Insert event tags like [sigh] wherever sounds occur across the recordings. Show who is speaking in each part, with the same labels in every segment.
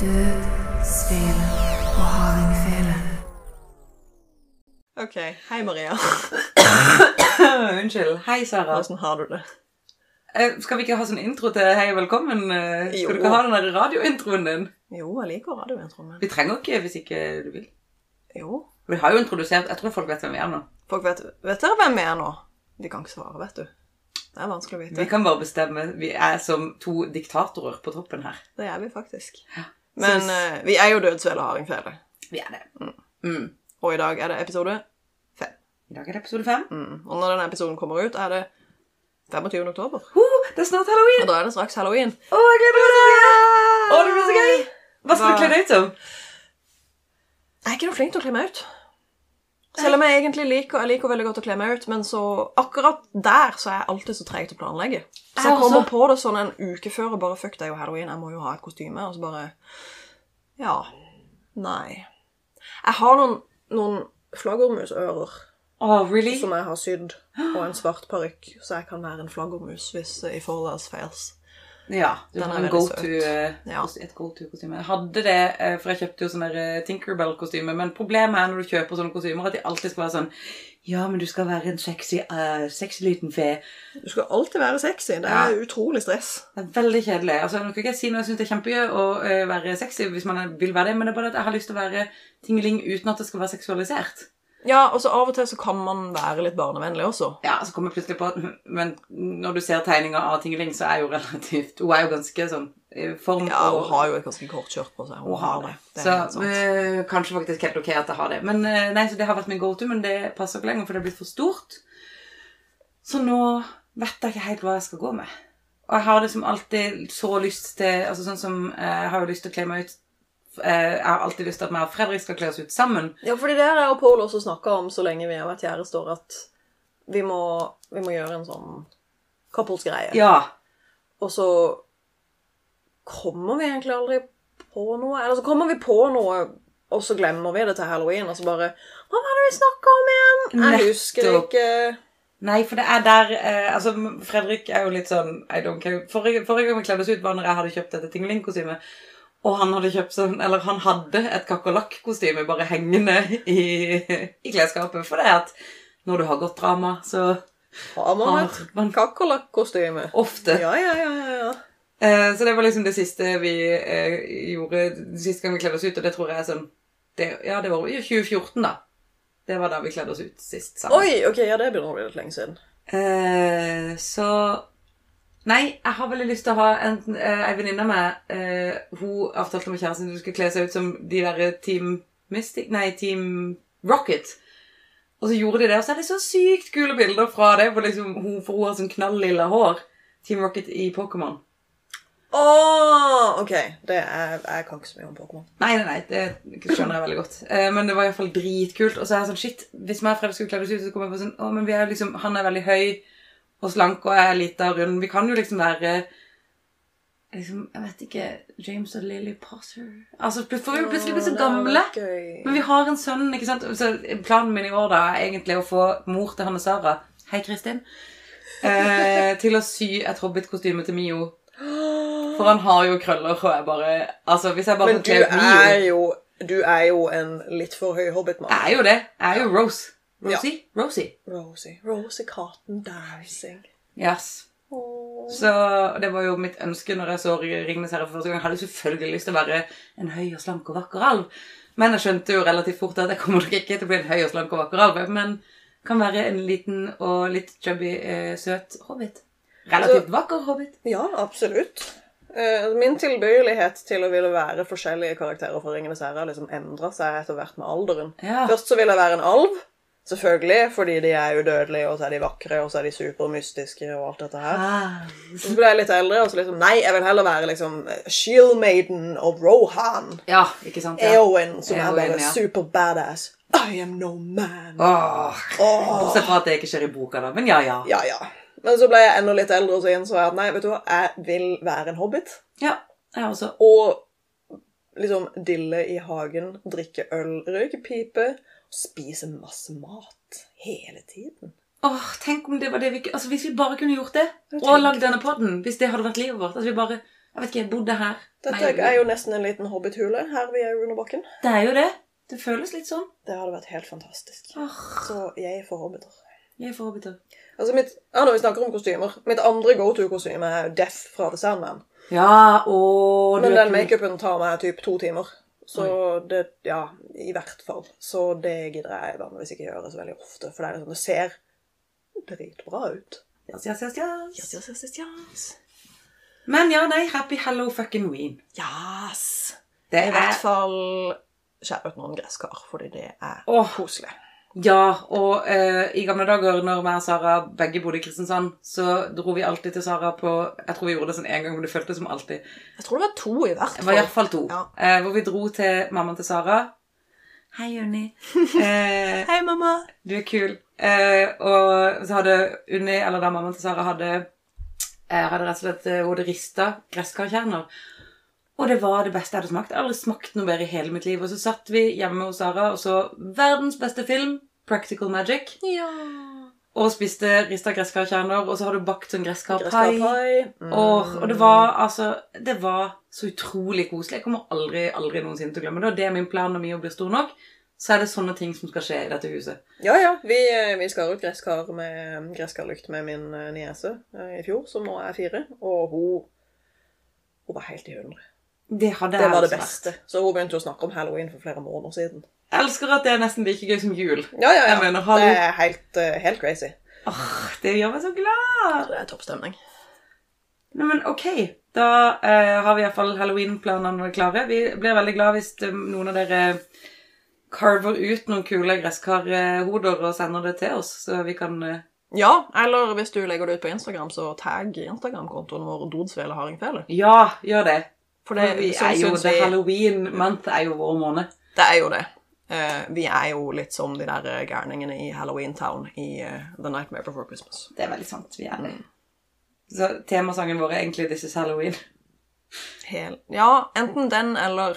Speaker 1: Død, svele og hardingfele.
Speaker 2: Ok, hei Maria.
Speaker 3: Unnskyld. Hei, Sara.
Speaker 2: Hvordan har du det?
Speaker 3: Eh, Skal vi ikke ha sånn intro til hei og velkommen? Eh,
Speaker 2: Jo.
Speaker 3: Skal du ikke ha den der radiointroen din?
Speaker 2: Jo, jeg liker radiointroen min.
Speaker 3: Vi trenger ikke hvis ikke du vil.
Speaker 2: Jo.
Speaker 3: Vi har jo introdusert Jeg tror folk vet hvem vi er nå.
Speaker 2: Folk vet, vet dere hvem vi er nå? De kan ikke svare, vet du. Det er vanskelig å
Speaker 3: Vi
Speaker 2: vite.
Speaker 3: kan bare bestemme. Vi er som to diktatorer på toppen her.
Speaker 2: Det er vi faktisk.
Speaker 3: Så
Speaker 2: Men
Speaker 3: hvis-
Speaker 2: eh, vi er jo Dødsvele og hardingfele.
Speaker 3: Vi er det. Mm.
Speaker 2: Og i dag er det episode 5.
Speaker 3: I dag er det episode fem.
Speaker 2: Mm. Og når denne episoden kommer ut, er det 25. oktober.
Speaker 3: Oh, det er snart halloween!
Speaker 2: Og da er det straks halloween.
Speaker 3: Å, jeg gleder meg så mye! Å, det blir så gøy! Hva skal du
Speaker 2: Hva-
Speaker 3: kle deg ut som?
Speaker 2: Jeg er ikke noe flink til å kle meg ut. Selv om jeg egentlig liker, jeg liker veldig godt å kle meg ut, men så akkurat der så er jeg alltid så treg til å planlegge. Så jeg
Speaker 3: Jeg også.
Speaker 2: kommer på det sånn en uke før og bare fuck, det er jo halloween, jeg må jo ha et kostyme. Og så bare Ja. Nei. Jeg har noen, noen flaggermusører
Speaker 3: Å, really?
Speaker 2: som jeg har sydd, og en svart parykk, så jeg kan være en flaggermus hvis eh, if all else fails.
Speaker 3: Ja, du
Speaker 2: Den
Speaker 3: har
Speaker 2: er
Speaker 3: en
Speaker 2: veldig
Speaker 3: go-to,
Speaker 2: søt.
Speaker 3: eh,
Speaker 2: Ja.
Speaker 3: kos- et go-to-kostyme. Jeg hadde det, eh, for jeg kjøpte jo sånn der, eh, Tinkerbell-kostyme, men problemet er når du kjøper sånne kostymer, at de alltid skal være sånn Ja, men du skal være en sexy, eh, sexy liten fe.
Speaker 2: Du skal alltid være sexy. Det er utrolig stress.
Speaker 3: Det er veldig kjedelig. Altså, Nå kan ikke jeg si noe, jeg syns det er kjempegøy å eh, være sexy hvis man er- vil være det, men det er bare at jeg har lyst til å være tingeling uten at det skal være seksualisert.
Speaker 2: Ja, og så av og til så kan man være litt barnevennlig også.
Speaker 3: Ja, så kommer jeg plutselig på at [laughs] Men når du ser tegninger av tingeling, så er jo relativt Hun er jo ganske sånn i form
Speaker 2: Ja, hun har jo et ganske kort skjørt på seg. Hun
Speaker 3: å ha det.
Speaker 2: Det er
Speaker 3: så
Speaker 2: helt sant.
Speaker 3: eh, kanskje faktisk helt ok at jeg har det. Men eh, nei, så Det har vært min go-to, men det passer ikke lenger, for det er blitt for stort. Så nå vet jeg ikke helt hva jeg skal gå med. Og jeg har liksom alltid så lyst til altså sånn som, eh, Jeg har jo lyst til å kle meg ut eh, Jeg har alltid lyst til at meg og Fredrik skal kle oss ut sammen.
Speaker 2: Ja, fordi det har jeg og Pål også snakka om så lenge vi har vært kjærester, at vi må, vi må gjøre en sånn couplesgreie.
Speaker 3: Ja.
Speaker 2: Og så kommer vi egentlig aldri på noe. Eller så kommer vi på noe, og så glemmer vi det til halloween, og så bare Hva var det vi snakka om igjen? Jeg husker
Speaker 3: Nettopp.
Speaker 2: ikke.
Speaker 3: Nei, for det er der eh, Altså, Fredrik er jo litt sånn I don't care. Forrige, forrige gang vi kledde oss ut, var når jeg hadde kjøpt dette Tingeling-kostymet. Og han hadde kjøpt sånn Eller han hadde et kakerlakk-kostyme bare hengende i, i klesskapet. For det er at når du har godt drama, så
Speaker 2: Har man
Speaker 3: har
Speaker 2: et
Speaker 3: man
Speaker 2: kakerlakkkostyme?
Speaker 3: ofte
Speaker 2: Ja, ja, ja, ja, ja.
Speaker 3: Eh, Så det var liksom det siste vi eh, gjorde Siste gang vi kledde oss ut, og det tror jeg er sånn det, Ja, det var i 2014, da. Det var da vi kledde oss ut sist sammen.
Speaker 2: Oi, ok, ja, det begynner å bli litt lenge siden.
Speaker 3: Eh, så Nei, jeg har veldig lyst til å ha en, eh, en venninne av meg. eh, hun avtalte med kjæresten at hun skulle kle seg ut som de der eh, Team Mystic Nei, Team Rocket. Og så gjorde de det, og så er det så sykt kule bilder fra det. For, liksom, hun, for hun har sånn knalllilla hår. Team Rocket i Pokémon.
Speaker 2: Å, ok. Det er, jeg kan ikke så mye om Pokémon.
Speaker 3: Nei, nei, nei, det skjønner jeg veldig godt. Eh, men det var iallfall dritkult. Og så er jeg sånn Shit, hvis meg og Fredrik skulle kledd oss ut, så kom jeg på sånn Å, men vi er jo liksom Han er veldig høy og slank, og jeg er lita og rund. Vi kan jo liksom være Liksom, jeg vet ikke James og Lily Potter Altså, plut- for vi er jo plutselig blitt så gamle. Men vi har en sønn, ikke sant? Så planen min i år da er egentlig å få mor til Hanne Sara, hei Kristin, eh, til å sy et hobbit-kostyme til Mio. For han har jo krøller, og jeg bare Altså, hvis jeg bare
Speaker 2: Men
Speaker 3: får
Speaker 2: du
Speaker 3: kle ut Mio
Speaker 2: er jo, du er jo en litt for høy hobbitmann.
Speaker 3: Jeg er jo det. Jeg er jo Rose. Rosie? Rosie.
Speaker 2: Rosie. Rosie Cotton Dancing.
Speaker 3: Yes. Så det var jo mitt ønske når jeg så Ringnes herre for første gang. Jeg hadde selvfølgelig lyst til å være en høy og slank og vakker alv. Men jeg skjønte jo relativt fort at jeg kommer nok ikke til å bli en høy og slank og vakker alv. Men kan være en liten og litt chubby, eh, søt hobbit. Relativt vakker hobbit.
Speaker 2: Ja, absolutt. Eh, Min tilbøyelighet til å ville være forskjellige karakterer fra Ringenes herre har liksom endra seg etter hvert med alderen.
Speaker 3: Ja.
Speaker 2: Først så vil jeg være en alv, selvfølgelig, fordi de er udødelige, og så er de vakre, og så er de supermystiske og alt dette her.
Speaker 3: Ah.
Speaker 2: Så ble jeg litt eldre, og så liksom Nei, jeg vil heller være liksom Shield Maiden og Rohan.
Speaker 3: Ja, ikke sant? Ja.
Speaker 2: Eowyn, som er
Speaker 3: Eowyn,
Speaker 2: bare
Speaker 3: ja.
Speaker 2: super badass. I am no man.
Speaker 3: Åh.
Speaker 2: Åh.
Speaker 3: Bortsett fra at det ikke skjer i boka, da. Men ja, ja.
Speaker 2: Ja, ja. Men så ble jeg enda litt eldre, og så innså jeg at nei, vet du hva, jeg vil være en hobbit.
Speaker 3: Ja, jeg også.
Speaker 2: Og liksom dille i hagen, drikke øl, røyke pipe, spise masse mat hele tiden.
Speaker 3: Åh, tenk om det var det vi ikke Altså, hvis vi bare kunne gjort det,
Speaker 2: Ja,
Speaker 3: og
Speaker 2: tenk.
Speaker 3: lagd denne podden, hvis det hadde vært livet vårt At vi bare Jeg vet ikke, jeg bodde her.
Speaker 2: Dette er jo nesten en liten hobbithule her vi er jo under bakken.
Speaker 3: Det er jo det. Det føles litt sånn.
Speaker 2: Det hadde vært helt fantastisk.
Speaker 3: Åh,
Speaker 2: Så jeg får hobbiter.
Speaker 3: jeg får hobbiter.
Speaker 2: Altså mitt, ja, når vi snakker om kostymer Mitt andre go to-kostyme er Death fra The Sandman.
Speaker 3: Ja, åh,
Speaker 2: Men
Speaker 3: er
Speaker 2: den
Speaker 3: kul.
Speaker 2: makeupen tar meg typ to timer. Så det Ja, i hvert fall. Så det gidder jeg vanligvis ikke gjøre så veldig ofte. For det er sånn det ser dritbra ut.
Speaker 3: Yes, yes, yes, yes.
Speaker 2: Yes, yes, yes, yes, yes.
Speaker 3: Men ja, nei, happy hello fucking ween.
Speaker 2: yes.
Speaker 3: Det
Speaker 2: I
Speaker 3: er
Speaker 2: hvert fall skjær ut noen gresskar, fordi det er
Speaker 3: Eh, Åh,
Speaker 2: koselig.
Speaker 3: Ja, og eh, i gamle dager når meg og Sara begge bodde i Kristiansand, så dro vi alltid til Sara på Jeg tror vi gjorde det sånn en gang, men det føltes som alltid.
Speaker 2: Jeg tror det var to i hvert
Speaker 3: Det var i hvert
Speaker 2: fall.
Speaker 3: fall to.
Speaker 2: Ja.
Speaker 3: Eh, hvor vi dro til mammaen til Sara. Hei, Unni. Eh,
Speaker 2: Hei, mamma.
Speaker 3: du er kul. Eh, og så hadde Unni, eller da mammaen til Sara, hadde, eh, hadde rett og slett eh, hun hadde rista gresskarkjerner. Og det var det beste jeg hadde smakt. Jeg har aldri smakt noe bedre i hele mitt liv. Og så satt vi hjemme hos Sara og så verdens beste film, 'Practical Magic'.
Speaker 2: Ja.
Speaker 3: Og spiste rista gresskarkjerner, og så har du bakt sånn gresskarpai.
Speaker 2: Gresskarpai. Mm.
Speaker 3: Åh, og det var altså Det var så utrolig koselig. Jeg kommer aldri aldri noensinne til å glemme det. Og det er min plan når Mio blir stor nok. Så er det sånne ting som skal skje i dette huset.
Speaker 2: Ja, ja. Vi, eh, vi skar ut gresskar med gresskarlukt med min eh, niese eh, i fjor, som nå er fire. Og hun, hun var helt i hundre.
Speaker 3: Det hadde
Speaker 2: Det
Speaker 3: jeg
Speaker 2: var det
Speaker 3: altså
Speaker 2: beste. Så hun begynte å snakke om halloween for flere måneder siden.
Speaker 3: vært. Jeg elsker at det er nesten like gøy som jul.
Speaker 2: Ja, ja, ja.
Speaker 3: Jeg mener, hallo.
Speaker 2: det er helt, eh, helt crazy.
Speaker 3: Åh, Det gjør meg så glad!
Speaker 2: Det er toppstemning.
Speaker 3: Nei, men ok. Da eh, har vi iallfall halloween-planene klare. Vi blir veldig glad hvis eh, noen av dere carver ut noen kule gresskarhoder og sender det til oss, så vi kan eh,
Speaker 2: Ja, eller hvis du legger det ut på Instagram, så tagg Instagram-kontoen vår Dodsvele Hardingfele.
Speaker 3: Ja, gjør det.
Speaker 2: For
Speaker 3: Det,
Speaker 2: det,
Speaker 3: vi
Speaker 2: sånn
Speaker 3: er jo,
Speaker 2: syns
Speaker 3: det
Speaker 2: vi-
Speaker 3: Halloween month er jo vår måned.
Speaker 2: Det er jo det. Eh, vi er jo litt som de der eh, gærningene i Halloween Town i eh, The Nightmare Before Christmas.
Speaker 3: Det er veldig sant. Vi er det. Mm. Så temasangen vår er egentlig This is Halloween.
Speaker 2: Hel... Ja, enten den eller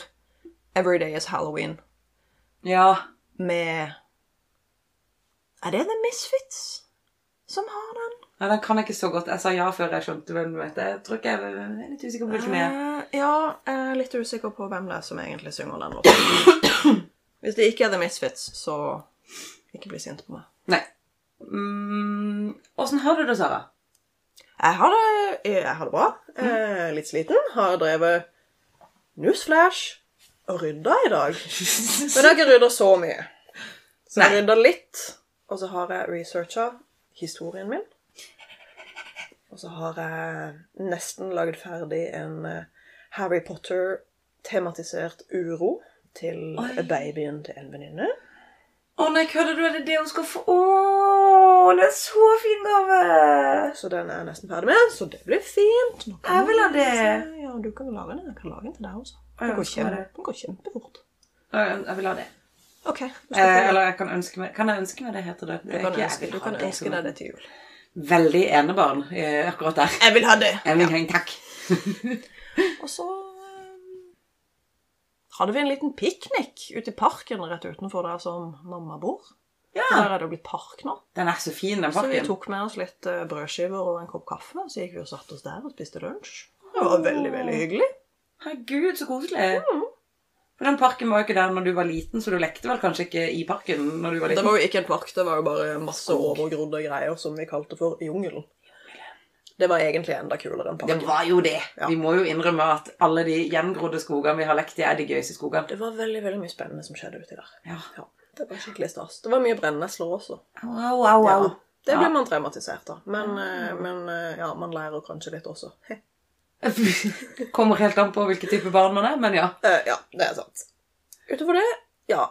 Speaker 2: Every Day is Halloween.
Speaker 3: Ja.
Speaker 2: med Er det The Misfits som har den?
Speaker 3: Nei, den kan jeg ikke så godt. Jeg sa ja før jeg skjønte hvem du vet. Jeg tror ikke jeg, jeg er litt usikker på hvilken det er.
Speaker 2: Eh, ja, jeg er litt usikker på hvem det er som egentlig synger den låten. [clears throat] Hvis det ikke er The Misfits, så ikke bli sint på meg.
Speaker 3: Nei. Mm, Åssen har du det, Sara?
Speaker 2: Jeg har det, jeg har det bra. Eh, litt sliten. Har drevet newsflash og rydda i dag. Men jeg har ikke rydda så mye. Så jeg
Speaker 3: Nei.
Speaker 2: rydda litt, og så har jeg researcha historien min. Og så har jeg nesten lagd ferdig en eh, Harry Potter-tematisert uro til
Speaker 3: Oi.
Speaker 2: babyen til en venninne.
Speaker 3: [laughs] Å nei, kødder du? Er det det hun skal få? Å, det er så fin gave!
Speaker 2: Så den er jeg nesten ferdig med, så det blir fint. Nå kan
Speaker 3: Jeg vil ha
Speaker 2: du-
Speaker 3: det.
Speaker 2: Ja, du kan jo lage den. Jeg kan lage den til deg også.
Speaker 3: Å,
Speaker 2: Den
Speaker 3: jeg
Speaker 2: går,
Speaker 3: ønsker meg
Speaker 2: kjempe,
Speaker 3: det.
Speaker 2: den går kjempefort.
Speaker 3: Ja, Jeg jeg vil ha det.
Speaker 2: Ok. Du,
Speaker 3: Eh,
Speaker 2: skal få
Speaker 3: eller jeg kan ønske meg Kan jeg ønske meg det, heter det?
Speaker 2: den. du kan ønske, du kan ønske deg det til jul.
Speaker 3: Veldig enebarn eh, akkurat der.
Speaker 2: Jeg vil ha det!
Speaker 3: Jeg vil ha en takk.
Speaker 2: Og så eh, hadde vi en liten piknik ute i parken rett utenfor der som mamma bor. Og Der er det jo blitt park nå.
Speaker 3: Den er så fin, den
Speaker 2: Så vi
Speaker 3: pakken.
Speaker 2: tok med oss litt eh, brødskiver og en kopp kaffe, og så gikk vi og satte oss der og spiste lunsj. Det var veldig, veldig hyggelig.
Speaker 3: Herregud, så koselig.
Speaker 2: Mhm.
Speaker 3: For den parken var jo ikke der når du var liten, så du lekte vel kanskje ikke i parken når du var
Speaker 2: Det
Speaker 3: liten?
Speaker 2: var jo ikke en park, det var jo bare masse overgrodde greier som vi kalte for jungelen. Det var egentlig enda kulere enn
Speaker 3: Det
Speaker 2: parken.
Speaker 3: var jo det.
Speaker 2: Ja.
Speaker 3: Vi må jo innrømme at alle de gjengrodde skogene vi har lekt i, er de gøyeste skogene.
Speaker 2: Det var veldig veldig mye spennende som skjedde uti der.
Speaker 3: Ja.
Speaker 2: Ja, Det var skikkelig stas. Det var mye brennesler også.
Speaker 3: Au, au, au, au.
Speaker 2: Ja, det
Speaker 3: Ja.
Speaker 2: blir man traumatisert av. Men, eh, men eh, ja, man lærer kanskje litt også.
Speaker 3: [laughs] Kommer helt an på hvilken type barn man er, men ja.
Speaker 2: Eh, ja, det er sant. Utover det, ja.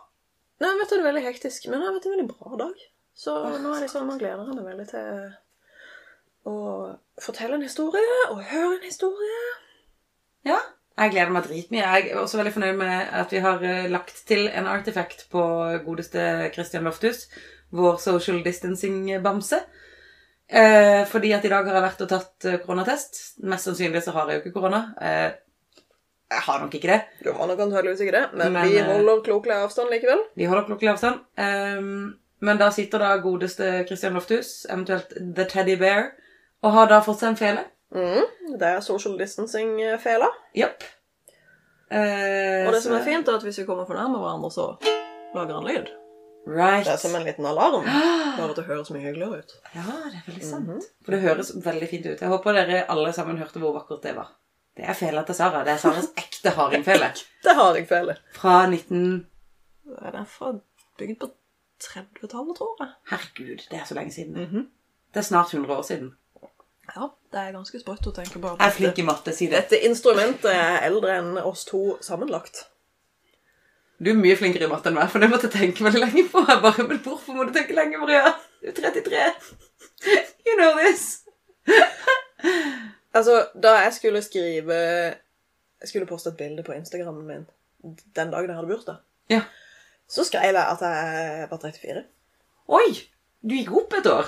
Speaker 2: Nei, jeg vet det er veldig hektisk, men jeg vet det er en veldig bra dag. Så nå er det sånn, man gleder jeg meg veldig til eh, å fortelle en historie, og høre en historie.
Speaker 3: Ja, jeg gleder meg dritmye. Jeg er også veldig fornøyd med at vi har eh, lagt til en artefakt på godeste Christian Loftus, vår social distancing-bamse. Eh, fordi at i dag har jeg vært og tatt eh, koronatest. Mest sannsynlig så har jeg jo ikke korona. Eh, jeg har nok ikke det.
Speaker 2: Du har nok antageligvis ikke det, men,
Speaker 3: Men,
Speaker 2: vi
Speaker 3: eh,
Speaker 2: holder klokelig avstand likevel.
Speaker 3: Vi holder klokkelig avstand. Ehm, men da sitter da godeste Christian Loftus, eventuelt The Teddy Bear, og har da fått seg en fele.
Speaker 2: Mm, det er social distancing-fela.
Speaker 3: Japp. Eh,
Speaker 2: Og det som
Speaker 3: så-
Speaker 2: er fint, er at hvis vi kommer for nærme hverandre, så lager han lyd.
Speaker 3: Right.
Speaker 2: Det er som en liten alarm.
Speaker 3: Ah,
Speaker 2: Bare at det høres mye hyggeligere ut.
Speaker 3: [gasps] Ja, det er veldig sant. For det høres veldig fint ut. Jeg håper dere alle sammen hørte hvor vakkert det var. Det er fela til Sara. Det
Speaker 2: [laughs]
Speaker 3: er Saras ekte hardingfele.
Speaker 2: Det har jeg fele.
Speaker 3: Fra 19...
Speaker 2: Den er fra bygd på 30-tallet, tror jeg.
Speaker 3: Herregud, det er så lenge siden.
Speaker 2: Mhm.
Speaker 3: Det er snart 100 år siden.
Speaker 2: Ja, det er ganske sprøtt å tenke på. at
Speaker 3: Jeg er
Speaker 2: dette-
Speaker 3: flink i matte, si det.
Speaker 2: Dette instrumentet er eldre enn oss to sammenlagt.
Speaker 3: Du er mye flinkere i matte enn meg, for det måtte jeg tenke veldig lenge på. Jeg bare, men hvorfor må du tenke lenge, Maria? Du er 33. You know this.
Speaker 2: Altså, da jeg skulle skrive Jeg skulle poste et bilde på Instagrammen min den dagen jeg hadde bursdag,
Speaker 3: Ja.
Speaker 2: så skrev jeg at jeg var 34.
Speaker 3: Oi, du gikk opp et år.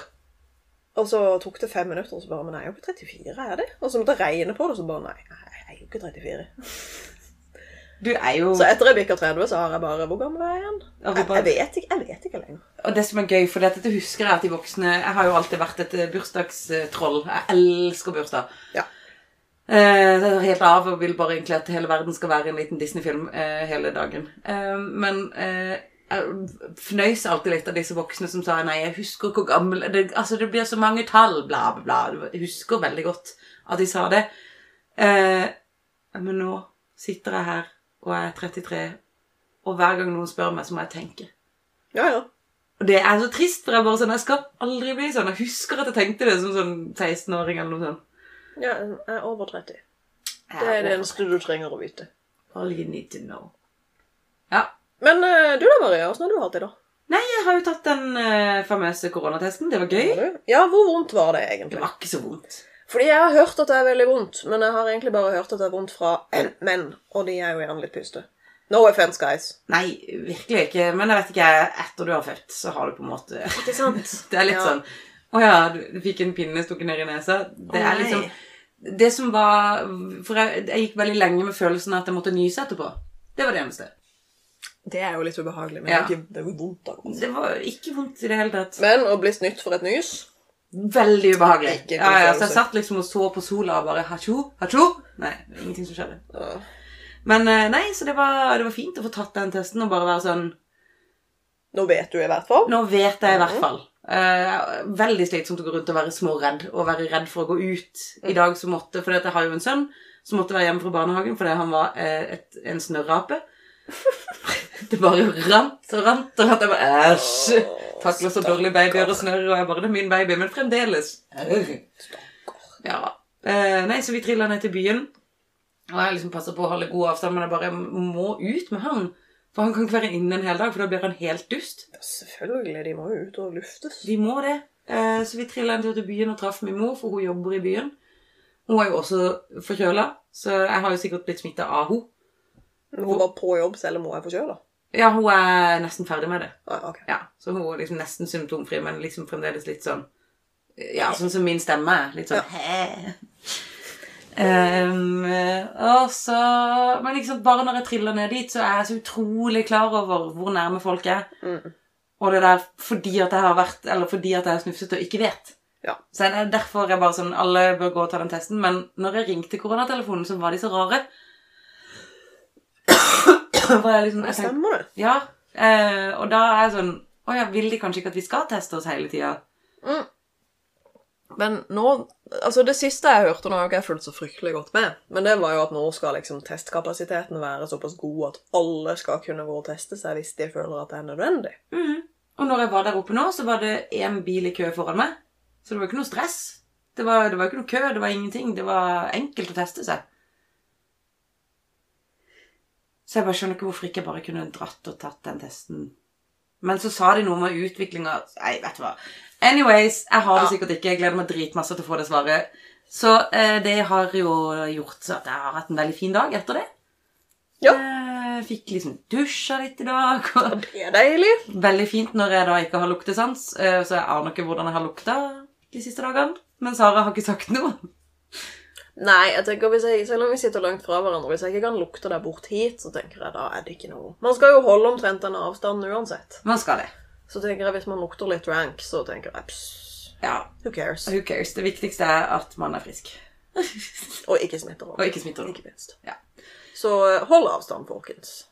Speaker 2: Og så tok det fem minutter, og så bare Men jeg er jo ikke 34, er jeg det? Og så måtte jeg regne på det, og så bare Nei, jeg er jo ikke 34.
Speaker 3: Du er jo...
Speaker 2: Så etter jeg bikka 30, så har jeg bare Hvor gammel er jeg igjen?
Speaker 3: Ja, vi
Speaker 2: Jeg,
Speaker 3: bare-
Speaker 2: jeg vet ikke jeg vet ikke lenger.
Speaker 3: Og det som er gøy, for dette husker jeg at de voksne Jeg har jo alltid vært et eh, bursdagstroll. Jeg elsker bursdag.
Speaker 2: Ja.
Speaker 3: Eh, det er helt av og vil bare egentlig at hele verden skal være en liten Disney-film eh, hele dagen. Eh, men eh, jeg fnøys alltid litt av disse voksne som sa nei, jeg husker hvor gammel det, Altså, det blir så mange tall, bla, bla, bla. Jeg husker veldig godt at de sa det. Eh, men nå sitter jeg her, og jeg er 33, og hver gang noen spør meg, så må jeg tenke.
Speaker 2: Ja, ja.
Speaker 3: Og det er så trist, for jeg bare sånn, jeg skal aldri bli sånn. Jeg husker at jeg tenkte det som sånn 16-åring eller noe sånt.
Speaker 2: ja jeg er over 30. Det er det eneste du trenger å vite.
Speaker 3: All you need to know. Ja.
Speaker 2: Men eh, du da, Maria, åssen har du hatt det, da?
Speaker 3: Nei, jeg har jo tatt den eh, famøse koronatesten. Det var gøy.
Speaker 2: Har du? Ja, hvor vondt var det
Speaker 3: Det
Speaker 2: egentlig?
Speaker 3: var ikke så vondt.
Speaker 2: Fordi jeg har hørt at det er veldig vondt, men jeg har egentlig bare hørt at det er vondt fra menn, og de er jo gjerne litt puste. No offense, guys.
Speaker 3: Nei, virkelig ikke. Men jeg vet ikke, etter du har født, så har du på en måte... [laughs]
Speaker 2: Ikke sant?
Speaker 3: Det er litt
Speaker 2: Ja.
Speaker 3: sånn, å ja, du du fikk en pinne, stukket ned i nesa. Det
Speaker 2: Å,
Speaker 3: er liksom...
Speaker 2: nei.
Speaker 3: Det som var... For jeg, jeg gikk veldig lenge med følelsen at jeg måtte nyse etterpå. Det var det eneste.
Speaker 2: Det er jo litt ubehagelig, men det
Speaker 3: Ja.
Speaker 2: er ikke- det er jo vondt. akkurat.
Speaker 3: Det var ikke vondt i det hele tatt.
Speaker 2: Men å bli snytt for et nys
Speaker 3: Veldig ubehagelig.
Speaker 2: Ikke god
Speaker 3: ja, ja, så jeg
Speaker 2: følelse.
Speaker 3: satt liksom og så på sola og bare hatsjo, hatsjo. Nei, det var ingenting som skjedde.
Speaker 2: Ja.
Speaker 3: Men eh, nei, så det var, det var fint å få tatt den testen og bare være sånn
Speaker 2: Nå vet du i hvert fall.
Speaker 3: Nå vet jeg i hvert fall. Eh, veldig slitsomt å gå rundt og være småredd og være redd for å gå ut. I dag så måtte For jeg har jo en sønn som måtte være hjemme fra barnehagen fordi han var eh, et, en snørrape. [laughs] det bare rant og rant og rant. Jeg bare Æsj! Takler så dårlig babyer og snørr, og jeg bare Det er min baby, men fremdeles. Ja. Eh, nei, så vi trilla ned til byen. Og jeg liksom passer på å holde god avstand, men jeg bare må ut med han. For han kan ikke være inne en hel dag, for da blir han helt dust.
Speaker 2: Ja, Selvfølgelig, de må jo ut og luftes.
Speaker 3: De må det. Eh, så vi trilla en tur til byen og traff min mor, for hun jobber i byen. Hun er jo også forkjøla, så jeg har jo sikkert blitt smitta av henne.
Speaker 2: Men hun var på jobb selv om hun er forkjøla.
Speaker 3: Ja, hun er nesten ferdig med det.
Speaker 2: Ah, ok.
Speaker 3: Ja, Så hun er liksom nesten symptomfri, men liksom fremdeles litt sånn Ja, sånn som min stemme er. Litt sånn «Hæ?» Ehm, og så, Men liksom, bare når jeg triller ned dit, så er jeg så utrolig klar over hvor nærme folk er.
Speaker 2: Mm.
Speaker 3: Og det der fordi at jeg har vært Eller fordi at jeg har snufset og ikke vet.
Speaker 2: Ja.
Speaker 3: Så det er derfor jeg bare sånn Alle bør gå og ta den testen. Men når jeg ringte koronatelefonen, så var de så rare. [coughs] var jeg liksom,
Speaker 2: Det
Speaker 3: jeg tenkte,
Speaker 2: stemmer, det.
Speaker 3: ja, eh, og da er jeg sånn Å ja, vil de kanskje ikke at vi skal teste oss hele tida?
Speaker 2: Mm. Men nå Altså, det siste jeg hørte, nå har jo ikke jeg fulgt så fryktelig godt med, men det var jo at nå skal liksom testkapasiteten være såpass god at alle skal kunne gå og teste seg hvis de føler at det er nødvendig.
Speaker 3: Mm. Og når jeg var der oppe nå, så var det én bil i kø foran meg. Så det var ikke noe stress. Det var, det var ikke noe kø, det var ingenting. Det var enkelt å teste seg. Så jeg bare skjønner ikke hvorfor ikke jeg bare kunne dratt og tatt den testen. Men så sa de noe med utviklinga Nei, vet du hva. Anyways, jeg har det
Speaker 2: Ja.
Speaker 3: sikkert ikke. Jeg gleder meg dritmasse til å få det svaret. Så eh, det har jo gjort så at jeg har hatt en veldig fin dag etter det.
Speaker 2: Ja.
Speaker 3: Eh, fikk liksom dusja litt i dag. Og
Speaker 2: Det er deilig.
Speaker 3: Veldig fint når jeg da ikke har luktesans, eh, så jeg aner ikke hvordan jeg har lukta de siste dagene. Men Sara har ikke sagt noe.
Speaker 2: Nei, jeg tenker hvis jeg, selv om vi sitter langt fra hverandre, hvis jeg ikke kan lukte deg bort hit, så tenker jeg da er det ikke noe. Man skal jo holde omtrent denne avstanden uansett.
Speaker 3: Man skal det.
Speaker 2: Så tenker jeg hvis man lukter litt rank, så tenker jeg pss,
Speaker 3: Ja,
Speaker 2: who cares?
Speaker 3: who cares? Det viktigste er at man er frisk.
Speaker 2: Og ikke smitter
Speaker 3: Og ikke smitter
Speaker 2: Ikke minst.
Speaker 3: Ja.
Speaker 2: Så eh, hold avstand, folkens.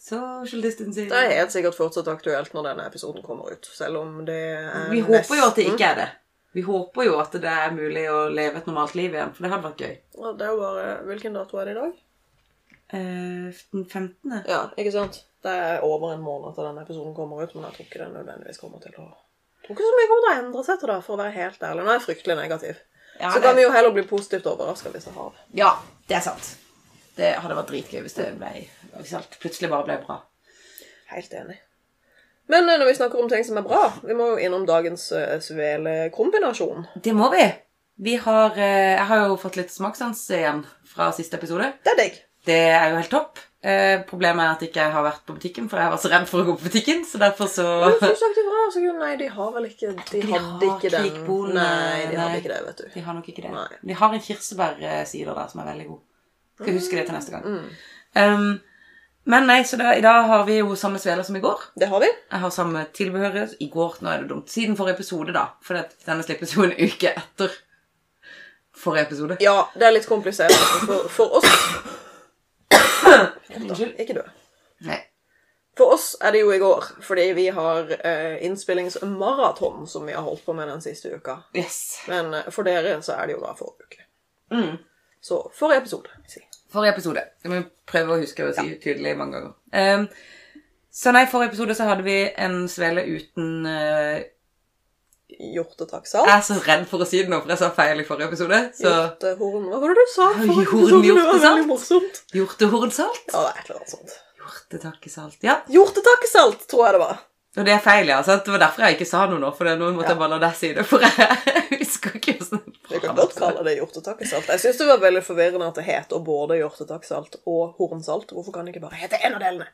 Speaker 3: Social distancing.
Speaker 2: Det er helt sikkert fortsatt aktuelt når denne episoden kommer ut. Selv om det er
Speaker 3: Vi håper jo at det ikke er det. Vi håper jo at det er mulig å leve et normalt liv igjen, for det hadde vært gøy.
Speaker 2: Og Det er jo bare Hvilken dato er det i dag?
Speaker 3: Eh, den 15.
Speaker 2: Ja, ikke sant? Det er over en måned til denne episoden kommer ut, men jeg tror ikke det nødvendigvis kommer til å Jeg tror ikke så mye kommer til å endre seg til det, for å være helt ærlig. Nå er jeg fryktelig negativ.
Speaker 3: Ja,
Speaker 2: så
Speaker 3: det-
Speaker 2: kan vi jo heller bli positivt overraska hvis det har
Speaker 3: Ja, det er sant. Det hadde vært dritgøy hvis det ble, hvis alt plutselig bare ble bra.
Speaker 2: Helt enig. Men eh, når vi snakker om ting som er bra, vi må jo innom dagens uh, svelekombinasjon.
Speaker 3: Det må vi. Vi har, eh, jeg har jo fått litt smakssans igjen fra siste episode.
Speaker 2: Det er digg.
Speaker 3: Det er jo helt topp. Eh, problemet er at jeg ikke har vært på butikken, for jeg var så redd for å gå på butikken. Så derfor så
Speaker 2: Men jeg synes ikke det var, altså, jo, nei, de har vel ikke De, hadde
Speaker 3: har
Speaker 2: ikke den.
Speaker 3: klikbolen,
Speaker 2: Nei, de
Speaker 3: nei.
Speaker 2: hadde ikke det, vet du.
Speaker 3: De har nok ikke det.
Speaker 2: Nei.
Speaker 3: De har en kirsebærsider der som er veldig god. Skal huske det til neste gang.
Speaker 2: Mm.
Speaker 3: Um, men nei, så da, i dag har vi jo samme sveler som i går.
Speaker 2: Det har vi.
Speaker 3: Jeg har samme tilbehør. I går, nå er det dumt. Siden forrige episode, da. For det, denne slippes jo en uke etter forrige episode.
Speaker 2: Ja, det er litt komplisert for, [coughs] for oss.
Speaker 3: Unnskyld.
Speaker 2: Ikke dø.
Speaker 3: Nei.
Speaker 2: For oss er det jo i går, fordi vi har eh, innspillingsmaraton som vi har holdt på med den siste uka.
Speaker 3: Yes.
Speaker 2: Men eh, for dere så er det jo da forrige uke.
Speaker 3: Mm.
Speaker 2: Så forrige episode. Si.
Speaker 3: Forrige episode. Det må vi prøve å huske å si tydelig mange ganger. Ehm, så nei, forrige episode så hadde vi en svele uten eh,
Speaker 2: Hjortetaksalt.
Speaker 3: Jeg er så redd for å si det nå, for jeg sa feil i forrige episode. Så
Speaker 2: Hjortehorn Hva var det du sa?
Speaker 3: Ja,
Speaker 2: forrige
Speaker 3: horn,
Speaker 2: episode? Det var
Speaker 3: hjortesalt.
Speaker 2: veldig morsomt.
Speaker 3: hjortehornsalt.
Speaker 2: Ja, det er et eller annet sånt.
Speaker 3: Hjortetakkesalt. Ja.
Speaker 2: Hjortetakkesalt, tror jeg det var.
Speaker 3: Og det er feil, ja. sant? Det var derfor jeg ikke sa noe nå. For det- nå måtte
Speaker 2: Ja.
Speaker 3: jeg bare la deg si det. For [laughs] jeg husker ikke hvordan
Speaker 2: Vi kan godt kalle det hjortetakkesalt. Jeg syns det var veldig forvirrende at det heter både hjortetakkesalt og hornsalt. Hvorfor kan det ikke bare hete en av delene?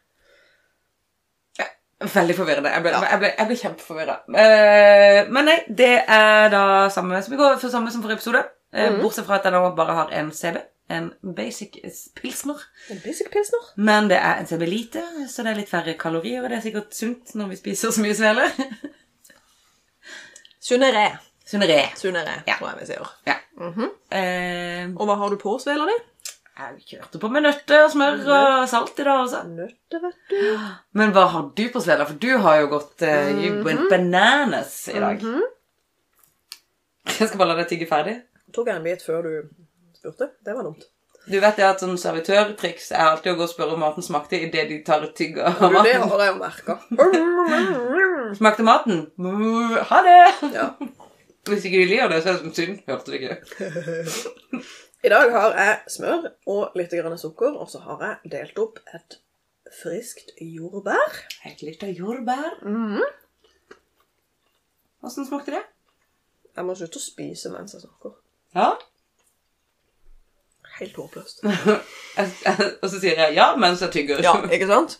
Speaker 3: Veldig forvirrende. Jeg ble, jeg ble, jeg ble kjempeforvirra. Eh, men nei, det er da samme som i går, for samme som forrige episode. Eh, Bortsett fra at jeg nå bare har en CB. En basic pilsner.
Speaker 2: En basic pilsner.
Speaker 3: Men det er en CB lite, så det er litt færre kalorier. Og det er sikkert sunt når vi spiser så mye svele. [laughs]
Speaker 2: Sunneré.
Speaker 3: Sunnere.
Speaker 2: Sunneré,
Speaker 3: Ja.
Speaker 2: tror jeg vi sier.
Speaker 3: Ja. Eh,
Speaker 2: Og hva har du på svela di?
Speaker 3: jeg kjørte på med nøtter og smør og salt i dag også.
Speaker 2: Nøtter, vet du.
Speaker 3: Men hva har du på svela? For du har jo gått eh, you went bananas i dag. Jeg skal bare la deg tygge ferdig.
Speaker 2: Tok jeg en bit før du spurte? Det var dumt.
Speaker 3: Du vet det at sånn servitørtriks er alltid å gå og spørre om maten smakte idet de tar et tygg av
Speaker 2: Du, det
Speaker 3: maten.
Speaker 2: har jeg jo merka.
Speaker 3: Smakte maten? Mm, Ha det!
Speaker 2: Ja.
Speaker 3: [laughs] Hvis ikke de liker det, så er det som synd. Hørte du ikke?
Speaker 2: [laughs] I dag har jeg smør og litt grann sukker, og så har jeg delt opp et friskt jordbær.
Speaker 3: Et lite jordbær. Åssen Mhm. smakte det?
Speaker 2: Jeg må slutte å spise mens jeg snakker.
Speaker 3: Ja. [laughs]
Speaker 2: Helt håpløst.
Speaker 3: Og så sier jeg ja mens jeg tygger.
Speaker 2: Ja, ikke sant?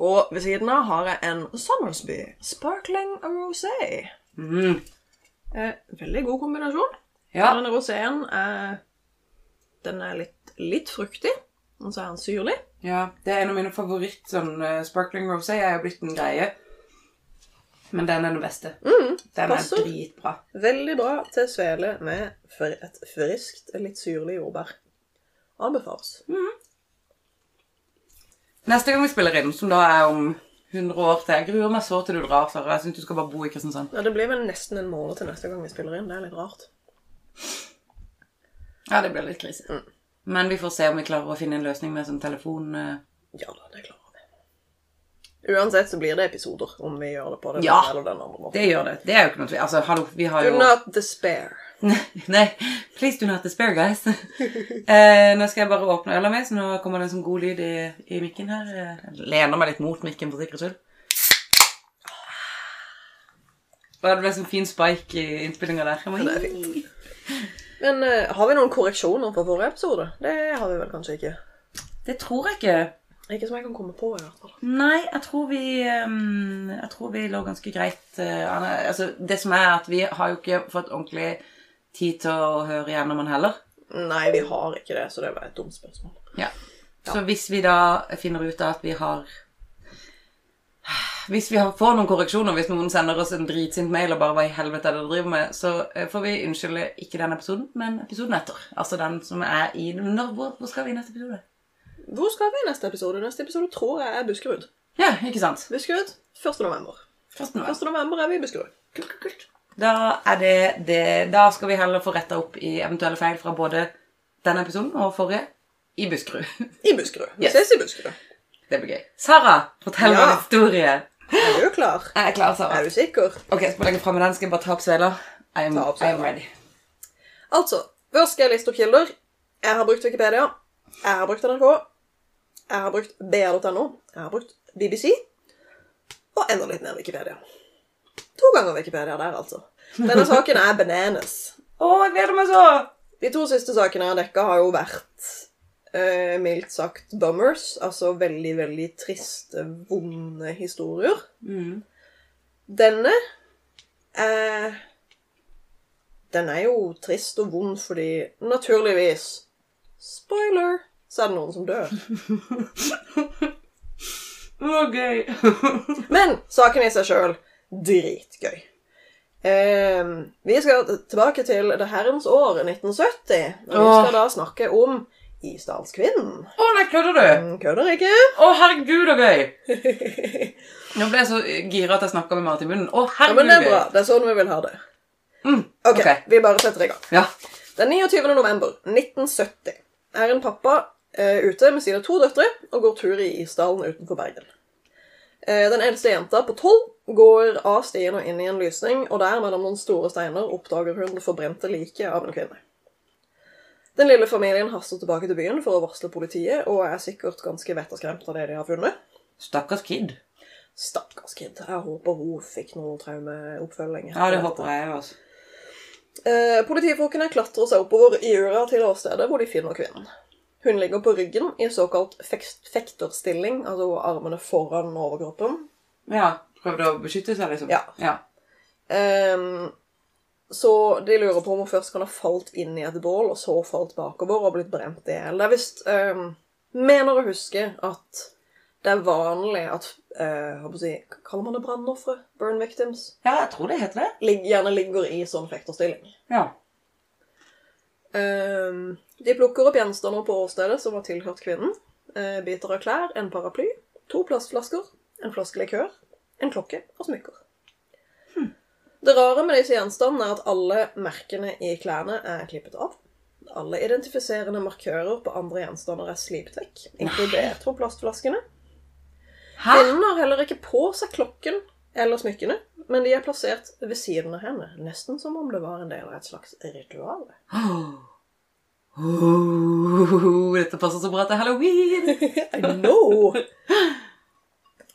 Speaker 2: Og ved siden av har jeg en Summersby Sparkling Rosé.
Speaker 3: Mm.
Speaker 2: Eh, veldig god kombinasjon.
Speaker 3: ja.
Speaker 2: Denne roséen er, den er litt, litt fruktig, og så er den syrlig.
Speaker 3: Ja, det er en av mine favoritt sånn eh, Sparkling Rosé er jo blitt en greie. Men den er den beste. den er
Speaker 2: Mm, passer.
Speaker 3: dritbra.
Speaker 2: Veldig bra til svele med fr- et friskt, litt syrlig jordbær. Anbefales.
Speaker 3: Neste gang vi spiller inn, som da er om 100 år til Jeg gruer meg så til du drar, Sara. Jeg syns du skal bare bo i Kristiansand.
Speaker 2: Ja, det blir vel nesten en måned til neste gang vi spiller inn. Det er litt rart.
Speaker 3: Ja, det blir litt krise.
Speaker 2: Mm.
Speaker 3: Men vi får se om vi klarer å finne en løsning med sånn telefon... eh,
Speaker 2: Ja da, det klarer vi. Uansett så blir det episoder om vi gjør det på den
Speaker 3: Ja.
Speaker 2: ene eller den andre måten.
Speaker 3: Det gjør det. Det er jo ikke noe tvil. Altså, hallo, vi har
Speaker 2: Do
Speaker 3: jo
Speaker 2: not despair.
Speaker 3: [laughs] Nei, please do not despair, guys. [laughs] eh, nå skal jeg bare åpne øla mi, så nå kommer det en sånn god lyd i, i mikken her. Jeg lener meg litt mot mikken for sikkerhets skyld. Å, Det ble sånn fin spike i innspillinga der. Jeg må
Speaker 2: det er fint. Men eh, har vi noen korreksjoner fra forrige episode? Det har vi vel kanskje ikke.
Speaker 3: Det tror jeg ikke.
Speaker 2: Ikke som jeg kan komme på, i hvert fall.
Speaker 3: Nei, jeg tror vi, ehm, jeg tror vi lå ganske greit eh, an. Altså, det som er at vi har jo ikke fått ordentlig tid til å høre gjennom den heller.
Speaker 2: Nei, vi har ikke det, så det var et dumt spørsmål.
Speaker 3: Ja. Så hvis vi da finner ut av at vi har Hvis vi har- får noen korreksjoner, hvis noen sender oss en dritsint mail og bare hva i helvete er det dere driver med, så eh, får vi unnskylde ikke den episoden, men episoden etter. Altså den som er i Når, hvor, hvor skal vi i neste episode?
Speaker 2: Hvor skal vi i neste episode? Neste episode tror jeg er Buskerud.
Speaker 3: Ja, ikke sant?
Speaker 2: Buskerud 1. november.
Speaker 3: 1. november.
Speaker 2: 1. november er vi i Buskerud.
Speaker 3: Kult, kult, kult. Da, er det det, da skal vi heller få retta opp i eventuelle feil fra både denne episoden og forrige i Buskerud. [laughs]
Speaker 2: I Buskerud. Vi
Speaker 3: Yes.
Speaker 2: ses i Buskerud.
Speaker 3: Det blir gøy. Sara, fortell meg
Speaker 2: Ja.
Speaker 3: en historie.
Speaker 2: Er du klar?
Speaker 3: Jeg er klar, Sara.
Speaker 2: Er du sikker?
Speaker 3: Ok, så må jeg legge frem med den. Skal jeg bare ta opp sveler? I'm,
Speaker 2: Ta opp sveler.
Speaker 3: I'm ready.
Speaker 2: Altså, først skal jeg liste opp kilder. Jeg har brukt Wikipedia. Jeg har brukt NRK. Jeg har brukt br.no. Jeg har brukt BBC. Og enda litt mer Wikipedia. To ganger Wikipedia der, altså. Denne saken er bananas.
Speaker 3: Å, jeg gleder meg så!
Speaker 2: De to siste sakene jeg har dekka, har jo vært eh, mildt sagt bummers. Altså veldig, veldig triste, vonde historier. Denne eh, Den er jo trist og vond fordi naturligvis Spoiler! Så er det noen som dør.
Speaker 3: Å, gøy.
Speaker 2: Men saken i seg sjøl dritgøy. Eh, vi skal tilbake til det herrens år 1970. Og vi
Speaker 3: Åh.
Speaker 2: skal da snakke om Isdalskvinnen.
Speaker 3: Å, nei, kødder du?
Speaker 2: Mm, Kødder ikke?
Speaker 3: Å, herregud, så gøy. Nå ble jeg så gira at jeg snakka med Marit i munnen. Å,
Speaker 2: Ja, men
Speaker 3: herregud.
Speaker 2: det er bra. Det er sånn vi vil ha det. OK,
Speaker 3: ok.
Speaker 2: vi bare setter i gang.
Speaker 3: Ja.
Speaker 2: Den 29. november 1970 er en pappa eh, ute med sine to døtre og går tur i Isdalen utenfor Bergen. Eh, den eldste jenta på tolv går av stien og inn i en lysning, og der mellom noen store steiner oppdager hun det forbrente liket av en kvinne. Den lille familien haster tilbake til byen for å varsle politiet, og er sikkert ganske vettskremt av det de har funnet.
Speaker 3: Stakkars kid.
Speaker 2: Stakkars kid. Jeg håper hun fikk noe traumeoppfølging.
Speaker 3: Ja, det håper jeg jo, altså.
Speaker 2: Eh, politifolkene klatrer seg oppover i ura til åstedet hvor de finner kvinnen. Hun ligger på ryggen i såkalt feks- fekterstilling, altså armene foran overkroppen.
Speaker 3: Ja. Prøvde å beskytte seg, liksom?
Speaker 2: Ja.
Speaker 3: ja.
Speaker 2: Ehm, så de lurer på om hun først kan ha falt inn i et bål, og så falt bakover og blitt brent i hjel. Det er visst ehm, Mener å huske at det er vanlig at eh, hva skal jeg si, Kaller man det brannofre? Burn victims?
Speaker 3: Ja, jeg tror det heter det.
Speaker 2: Ligg, gjerne ligger i sånn fekterstilling.
Speaker 3: Ja.
Speaker 2: Ehm, de plukker opp gjenstander på åstedet som var tilhørt kvinnen. Eh, biter av klær, en paraply, to plastflasker, en flaske likør, en klokke og smykker. Det rare med disse gjenstandene er at alle merkene i klærne er klippet av. Alle identifiserende markører på andre gjenstander er slipt vekk, inkludert på plastflaskene.
Speaker 3: Hæ?
Speaker 2: Kvinnen har heller ikke på seg klokken eller smykkene, men de er plassert ved siden av henne, nesten som om det var en del av et slags ritual.
Speaker 3: Oh, dette passer så bra til halloween!
Speaker 2: I know!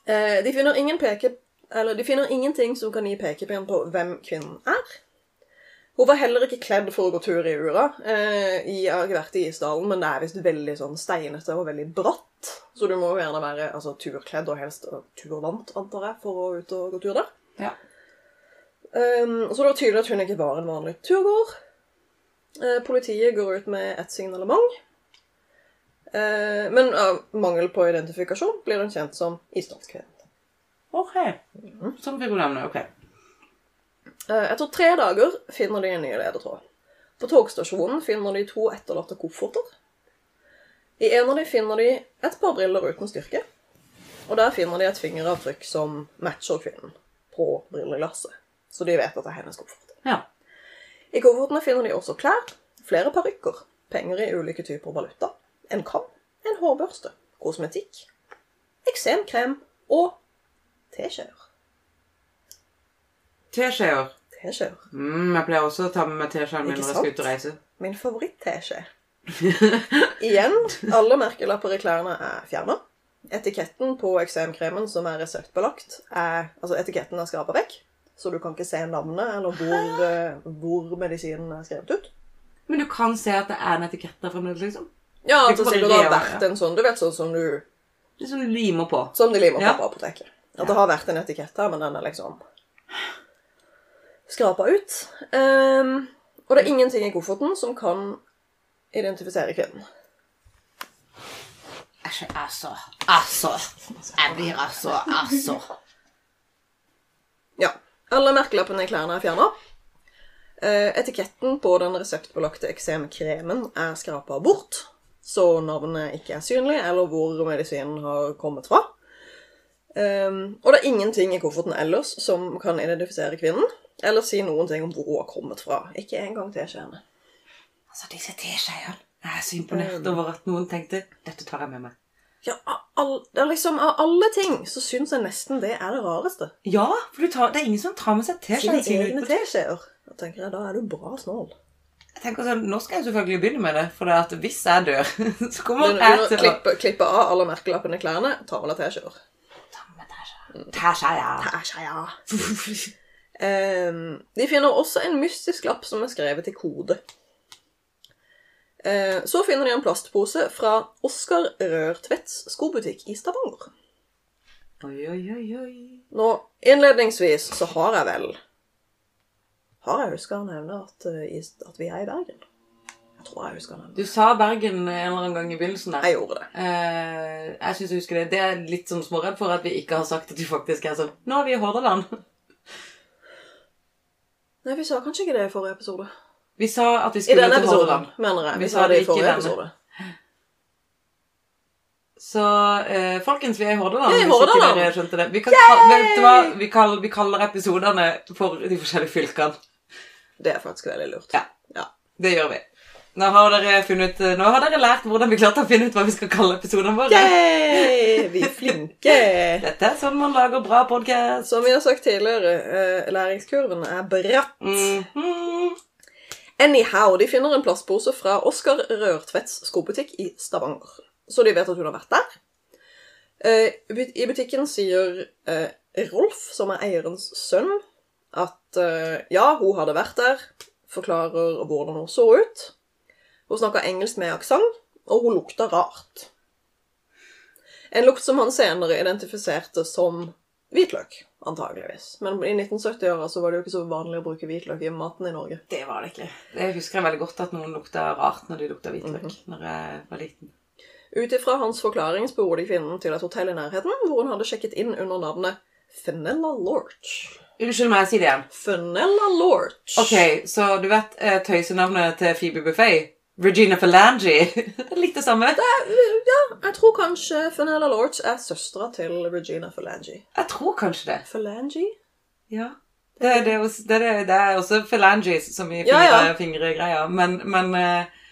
Speaker 2: Eh, de, finner ingen peke, eller, de finner ingenting som kan gi pekepinn på hvem kvinnen er. Hun var heller ikke kledd for å gå tur i ura. Eh, i- jeg har ikke vært i Isdalen, men det er visst veldig sånn steinete og veldig bratt. Så du må jo gjerne være altså, turkledd og helst eh, turvant, antar jeg, for å ut og gå tur der.
Speaker 3: Ja.
Speaker 2: Ehm, så det var tydelig at hun ikke var en vanlig turgåer. Eh, politiet går ut med et signalement. Eh, men av mangel på identifikasjon blir hun kjent som islandskvinne.
Speaker 3: Ok. Som figurnavnet. Ok.
Speaker 2: Eh, etter tre dager finner de en ny ledetråd. På togstasjonen finner de to etterlatte kofferter. I en av dem finner de et par briller uten styrke. Og der finner de et fingeravtrykk som matcher kvinnen på brilleglasset. Så de vet at det er hennes koffert.
Speaker 3: Ja.
Speaker 2: I koffertene finner de også klær, flere parykker, penger i ulike typer valuta, en kam, en hårbørste, kosmetikk, eksemkrem og teskjeer.
Speaker 3: Teskjeer.
Speaker 2: Teskjeer.
Speaker 3: Mm, jeg pleier også å ta med meg teskjeen min
Speaker 2: Ikke
Speaker 3: når jeg skal
Speaker 2: sant?
Speaker 3: ut og reise.
Speaker 2: Min [laughs] favoritt-teskje. Igjen, alle merkelapper i klærne er fjerna. Etiketten på eksemkremen som er reseptbelagt, er Altså, etiketten er skrapa vekk, så du kan ikke se navnet eller hvor, eh, hvor medisinen er skrevet ut.
Speaker 3: Men du kan se at det er en etikett der fremdeles, liksom.
Speaker 2: Ja,
Speaker 3: Du
Speaker 2: altså,
Speaker 3: kan bare
Speaker 2: sikkert det har
Speaker 3: reve,
Speaker 2: vært en sånn Du vet sånn som du
Speaker 3: Det er sånn du limer på.
Speaker 2: Som de limer på
Speaker 3: Ja.
Speaker 2: på apoteket. At det har vært en etikett her, men den er liksom skrapa ut. Ehm, og det er ingenting i kofferten som kan identifisere kvinnen.
Speaker 4: Æsj, altså. Altså. Jeg blir altså, altså.
Speaker 2: Ja. Alle merkelappene i klærne er fjerna. Etiketten på den reseptbelagte eksemkremen er skrapa bort, så navnet ikke er synlig, eller hvor medisinen har kommet fra. Ehm, og det er ingenting i kofferten ellers som kan identifisere kvinnen, eller si noen ting om hvor hun har kommet fra. Ikke engang teskjeene.
Speaker 3: Altså, disse teskjeene. Jeg er så imponert over at noen tenkte dette tar jeg med meg.
Speaker 2: Ja, av all, det er liksom, av alle ting så syns jeg nesten det er det rareste.
Speaker 3: Ja, for du tar, det er ingen som tar med seg
Speaker 2: Sine
Speaker 3: teskjeene sine ut
Speaker 2: egne
Speaker 3: på
Speaker 2: teskjeer. Da tenker jeg, da er du bra snål.
Speaker 3: Jeg tenker sånn, Nå skal jeg selvfølgelig begynne med det, for det at hvis jeg dør, [laughs] så kommer
Speaker 2: Men
Speaker 3: jeg til å
Speaker 2: klippe, klippe av alle merkelappene i klærne, ta med deg teskjeer.
Speaker 3: Ta med teskje.
Speaker 2: [laughs]
Speaker 3: Teskje,
Speaker 2: Teskjeer.
Speaker 3: ja.
Speaker 2: Ehm, de finner også en mystisk lapp som er skrevet i kode. Eh, så finner de en plastpose fra Oskar Rørtvedts skobutikk i Stavanger.
Speaker 3: Oi, oi, oi, oi.
Speaker 2: Nå, innledningsvis så har jeg vel Har jeg huska å nevne at, eh, i, at vi er i Bergen? Jeg tror jeg husker å nevne det.
Speaker 3: Du sa Bergen en eller annen gang i begynnelsen der.
Speaker 2: Jeg gjorde det.
Speaker 3: Eh, jeg syns jeg husker det. Det er jeg litt sånn småredd for at vi ikke har sagt at vi faktisk er sånn Nå er vi i Hordaland.
Speaker 2: Nei, vi sa kanskje ikke det i forrige episode.
Speaker 3: Vi sa at vi
Speaker 2: I
Speaker 3: skulle
Speaker 2: denne
Speaker 3: til
Speaker 2: episoden,
Speaker 3: Hordaland.
Speaker 2: mener jeg.
Speaker 3: Vi
Speaker 2: Vi
Speaker 3: sa
Speaker 2: sa det
Speaker 3: det
Speaker 2: i
Speaker 3: ikke i
Speaker 2: forrige
Speaker 3: denne.
Speaker 2: episode.
Speaker 3: Så eh, folkens, vi er i Hordaland.
Speaker 2: Vi er i
Speaker 3: hvis ikke
Speaker 2: Hordaland.
Speaker 3: dere skjønte det. Vi, kan kal- vet du hva? Vi, kaller, vi kaller episodene for de forskjellige fylkene.
Speaker 2: Det er faktisk veldig lurt.
Speaker 3: Ja. Det gjør vi. Nå har dere, funnet, eh, nå har dere lært hvordan vi klarte å finne ut hva vi skal kalle episodene våre.
Speaker 2: Yay! Vi er flinke!
Speaker 3: Dette er sånn man lager bra podkast.
Speaker 2: Som vi har sagt tidligere, eh, læringskurven er bratt.
Speaker 3: Mhm.
Speaker 2: Anyhow, de finner en plastpose fra Oskar Rørtvedts skobutikk i Stavanger. Så de vet at hun har vært der. Eh, but- I butikken sier eh, Rolf, som er eierens sønn, at eh, ja, hun hadde vært der, forklarer hvordan hun så ut. Hun snakka engelsk med aksent, og hun lukta rart. En lukt som han senere identifiserte som hvitløk, antageligvis. Men i 1970-åra så var det jo ikke så vanlig å bruke hvitløk i maten i Norge.
Speaker 3: Det var det ikke. Det husker jeg veldig godt at noen lukta rart når de lukta hvitløk når jeg var liten.
Speaker 2: Ut ifra hans forklaring spor de kvinnen til et hotell i nærheten, hvor hun hadde sjekket inn under navnet Fenella Lorch.
Speaker 3: Unnskyld meg, jeg sier det igjen.
Speaker 2: Fenella Lorch.
Speaker 3: Ok, så du vet eh, tøysenavnet til Phoebe Buffet? Regina Falangi. [laughs] det er litt det samme.
Speaker 2: Ja, jeg tror kanskje Fenella Lorch er søstera til Regina Falangi.
Speaker 3: Jeg tror kanskje det.
Speaker 2: Falangi?
Speaker 3: Ja. Det, det, er, også, det, er, det er også phalangis, som i fingre,
Speaker 2: Ja, ja.
Speaker 3: fingregreier. Men, men eh,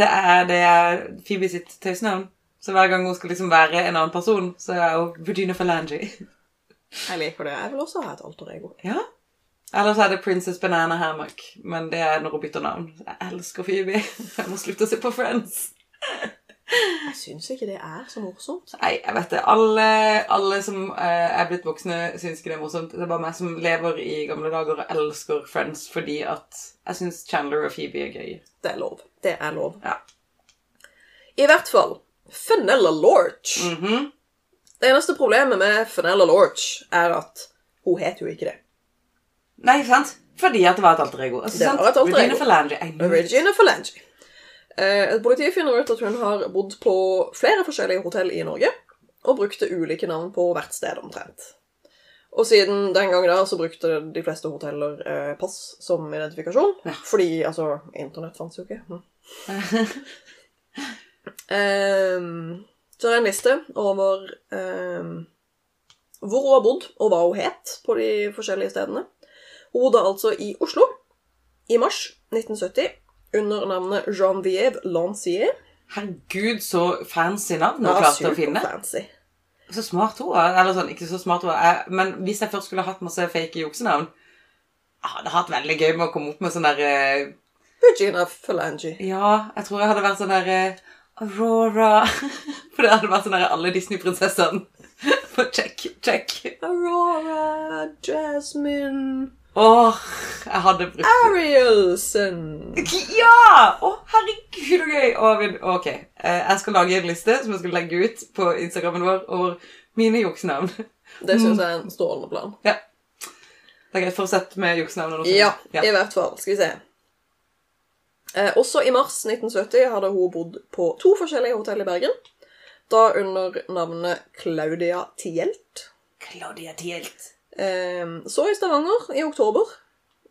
Speaker 3: det, er, det er Phoebe sitt tøysenavn. Så hver gang hun skal liksom være en annen person, så er hun Regina Falangi.
Speaker 2: Jeg liker det. Jeg vil også ha et alter ego.
Speaker 3: Ja. Eller så er det Princess Banana Hammock, men det er når hun bytter navn. Jeg elsker Phoebe. [laughs] Jeg må slutte å se på Friends.
Speaker 2: Jeg syns ikke det er så morsomt.
Speaker 3: Nei, jeg vet det. Alle, alle som eh, er blitt voksne, syns ikke det er morsomt. Det er bare meg som lever i gamle dager og elsker Friends fordi at jeg syns Chandler og Phoebe er gøy.
Speaker 2: Det er lov. Det er lov.
Speaker 3: Ja.
Speaker 2: I hvert fall Fenella Lorch.
Speaker 3: Mhm.
Speaker 2: Det eneste problemet med Fenella Lorch er at hun het jo ikke det.
Speaker 3: Nei, sant? Fordi at det var et alter ego. Altså,
Speaker 2: Det
Speaker 3: sant?
Speaker 2: var et alter
Speaker 3: Regina
Speaker 2: ego.
Speaker 3: Falange. I knew it.
Speaker 2: Regina Falangi. Eh, Politiet finner ut at hun har bodd på flere forskjellige hotell i Norge, og brukte ulike navn på hvert sted omtrent. Og siden den gang da så brukte de fleste hoteller eh, pass som identifikasjon. Fordi altså Internett fantes jo ikke. Hm. Ehm, så er det en liste over ehm, hvor hun har bodd, og hva hun het på de forskjellige stedene. Hun bodde altså i Oslo i mars 1970 under navnet Jean-Vieve Lancier.
Speaker 3: Herregud, så fancy navn hun
Speaker 2: Ja,
Speaker 3: klarte å
Speaker 2: super
Speaker 3: finne.
Speaker 2: fancy.
Speaker 3: Så smart hun er. Eller sånn, ikke så smart hun er. Men hvis jeg først skulle hatt masse fake juksenavn Jeg hadde hatt veldig gøy med å komme opp med sånn der eh,
Speaker 2: Regina Falangi.
Speaker 3: Ja, jeg tror jeg hadde vært sånn der eh, Aurora [laughs] For det hadde vært sånn der alle Disney-prinsessene. [laughs] For check, check.
Speaker 2: Aurora Jasmine
Speaker 3: Åh, jeg hadde brukt
Speaker 2: Arielsen.
Speaker 3: [laughs] Ja! Å, herregud, så gøy! Å, men- ok, eh, jeg skal lage en liste som jeg skal legge ut på Instagrammen vår over mine juksenavn. [laughs]
Speaker 2: Det
Speaker 3: Mm.
Speaker 2: syns jeg er en strålende plan.
Speaker 3: Ja. Det er greit. Fortsett med juksenavnene. også.
Speaker 2: Ja, i
Speaker 3: ja.
Speaker 2: hvert fall. Skal vi se. Eh, også i mars 1970 hadde hun bodd på to forskjellige hotell i Bergen. Da under navnet Claudia Tielt.
Speaker 3: Claudia Tielt.
Speaker 2: Ehm, Så i Stavanger i oktober,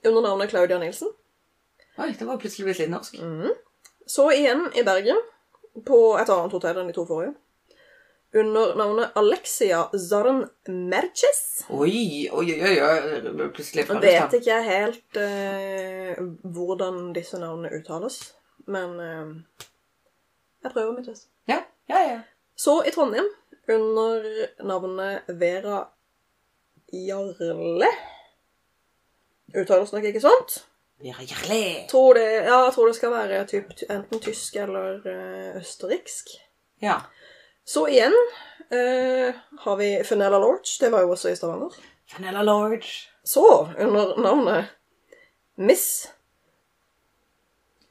Speaker 2: under navnet Claudia Nilsen.
Speaker 3: Oi, det var plutselig blitt litt norsk.
Speaker 2: Mhm. Så igjen i Bergen, på et annet hotell enn de to forrige. Under navnet Alexia Zarn Merches.
Speaker 3: Oi, oi, oi, oi, oi. Plutselig fra
Speaker 2: Jeg vet ikke jeg helt eh, hvordan disse navnene uttales, men eh, jeg prøver mitt beste.
Speaker 3: Ja, ja, ja.
Speaker 2: Så i Trondheim, under navnet Vera Jarle Uttales nok ikke sånt.
Speaker 3: Vera Jarle.
Speaker 2: Tror det, ja, jeg tror det skal være typ, enten tysk eller eh, østerriksk.
Speaker 3: Ja.
Speaker 2: Så igjen eh, har vi Fenella Lorch. Det var jo også i Stavanger.
Speaker 3: Vanilla Lodge.
Speaker 2: Så, under navnet Miss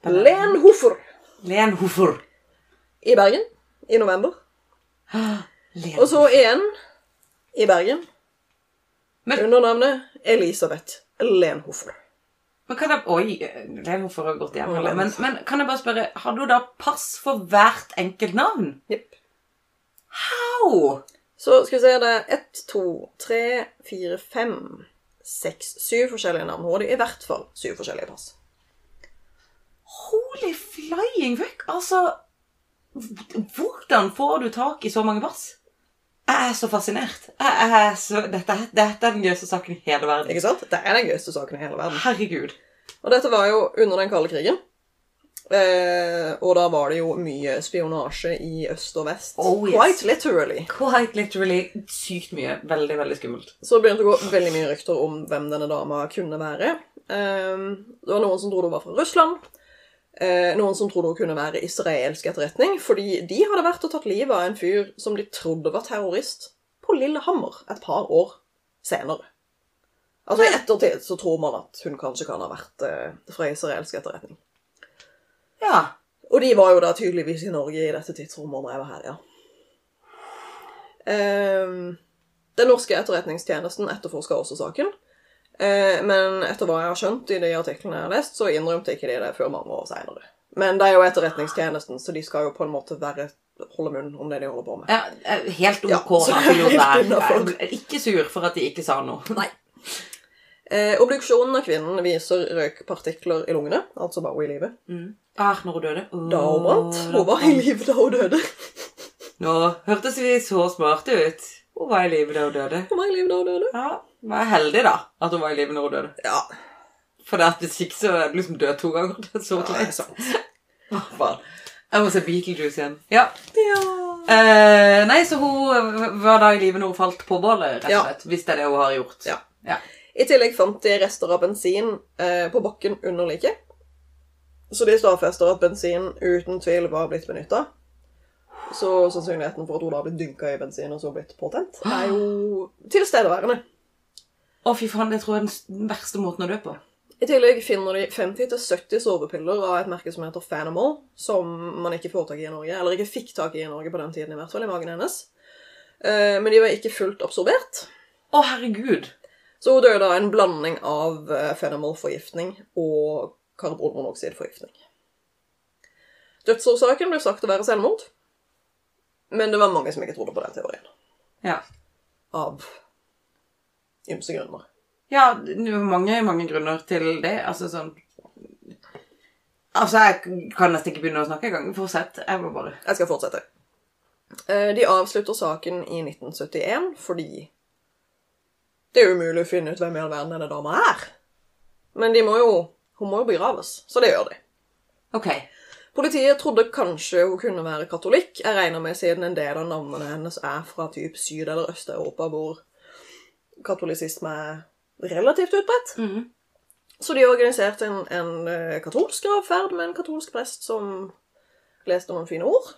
Speaker 3: Vanilla-
Speaker 2: Len Hofer
Speaker 3: Len Hofer.
Speaker 2: [gasps] i Bergen i november.
Speaker 3: Ah, Len.
Speaker 2: Og så igjen i Bergen
Speaker 3: Men-
Speaker 2: under navnet Elisabeth Lenhofer.
Speaker 3: Men kan jeg, oi, Len Hofer har gått hjem.
Speaker 2: Å,
Speaker 3: eller?
Speaker 2: Len
Speaker 3: Men, men kan jeg bare spørre, har du da pass for hvert enkelt navn?
Speaker 2: Jepp.
Speaker 3: Au!
Speaker 2: Så skal vi se, det er ett, to, tre, fire, fem, seks, syv forskjellige navn. Hun hadde i hvert fall syv forskjellige pass.
Speaker 3: Holy flying fuck! Altså, h- hvordan får du tak i så mange pass? Jeg er så fascinert. Jeg er så, dette, dette er den gøyeste saken i hele verden.
Speaker 2: Ikke sant? Det er den gøyeste saken i hele verden.
Speaker 3: Herregud.
Speaker 2: Og dette var jo under den kalde krigen. Eh, og da var det jo mye spionasje i øst og vest.
Speaker 3: Oh, yes.
Speaker 2: Quite literally.
Speaker 3: Quite literally sykt mye. Veldig, veldig skummelt.
Speaker 2: Så det begynte å gå veldig mye rykter om hvem denne dama kunne være. Eh, det var noen som trodde hun var fra Russland. Eh, noen som trodde hun kunne være israelsk etterretning. Fordi de hadde vært og tatt livet av en fyr som de trodde var terrorist, på Lillehammer et par år senere. Altså I ettertid så tror man at hun kanskje kan ha vært eh, fra israelsk etterretning.
Speaker 3: Ja.
Speaker 2: Og de var jo da tydeligvis i Norge i dette tidsrommet når jeg var her, ja. Ehm, den norske etterretningstjenesten etterforska også saken. Eh, men etter hva jeg har skjønt i de artiklene jeg har lest, så innrømte ikke de det før mange år seinere. Men det er jo Etterretningstjenesten, så de skal jo på en måte være, holde munn om det de holder på med.
Speaker 3: Ja, eh, helt
Speaker 2: Ja,
Speaker 3: ok
Speaker 2: så det
Speaker 3: da,
Speaker 2: er
Speaker 3: pilot
Speaker 2: helt
Speaker 3: der. Jeg
Speaker 2: innenfor.
Speaker 3: ble Ikke sur for at de ikke sa noe.
Speaker 2: Eh, obduksjonen av kvinnen viser røykpartikler i lungene, altså bare hun i live.
Speaker 3: Ah, når hun døde. Åh,
Speaker 2: Da hun brant.
Speaker 3: da
Speaker 2: Hun var i live da hun døde.
Speaker 3: Nå hørtes vi så smarte ut. Hun var i live da hun døde.
Speaker 2: Hun var i live da hun døde.
Speaker 3: Ja, var jeg heldig da, at hun var i live når hun døde.
Speaker 2: Ja,
Speaker 3: For det at hvis ikke så er du liksom død to ganger. Det er så
Speaker 2: Ja, det er
Speaker 3: kleint.
Speaker 2: sant.
Speaker 3: Hva faen. Jeg må se Beetlejuice igjen. Ja.
Speaker 2: ja.
Speaker 3: Eh, nei, så hun var da i live når hun falt på bålet, rett
Speaker 2: Ja.
Speaker 3: og slett. Hvis det er det hun har gjort.
Speaker 2: Ja. I tillegg fant de rester av bensin eh, på bakken under liket. Så de stadfester at bensin uten tvil var blitt benytta. Så sannsynligheten for at hun da ble dynka i bensin og så blitt påtent, er jo tilstedeværende.
Speaker 3: Å, fy faen, det tror jeg er den s- den verste måten å dø på.
Speaker 2: I tillegg finner de 50-70 sovepiller av et merke som heter Fanamol, som man ikke får tak i i Norge, eller ikke fikk tak i i Norge på den tiden, i hvert fall i magen hennes. Eh, men de var ikke fullt absorbert.
Speaker 3: Å, herregud.
Speaker 2: Så hun døde av en blanding av eh, fenamolforgiftning og karbonmonoksidforgiftning. Dødsårsaken ble sagt å være selvmord, men det var mange som ikke trodde på den teorien.
Speaker 3: Ja.
Speaker 2: Av ymse grunner.
Speaker 3: Ja, det er jo mange, mange grunner til det. Altså sånn Altså, jeg kan nesten ikke begynne å snakke engang. Fortsett. Jeg må bare
Speaker 2: Jeg skal fortsette. Eh, De avslutter saken i 1971 fordi det er umulig å finne ut hvem i all verden denne dama er. Men de må jo, hun må jo begraves, så det gjør de.
Speaker 3: OK.
Speaker 2: Politiet trodde kanskje hun kunne være katolikk. Jeg regner med siden en del av navnene hennes er fra typ Syd- eller Øst-Europa, hvor katolisisme er relativt utbredt.
Speaker 3: Mhm.
Speaker 2: Så de organiserte en, en eh, katolsk gravferd med en katolsk prest som leste noen fine ord.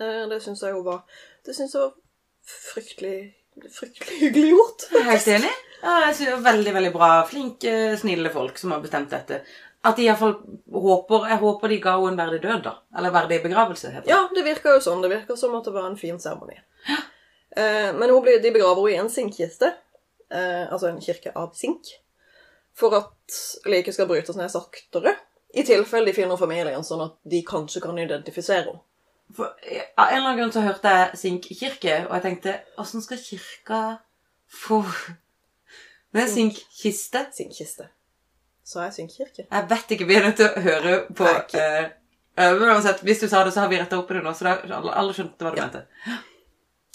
Speaker 2: Eh, Det syns jeg jo var Det syns jeg var fryktelig, fryktelig hyggelig gjort.
Speaker 3: Jeg er helt enig. Ja, jeg synes det er veldig, veldig bra. Flinke, snille folk som har bestemt dette. At de iallfall håper Jeg håper de ga henne en verdig død, da. Eller verdig begravelse, heter det.
Speaker 2: Ja, det virker jo sånn. Det virker som at det var en fin seremoni. Eh, men hun blir, de begraver henne i en sinkkiste, eh, altså en kirke av sink, for at liket skal brytes ned saktere, i tilfelle de finner familien, sånn at de kanskje kan identifisere henne.
Speaker 3: For, eh, av en eller annen grunn så hørte jeg Sink kirke, og jeg tenkte Åssen skal kirka få Det er sinkkiste.
Speaker 2: Sinkkiste. Så jeg synkirke.
Speaker 3: Jeg vet ikke, vi er nødt til å høre på
Speaker 2: Takk.
Speaker 3: eh, eh, Men uansett, hvis du sa det, så har vi retta opp i det nå, så da alle, alle skjønte hva du
Speaker 2: Ja.
Speaker 3: mente.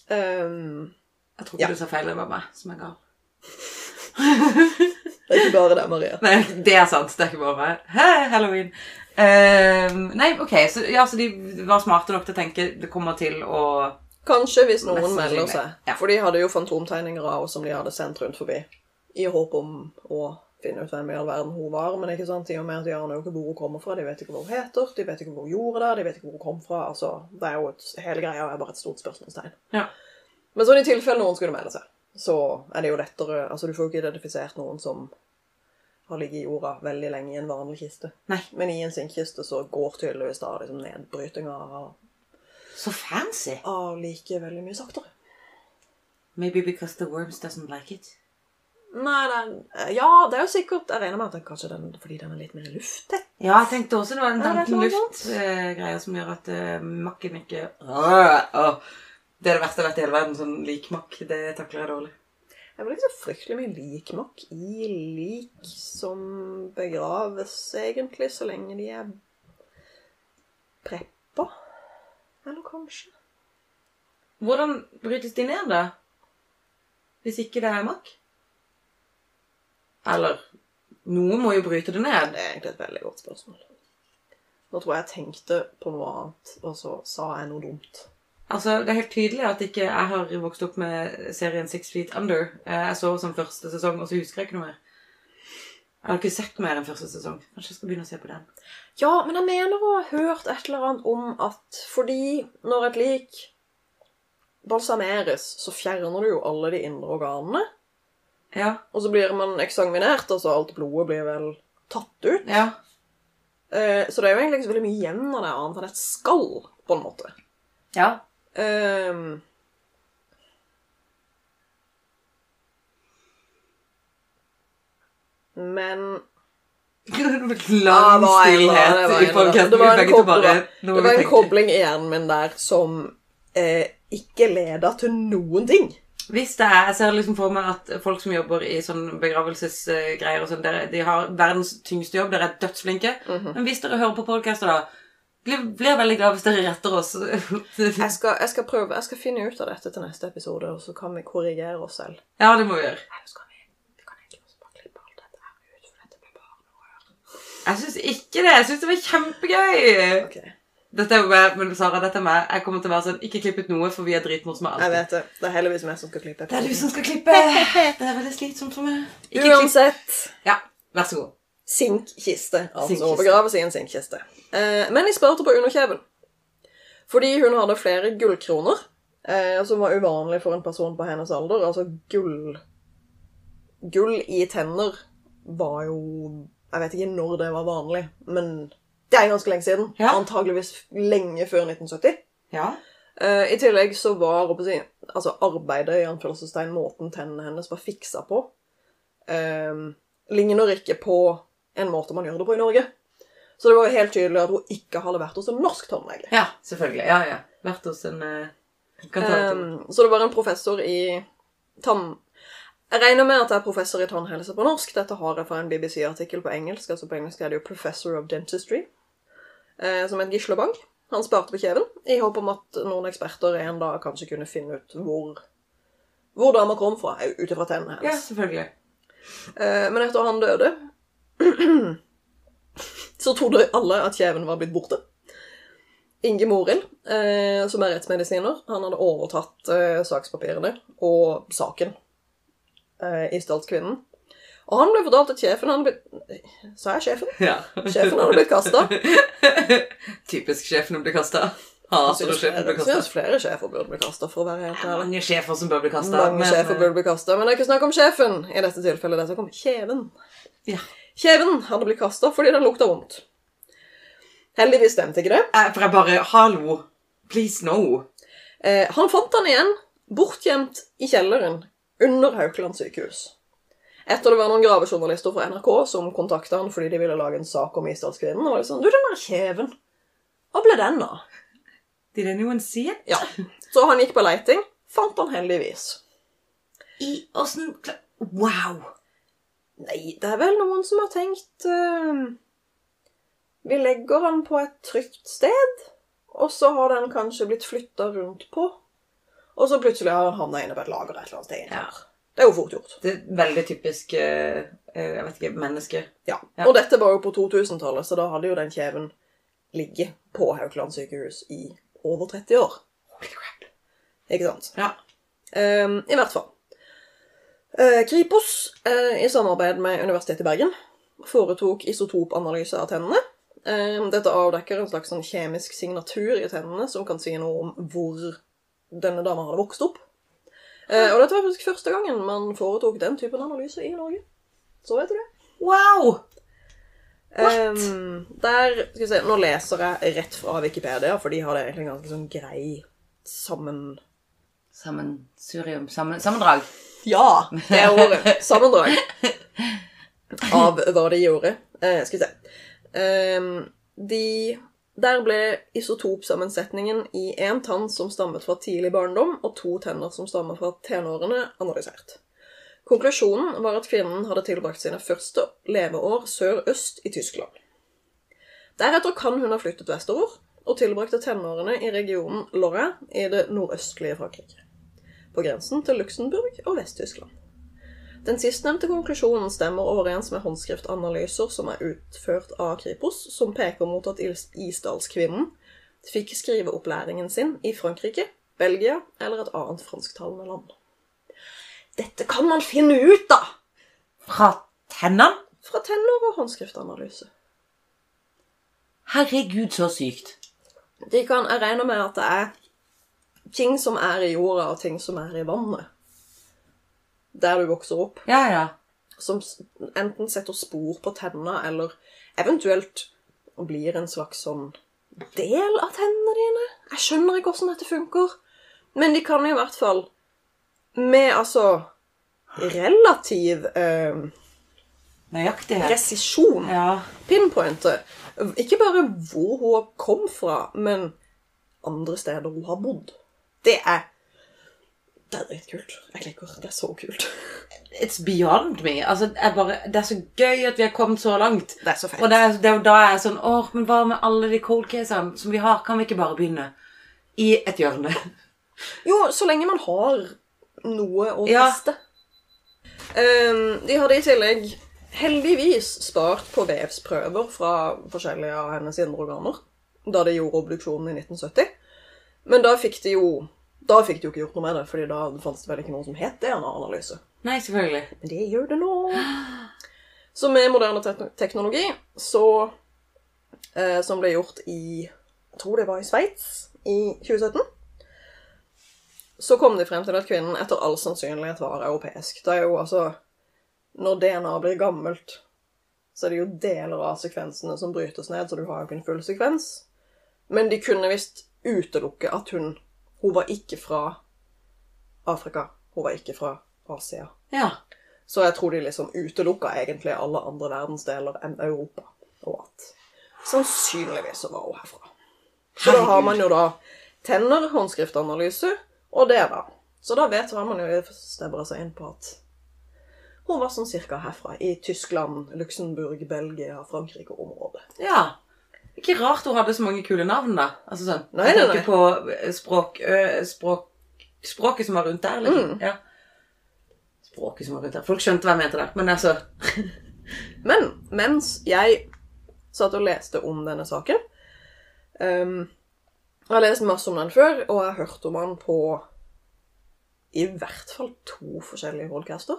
Speaker 2: Um,
Speaker 3: Jeg tror
Speaker 2: Ja.
Speaker 3: ikke du sa feil, det var meg som er gal.
Speaker 2: det er ikke bare det, Maria.
Speaker 3: Nei, det er sant. Det er ikke bare meg. Hæ, Halloween. Eh, nei, ok, så, ja, så de var smarte nok til å tenke det kommer til å
Speaker 2: Kanskje hvis noen
Speaker 3: Mest sannsynlig,
Speaker 2: melder seg.
Speaker 3: ja.
Speaker 2: For de hadde jo fantomtegninger av oss som de hadde sendt rundt forbi. I håp om å finne ut hvem i all verden hun var. Men ikke sant, i og med at de aner jo ikke hvor hun kommer fra, de vet ikke hva hun heter, de vet ikke hvor hun gjorde det, de vet ikke hvor hun kom fra. Altså, det er jo et, Hele greia er bare et stort spørsmålstegn.
Speaker 3: Ja.
Speaker 2: Men sånn i tilfelle noen skulle melde seg, så er det jo lettere Altså, du får jo ikke identifisert noen som har ligget i jorda veldig lenge i en vanlig kiste.
Speaker 3: Nei,
Speaker 2: Men i en sinnkiste så går tydeligvis da liksom nedbrytinga av,
Speaker 3: så fancy.
Speaker 2: av like veldig mye saktere.
Speaker 3: Maybe because the worms doesn't like it.
Speaker 2: Nei, den, eh, ja, det er jo sikkert Jeg regner med at den, kanskje den, fordi den er litt mer lufttett.
Speaker 3: Ja, jeg tenkte også det var en
Speaker 2: Ja, det er
Speaker 3: tanken
Speaker 2: noe
Speaker 3: luft-greie som gjør at eh, makken ikke Åh, åh. Det er det verste jeg vet i hele verden. Sånn likmakk, det takler jeg dårlig.
Speaker 2: Det er vel ikke så fryktelig mye likmakk i lik som begraves, egentlig, så lenge de er preppa. Eller kanskje
Speaker 3: Hvordan brytes de ned, da? Hvis ikke det er makk? Eller Noen må jo bryte det
Speaker 2: Ja,
Speaker 3: ned.
Speaker 2: Det er egentlig et veldig godt spørsmål. Nå tror jeg jeg tenkte på noe annet, og så sa jeg noe dumt.
Speaker 3: Altså, Det er helt tydelig at ikke jeg har vokst opp med serien Six Feet Under. Eh, Jeg så som første sesong, og så husker jeg ikke noe mer. Jeg har ikke sett mer enn første sesong. Kanskje jeg skal begynne å se på den.
Speaker 2: Ja, men jeg mener å ha hørt et eller annet om at fordi når et lik balsameres, så fjerner du jo alle de indre organene.
Speaker 3: Ja,
Speaker 2: Og så blir man eksaminert, altså alt blodet blir vel tatt ut.
Speaker 3: ja.
Speaker 2: Eh, så det er jo egentlig ikke så veldig mye igjen av det annet enn et skall, på en måte.
Speaker 3: [laughs] Ja.
Speaker 2: Ehm. men Ja, det
Speaker 3: Lang
Speaker 2: var en, det var en, det var
Speaker 3: stillhet i
Speaker 2: en,
Speaker 3: podcasten.
Speaker 2: det var en
Speaker 3: Vi begge to
Speaker 2: kobla.
Speaker 3: bare- nå
Speaker 2: det
Speaker 3: må
Speaker 2: var
Speaker 3: vi
Speaker 2: en
Speaker 3: tenke.
Speaker 2: kobling i hjernen min der som eh, ikke leda til noen ting.
Speaker 3: Hvis det er, Jeg ser liksom for meg at folk som jobber i sånn begravelsesgreier og sånn, dere- de har verdens tyngste jobb, dere er dødsflinke.
Speaker 2: Mhm.
Speaker 3: Men hvis dere hører på podkaster, da blir, blir jeg veldig glad hvis dere retter oss. [laughs]
Speaker 2: Jeg skal, jeg skal prøve, jeg skal finne ut av dette til neste episode, og så kan vi korrigere oss selv.
Speaker 3: ja, det må vi gjøre.
Speaker 2: Eller skal vi, vi kan egentlig også bare klippe alt dette her ut, for dette blir bare noe.
Speaker 3: Jeg syns ikke det. Jeg syns det var kjempegøy.
Speaker 2: Ok,
Speaker 3: Dette er jo meg, men Sara, dette er meg. Jeg kommer til å være sånn Ikke klipp ut noe, for vi er dritmorsomme
Speaker 2: jeg
Speaker 3: alltid.
Speaker 2: vet det. Det er heldigvis meg som skal klippe.
Speaker 3: Det er du som skal
Speaker 2: [laughs]
Speaker 3: klippe. Det er veldig slitsomt for meg. Ikke klipp.
Speaker 2: Uansett,
Speaker 3: Ja, vær så god.
Speaker 2: sinkkiste. Altså
Speaker 3: Sinkkiste.
Speaker 2: begraves i en sinkkiste. Eh, men jeg spurte på underkjeven. Fordi hun hadde flere gullkroner, eh, som var uvanlig for en person på hennes alder. Altså gull Gull i tenner var jo Jeg vet ikke når det var vanlig, men det er ganske lenge siden.
Speaker 3: Ja.
Speaker 2: Antageligvis lenge før 1970.
Speaker 3: Ja.
Speaker 2: Eh, I tillegg så var håper jeg, å si, altså arbeidet i anførselstegn, måten tennene hennes var fiksa på, eh, ligner ikke på en måte man gjør det på i Norge. Så det var jo helt tydelig at hun ikke hadde vært hos en norsk tannlege.
Speaker 3: Ja, selvfølgelig. Ja, ja. Vært hos en eh, kan ta det til.
Speaker 2: Eh, så det var en professor i tann... Jeg regner med at det er professor i tannhelse på norsk. Dette har jeg fra en BBC-artikkel på engelsk. altså På engelsk er det jo 'Professor of Dentistry', eh, som en gislebank. Han sparte på kjeven i håp om at noen eksperter en dag kanskje kunne finne ut hvor, hvor dama kom fra, ut ifra tennene hennes.
Speaker 3: Ja, selvfølgelig.
Speaker 2: Eh, Men etter han døde, [clears throat] så trodde alle at kjeven var blitt borte. Inge Morild, eh, som er rettsmedisiner, han hadde overtatt eh, sakspapirene og saken eh, i Statskvinnen. Og han ble fortalt at sjefen hadde blitt Sa jeg sjefen?
Speaker 3: Ja.
Speaker 2: Sjefen hadde blitt kasta.
Speaker 3: [laughs] Typisk sjefen å bli kasta. Hater du sjefen blir kasta?
Speaker 2: Syns flere sjefer burde bli kasta, for å være helt ærlig.
Speaker 3: Mange sjefer som bør bli eh, kasta.
Speaker 2: Mange sjefer burde bli kasta, men det er ikke snakk om sjefen i dette tilfellet. Det er snakk om kjeven.
Speaker 3: Ja.
Speaker 2: Kjeven hadde blitt kasta fordi den lukta vondt. Heldigvis stemte ikke det.
Speaker 3: eh, For jeg bare Hallo! Please no!
Speaker 2: Eh, han fant den igjen, bortgjemt i kjelleren under Haukeland sykehus. Etter det var noen gravejournalister fra NRK som kontakta han fordi de ville lage en sak om Isdalskvinnen. Og var litt sånn Du, den der kjeven. Hva ble den av?
Speaker 3: Did anyone see it?
Speaker 2: Ja. [laughs] Så han gikk på leiting. Fant han heldigvis.
Speaker 3: I åssen kla- Wow!
Speaker 2: Nei, det er vel noen som har tenkt eh, Vi legger den på et trygt sted, og så har den kanskje blitt flytta rundt på. Og så plutselig har den havna inne på et lager et eller annet sted.
Speaker 3: Ja.
Speaker 2: Ja. Det er jo fort gjort.
Speaker 3: Det er veldig typisk eh, eh, jeg vet ikke, menneske.
Speaker 2: Ja.
Speaker 3: Ja.
Speaker 2: Og dette var jo på 2000-tallet, så da hadde jo den kjeven ligget på Haukeland sykehus i over 30 år.
Speaker 3: Holy crap.
Speaker 2: Ikke sant?
Speaker 3: Ja.
Speaker 2: Ehm, I hvert fall. Eh, Kripos, eh, i samarbeid med Universitetet i Bergen, foretok isotopanalyse av tennene. Ehm, dette avdekker en slags sånn kjemisk signatur i tennene som kan si noe om hvor denne dama hadde vokst opp. Eh, og dette var faktisk første gangen man foretok den typen analyse i Norge. Så vet du det.
Speaker 3: Wow!
Speaker 2: Ehm, der, skal vi se, Nå leser jeg rett fra Wikipedia, for de har det egentlig en ganske sånn grei sammen...
Speaker 3: Sammensurium. Sammen, sammendrag.
Speaker 2: Ja, det er ordet. Sammendrag av hva de gjorde. Eh, skal vi se. Ehm, de, der ble isotopsammensetningen i én tann som stammet fra tidlig barndom, og to tenner som stammer fra tenårene, analysert. Konklusjonen var at kvinnen hadde tilbrakt sine første leveår sør-øst i Tyskland. Deretter kan hun ha flyttet vestover og tilbrakte tenårene i regionen Lorraine i det nordøstlige Frankrike på grensen til Luxembourg og Vest-Tyskland. Den sistnevnte konklusjonen stemmer overens med håndskriftanalyser som er utført av Kripos, som peker mot at Ils- Isdalskvinnen fikk skriveopplæringen sin i Frankrike, Belgia eller et annet fransktalende land. Dette kan man finne ut, da!
Speaker 3: Fra tennene?
Speaker 2: Fra tenner- og håndskriftanalyse.
Speaker 3: Herregud, så sykt.
Speaker 2: De kan, jeg regner med at det er ting som er i jorda, og ting som er i vannet. Der du vokser opp.
Speaker 3: Ja, ja.
Speaker 2: som s- enten setter spor på tenna, eller eventuelt blir en slags sånn del av tennene dine. Jeg skjønner ikke hvordan dette funker. Men de kan i hvert fall, med altså relativ eh,
Speaker 3: Nøyaktighet.
Speaker 2: presisjon,
Speaker 3: Ja.
Speaker 2: pinpointe ikke bare hvor hun kom fra, men andre steder hun har bodd. Det er det er dritkult. Jeg klikker. Det er så kult.
Speaker 3: It's beyond me. Altså, jeg bare, det er så gøy at vi har kommet så langt.
Speaker 2: Det er så fett.
Speaker 3: Og det er, det er jo da jeg er sånn Åh, men hva med alle de cold casene som vi har? Kan vi ikke bare begynne i et hjørne?
Speaker 2: Jo, så lenge man har noe å
Speaker 3: Ja.
Speaker 2: teste. Ehm, de hadde i tillegg heldigvis spart på vevsprøver fra forskjellige av hennes indre organer da de gjorde obduksjonen i 1970. Men da fikk de jo da fikk de jo ikke gjort noe med det, fordi da fantes det vel ikke noe som het DNA-analyse.
Speaker 3: Nei, selvfølgelig.
Speaker 2: Men det gjør det nå. Så med moderne te teknologi, så eh, Som ble gjort i Jeg tror det var i Sveits i 2017. Så kom de frem til at kvinnen etter all sannsynlighet var europeisk. Det er jo altså Når DNA blir gammelt, så er det jo deler av sekvensene som brytes ned, så du har jo ikke en full sekvens. Men de kunne visst utelukke at hun Hun var ikke fra Afrika. Hun var ikke fra Asia.
Speaker 3: Ja.
Speaker 2: Så jeg tror de liksom utelukka egentlig alle andre verdensdeler enn Europa. Og at sannsynligvis så var hun herfra. Så da har
Speaker 3: Herregud.
Speaker 2: man jo da tenner, håndskriftanalyse og det, da. Så da vet har man jo stebra seg inn på at hun var sånn cirka herfra. I Tyskland, Luxembourg, Belgia, Frankrike-området.
Speaker 3: Ja. Ikke rart hun hadde så mange kule navn, da. Altså sånn.
Speaker 2: Nei,
Speaker 3: jeg
Speaker 2: nei,
Speaker 3: tenker
Speaker 2: nei.
Speaker 3: på eh, språk, ø, språk, språket som var rundt der, liksom.
Speaker 2: Mm.
Speaker 3: Ja. Språket som var rundt der. Folk skjønte hva jeg mente der, men altså
Speaker 2: Men mens jeg satt og leste om denne saken ehm, Jeg har lest masse om den før, og jeg har hørt om den på i hvert fall to forskjellige podcaster.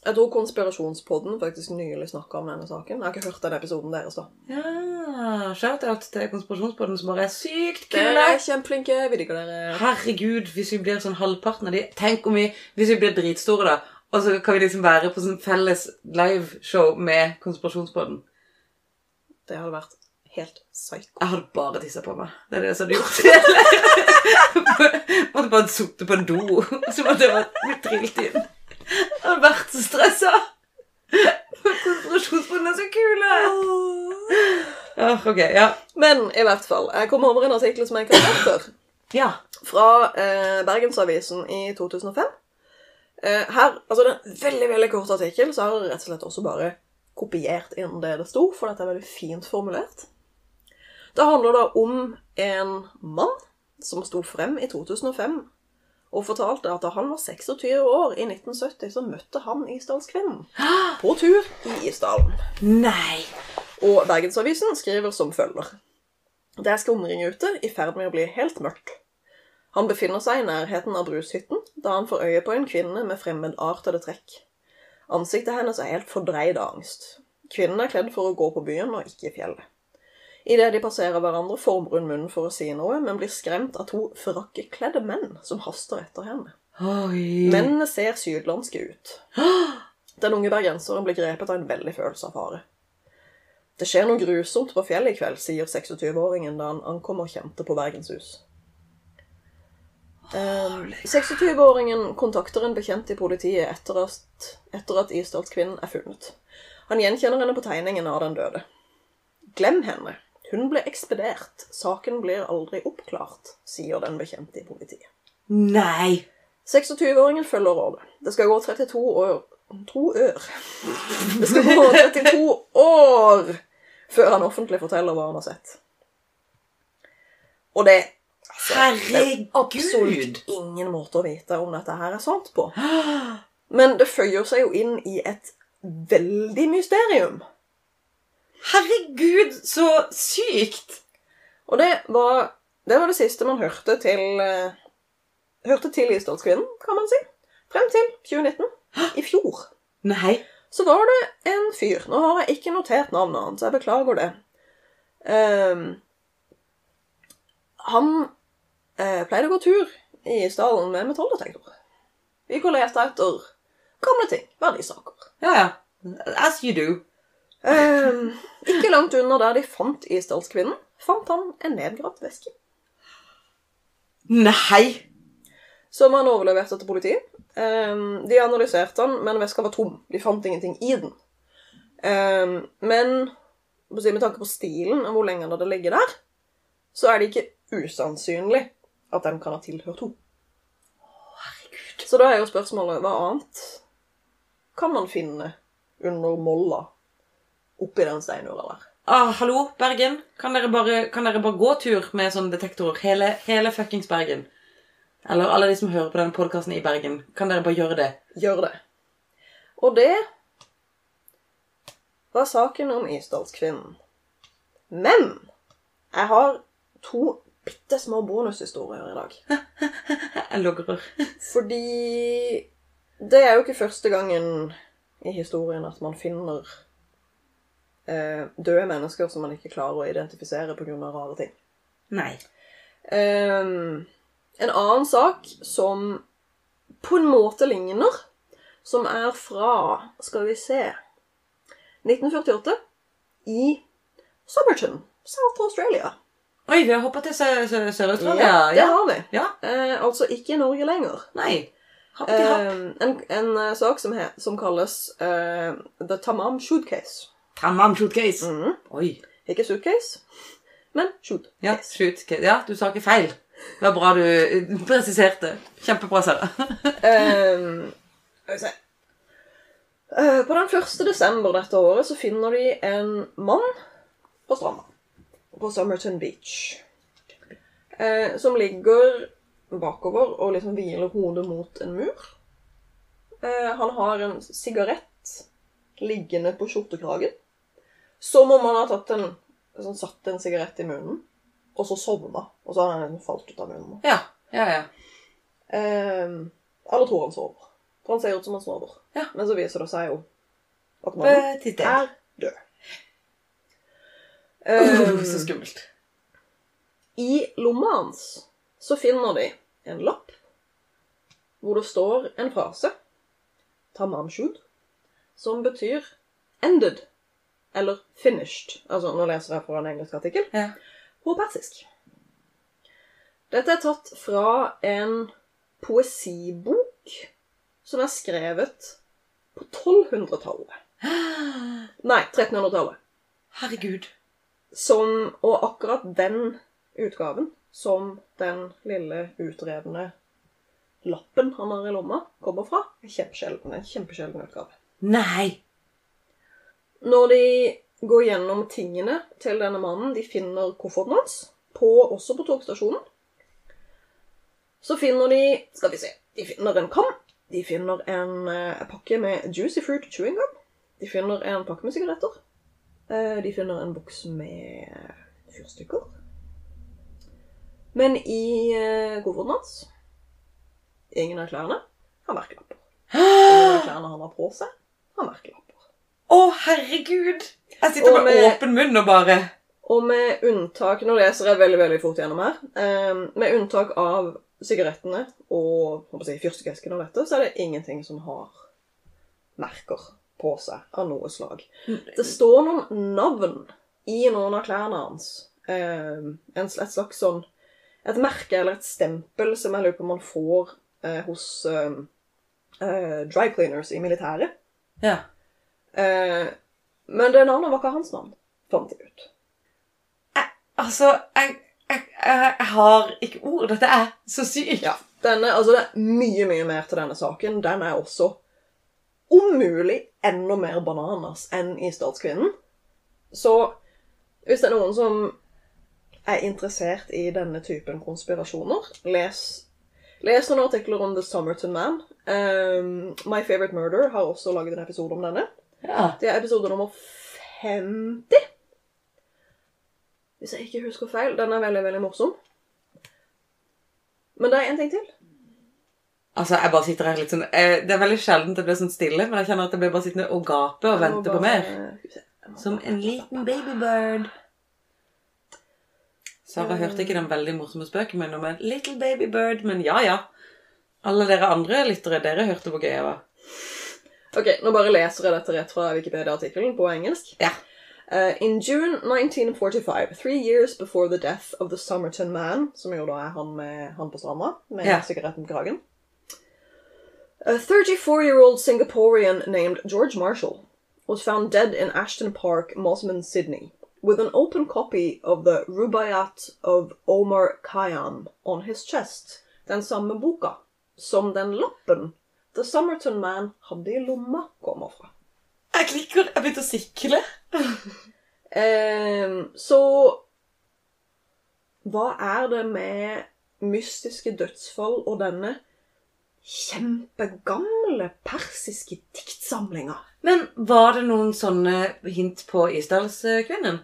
Speaker 2: Jeg tror Konspirasjonspodden faktisk nylig snakka om denne saken. Jeg har ikke hørt den episoden deres, da.
Speaker 3: Ja, Shout-out til Konspirasjonspodden, som bare er sykt
Speaker 2: Dere
Speaker 3: kule.
Speaker 2: er kjempeflinke. Vi digger dere.
Speaker 3: Herregud, hvis vi blir sånn halvparten av de Tenk om vi, hvis vi blir dritstore, da. Og så kan vi liksom være på sånn felles liveshow med Konspirasjonspodden.
Speaker 2: Det hadde vært helt psycho.
Speaker 3: Jeg hadde bare tissa på meg. Det er det som hadde [laughs] gjort det. måtte bare sittet på en do, så måtte jeg bare bli trilt inn. Jeg hadde vært så stressa. Konspirasjonspodden er så kule. Åh, ok, ja.
Speaker 2: Men i hvert fall. Jeg kom over en artikkel som jeg ikke har hørt før.
Speaker 3: Ja.
Speaker 2: fra eh, Bergensavisen i 2005. Eh, her, altså det er en veldig, veldig kort artikkel, så har jeg rett og slett også bare kopiert inn det det sto, for dette er veldig fint formulert. Det handler da om en mann som sto frem i 2005 og fortalte at da han var 26 år i 1970, så møtte han Isdalskvinnen på tur i Isdalen.
Speaker 3: Nei!
Speaker 2: Og Bergensavisen skriver som følger. Det er skumring ute, i ferd med å bli helt mørkt. Han befinner seg i nærheten av brushytten da han får øye på en kvinne med fremmedartede trekk. Ansiktet hennes er helt fordreid av angst. Kvinnen er kledd for å gå på byen og ikke i fjellet. Idet de passerer hverandre, former hun munnen for å si noe, men blir skremt av to frakkekledde menn som haster etter henne.
Speaker 3: Oi.
Speaker 2: Mennene ser sydlandske ut. Den unge bergenseren blir grepet av en veldig følelse av fare. Det skjer noe grusomt på fjellet i kveld, sier 26-åringen da han ankommer kjente på Bergenshus. Um, 26-åringen kontakter en bekjent i politiet etter at, etter at Isdalskvinnen er funnet. Han gjenkjenner henne på tegningen av den døde. Glem henne. Hun ble ekspedert. Saken blir aldri oppklart, sier den bekjente i politiet.
Speaker 3: Nei!
Speaker 2: 26-åringen følger rådet. Det skal gå 32 år To ør. Det skal gå 32 år før han offentlig forteller hva han har sett. Og det altså, Det er absolutt ingen måte å vite om dette her er sant på. Men det føyer seg jo inn i et veldig mysterium.
Speaker 3: Herregud, så sykt!
Speaker 2: Og det var det, var det siste man hørte til eh, Hørte til Isdalskvinnen, kan man si. Frem til 2019. I fjor.
Speaker 3: Nei.
Speaker 2: Så var det en fyr Nå har jeg ikke notert navnet hans, jeg beklager det. Ehm, han eh, pleide å gå tur i stallen med metalldetektor. Vi gikk og leste etter gamle ting, verdisaker.
Speaker 3: Ja, ja. As you do.
Speaker 2: Ehm, ikke langt unna der de fant Isdalskvinnen, fant han en nedgravd veske.
Speaker 3: Nei!
Speaker 2: Som han overleverte til politiet. Ehm, de analyserte den, men veska var tom. De fant ingenting i den. Ehm, men må si, med tanke på stilen og hvor lenge den hadde ligget der, så er det ikke usannsynlig at den kan ha tilhørt henne. Så da er jo spørsmålet hva annet kan man finne under molla oppi den steinura der?
Speaker 3: Ah, hallo, Bergen. Kan dere, bare, kan dere bare gå tur med sånne detektorer? Hele, hele fuckings Bergen. Eller alle de som hører på denne podkasten i Bergen. Kan dere bare gjøre det?
Speaker 2: Gjør det. Og det var saken om Isdalskvinnen. Men jeg har to bitte små bonushistorier i dag.
Speaker 3: Jeg logrer.
Speaker 2: Fordi det er jo ikke første gangen i historien at man finner eh, døde mennesker som man ikke klarer å identifisere pga. rare ting.
Speaker 3: Nei.
Speaker 2: Ehm, en annen sak som på en måte ligner, som er fra, skal vi se 1948 i Somerton, South Australia.
Speaker 3: Oi, vi har hoppa til Sø- Sø- Sør-Australia.
Speaker 2: Ja, det
Speaker 3: Ja.
Speaker 2: har vi.
Speaker 3: ja.
Speaker 2: Eh, altså ikke i Norge lenger.
Speaker 3: Nei. Hopp til hopp.
Speaker 2: Ehm, en en eh, sak som, he, som kalles eh, The Tamam Shoot Case.
Speaker 3: Tamam, shoot case.
Speaker 2: Mhm.
Speaker 3: Oi.
Speaker 2: Ikke suitcase, men shoot
Speaker 3: Ja,
Speaker 2: case.
Speaker 3: shoot case. Ja, du sa ikke feil. Det var bra du eh, presiserte. Kjempebra, Sara.
Speaker 2: Ehm, skal vi se. Eh, På den 1. desember dette året så finner de en mann på stranda. På Somerton Beach. Eh, som ligger bakover og liksom hviler hodet mot en mur. Eh, han har en sigarett liggende på skjortekragen. Som om han har tatt en, sånn, satt en sigarett i munnen, og så sovna. Og så har han liksom falt ut av munnen.
Speaker 3: Ja, ja, ja.
Speaker 2: Ehm, alle tror han sover. For han ser ut som han sover.
Speaker 3: Ja.
Speaker 2: Men så viser det seg jo at mannen
Speaker 3: Petit
Speaker 2: er død.
Speaker 3: Uh, [laughs] så
Speaker 2: Ehm,
Speaker 3: skummelt.
Speaker 2: I lomma hans så finner de en lapp hvor det står en frase Tamamshud, som betyr 'ended' eller 'finished'. Altså, nå leser jeg fra en engelsk artikkel
Speaker 3: Ja.
Speaker 2: på persisk. Dette er tatt fra en poesibok som er skrevet på 1200-tallet. Nei, 1300-tallet.
Speaker 3: Herregud.
Speaker 2: Som, og akkurat den utgaven som den lille utredende lappen han har i lomma, kommer fra, er kjempesjelden. En kjempesjelden utgave.
Speaker 3: Nei!
Speaker 2: Når de går gjennom tingene til denne mannen, de finner kofferten hans, på, også på togstasjonen, så finner de Skal vi se. De finner en kam. De finner en eh, pakke med juicy fruit chewing gum. De finner en pakke med sigaretter. Eh, de finner en boks med fyrstikker. Men i eh, kofferten hans Ingen av klærne har merkelapper. Ingen av klærne han har på seg, har merkelapper.
Speaker 3: Å, herregud! Jeg sitter
Speaker 2: Og
Speaker 3: med,
Speaker 2: med-
Speaker 3: åpen munn og bare
Speaker 2: Og med unntak Nå leser jeg veldig veldig fort gjennom her. Eh, med unntak av sigarettene og hva skal jeg si, fyrstikkesken og dette, så er det ingenting som har merker på seg av noe slag. Det står noen navn i noen av klærne hans. Eh, en, sl- et slags sånn Et merke eller et stempel som jeg lurer på om man får eh, hos eh, eh, dry cleaners i militæret.
Speaker 3: Ja.
Speaker 2: Eh, men det navnet var ikke hans navn, fant jeg ut.
Speaker 3: Altså, jeg, jeg, jeg, jeg har ikke ord. Dette er så sykt.
Speaker 2: Ja. Denne, altså det er mye, mye mer til denne saken. Den er også om mulig enda mer bananas enn i Statskvinnen. Så hvis det er noen som er interessert i denne typen konspirasjoner, les, les noen artikler om The Summerton Man. Um, My Favorite Murder har også laget en episode om denne.
Speaker 3: Ja.
Speaker 2: Det er episode nummer 50. Hvis jeg ikke husker feil. Den er veldig, veldig morsom. Men det er en ting til.
Speaker 3: Altså, jeg bare sitter her litt sånn eh, Det er veldig sjelden det blir sånn stille, men jeg kjenner at jeg blir bare sittende og gape og
Speaker 2: Jeg må
Speaker 3: vente på
Speaker 2: bare-
Speaker 3: mer. Som en liten babybird. Sara hørte ikke den veldig morsomme spøken min om en little babybird, men ja, ja. Alle dere andre lyttere, dere hørte hvor gøy jeg var.
Speaker 2: Ok, nå bare leser jeg dette rett fra Wikipedia-artikkelen på engelsk.
Speaker 3: Ja.
Speaker 2: Uh, in June 1945, three years before the death of the Somerton Man, som jo da er han, med, han på stranda med
Speaker 3: Ja.
Speaker 2: sigaretten på kragen A 34-year-old Singaporean named George Marshall was found dead in Ashton Park, Mosman, Sydney, with an open copy of the Rubaiyat of Omar Khayyam on his chest, den samme boka som den lappen The Somerton Man hadde i lomma kommer fra.
Speaker 3: Jeg klikker. Jeg begynte å sikle.
Speaker 2: Ehm, så hva er det med mystiske dødsfall og denne kjempegamle persiske diktsamlinga?
Speaker 3: Men var det noen sånne hint på Isdalskvinnen?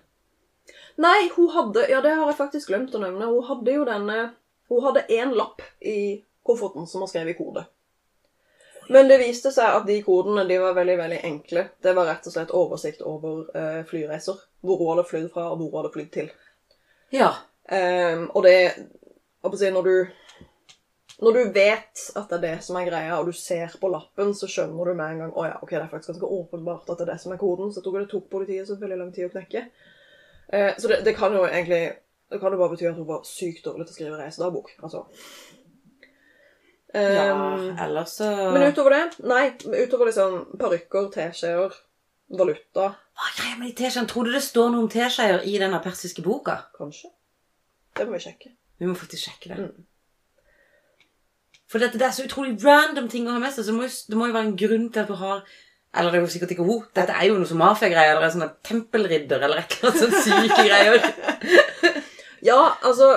Speaker 2: Nei, hun hadde Ja, det har jeg faktisk glemt å nevne. Hun hadde jo denne Hun hadde én lapp i kofferten som var skrevet i kode. Men det viste seg at de kodene de var veldig veldig enkle. Det var rett og slett oversikt over eh, flyreiser. Hvor hun hadde flydd fra, og hvor hun hadde flydd til.
Speaker 3: Ja.
Speaker 2: Ehm, og det hva skal jeg si, når du når du vet at det er det som er greia, og du ser på lappen, så skjønner du med en gang å ja, ok, det er faktisk ganske åpenbart at det er det som er koden. Så jeg tror det tok politiet så veldig lang tid å knekke. Eh, så det, det kan jo egentlig det kan jo bare bety at hun var sykt dårlig til å skrive reisedagbok. altså. Ehm,
Speaker 3: ja ellers så
Speaker 2: Men utover det, nei. Utover liksom parykker, teskjeer, valuta,
Speaker 3: Hva er greia med de teskjeene? Tror du det står noen teskjeer i denne persiske boka?
Speaker 2: kanskje. Det må vi sjekke.
Speaker 3: Vi må faktisk sjekke det. For dette, det er så utrolig random ting å ha med seg, så det må, jo, det må jo være en grunn til at du har Eller det er jo sikkert ikke hun. Dette er jo noe som mafiagreier eller en sånn tempelridder eller et eller annet sånt syke greier. [laughs]
Speaker 2: Ja, altså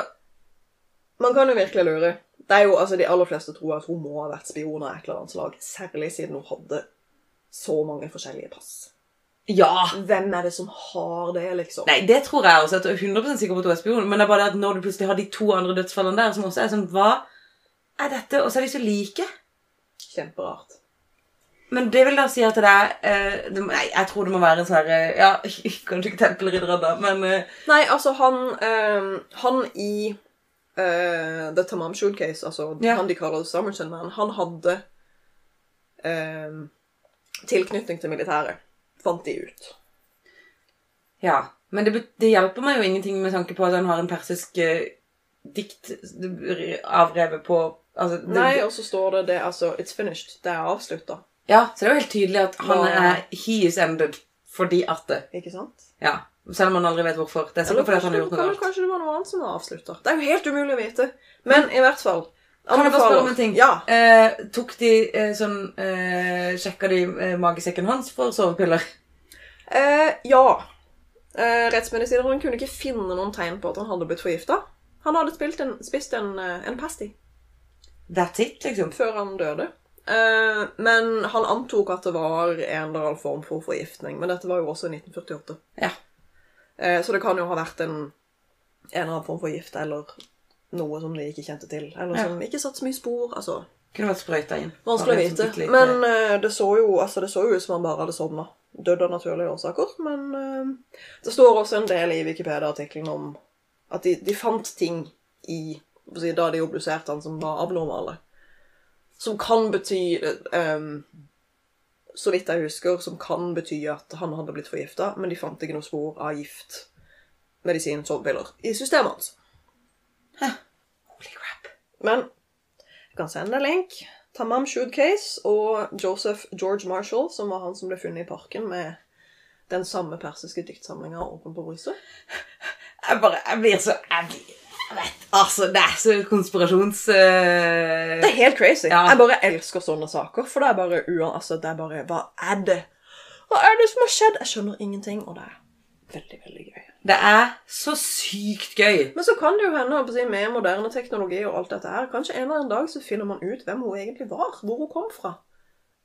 Speaker 2: Man kan jo virkelig lure. Det er jo, altså, De aller fleste tror at hun må ha vært spion av et eller annet slag. Særlig siden hun hadde så mange forskjellige pass.
Speaker 3: Ja!
Speaker 2: Hvem er det som har det, liksom?
Speaker 3: Nei, det tror jeg også. At jeg er 100 sikker på at hun er spion. Men det er bare det at når du plutselig har de to andre dødsfallene der, som også er sånn Hva er dette? Og så er de så like.
Speaker 2: Kjemperart.
Speaker 3: Men det vil da si at det er eh, det, må- Nei, jeg tror det må være en sånn herre Ja, [laughs] kanskje ikke tempelridderen, da, men eh,
Speaker 2: Nei, altså, han eh, Han i eh, The Tamam Shood Case, altså
Speaker 3: Ja.
Speaker 2: han de kaller Summerton Man, han hadde eh, tilknytning til militæret. Fant de ut.
Speaker 3: Ja, men det, bet- det hjelper meg jo ingenting med tanke på at han har en persisk eh, dikt eh, avrevet på altså, det,
Speaker 2: Nei, og så står det det, altså It's finished. Det er avslutta.
Speaker 3: Ja, så det er jo helt tydelig at han
Speaker 2: Ja.
Speaker 3: er He is ended fordi at det.
Speaker 2: Ikke sant?
Speaker 3: Ja. Selv om han aldri vet hvorfor. Det er
Speaker 2: Eller
Speaker 3: sikkert fordi at han har
Speaker 2: kanskje-
Speaker 3: gjort noe
Speaker 2: kan-
Speaker 3: galt.
Speaker 2: Kanskje det var noe annet som var avslutter. Det er jo helt umulig å vite. Men i hvert fall
Speaker 3: Kan jeg bare spørre om en ting?
Speaker 2: Ja.
Speaker 3: Eh, tok de eh, sånn eh, Sjekka de eh, magesekken hans for sovepiller?
Speaker 2: Eh, ja. Eh, rettsmedisineren kunne ikke finne noen tegn på at han hadde blitt forgifta. Han hadde spilt en, spist en, eh, en pasty
Speaker 3: That's it, liksom.
Speaker 2: før han døde. Eh, men han antok at det var en eller annen form for forgiftning. Men dette var jo også i 1948.
Speaker 3: Ja.
Speaker 2: Eh, så det kan jo ha vært en, en eller annen form for gift eller noe som de ikke kjente til. Eller
Speaker 3: Ja.
Speaker 2: som ikke satte så mye spor. altså...
Speaker 3: Kunne vært sprøyta inn.
Speaker 2: Vanskelig å
Speaker 3: Bare sånn bitte
Speaker 2: vite.
Speaker 3: lite-
Speaker 2: Men eh, det så jo altså, det så jo ut som han bare hadde sovna. Dødd av naturlige årsaker. Men eh, det står også en del i Wikipedia-artikkelen om at de, de fant ting i hva skal jeg si, Da de obduserte han som var abnormale. Som kan bety eh, em, Så vidt jeg husker, som kan bety at han hadde blitt forgifta, men de fant ikke noe spor av gift, medisin, sovepiller i systemet hans.
Speaker 3: Holy crap.
Speaker 2: Men jeg kan sende deg link. Tamam Shoot Case og Joseph George Marshall, som var han som ble funnet i parken med den samme persiske diktsamlinga åpen på brystet.
Speaker 3: Jeg bare Jeg blir så Jeg, blir, jeg vet Altså, det er så konspirasjons... eh,
Speaker 2: Det er helt crazy.
Speaker 3: Ja.
Speaker 2: Jeg bare elsker sånne saker. For det er bare uan... Altså, det er bare Hva er det? Hva er det som har skjedd? Jeg skjønner ingenting, og det er veldig, veldig gøy.
Speaker 3: Det er så sykt gøy.
Speaker 2: Men så kan det jo hende holdt på å si, med moderne teknologi og alt dette her, kanskje en eller annen dag så finner man ut hvem hun egentlig var, hvor hun kom fra.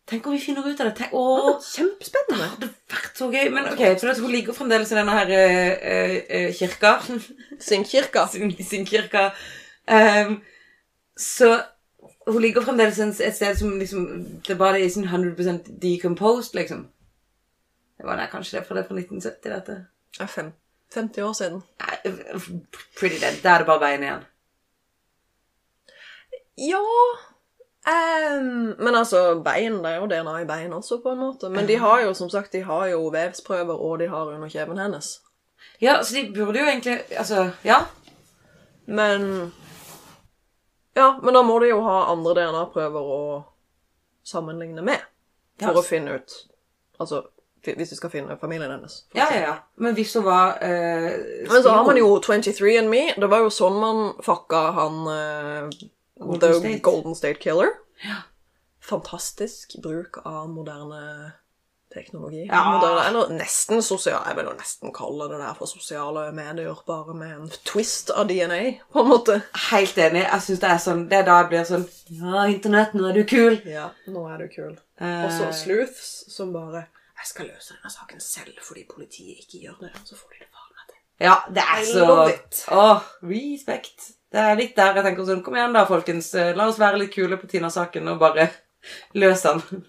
Speaker 3: Tenk om vi finner ut av det. Tenk,
Speaker 2: Det
Speaker 3: å,
Speaker 2: er Kjempespennende.
Speaker 3: det hadde vært så gøy. Men ok, så det, hun ligger fremdeles i denne her eh, eh, kirka.
Speaker 2: Singkirka.
Speaker 3: [laughs] sin, sin kirka. Ehm, så hun ligger fremdeles en- et sted som liksom Det bare er sånn 100 decomposed, liksom. Det var det kanskje det, for det er fra 1970, dette.
Speaker 2: Det er fem- 50 år siden.
Speaker 3: Nei, Pretty dead. Da er det bare bein igjen.
Speaker 2: Ja ehm, Men altså, bein, det er jo DNA i bein også, på en måte. Men de har jo som sagt, de har jo vevsprøver, og de har underkjeven hennes.
Speaker 3: Ja, så de burde jo egentlig Altså, ja.
Speaker 2: Men Ja, men da må de jo ha andre DNA-prøver å sammenligne med. For
Speaker 3: Ja.
Speaker 2: å finne ut Altså, fi- hvis du skal finne familien hennes.
Speaker 3: Ja, ja, ja. Men hvis hun var eh,
Speaker 2: Men så har man
Speaker 3: spion-
Speaker 2: jo 23 and me. Det var jo sånn man fucka han eh,
Speaker 3: Golden
Speaker 2: The
Speaker 3: State.
Speaker 2: Golden State Killer. Fantastisk bruk av moderne teknologi.
Speaker 3: Ja.
Speaker 2: Moderne, eller nesten sosial Jeg vil jo nesten kalle det der for sosiale medier, bare med en twist av DNA, på en måte.
Speaker 3: Helt enig. Jeg synes Det er sånn Det er da jeg blir sånn Ja, Internett, nå er du kul.
Speaker 2: Ja, nå er du kul.
Speaker 3: Eh,
Speaker 2: Og så sleuths som bare Jeg skal løse denne saken selv fordi politiet ikke gjør det. Så får de det faen meg til.
Speaker 3: Ja, det er
Speaker 2: I
Speaker 3: så
Speaker 2: love it.
Speaker 3: Åh, respekt. Det er litt der jeg tenker sånn Kom igjen, da, folkens. eh, La oss være litt kule på Tina-saken og bare [laughs] løse den.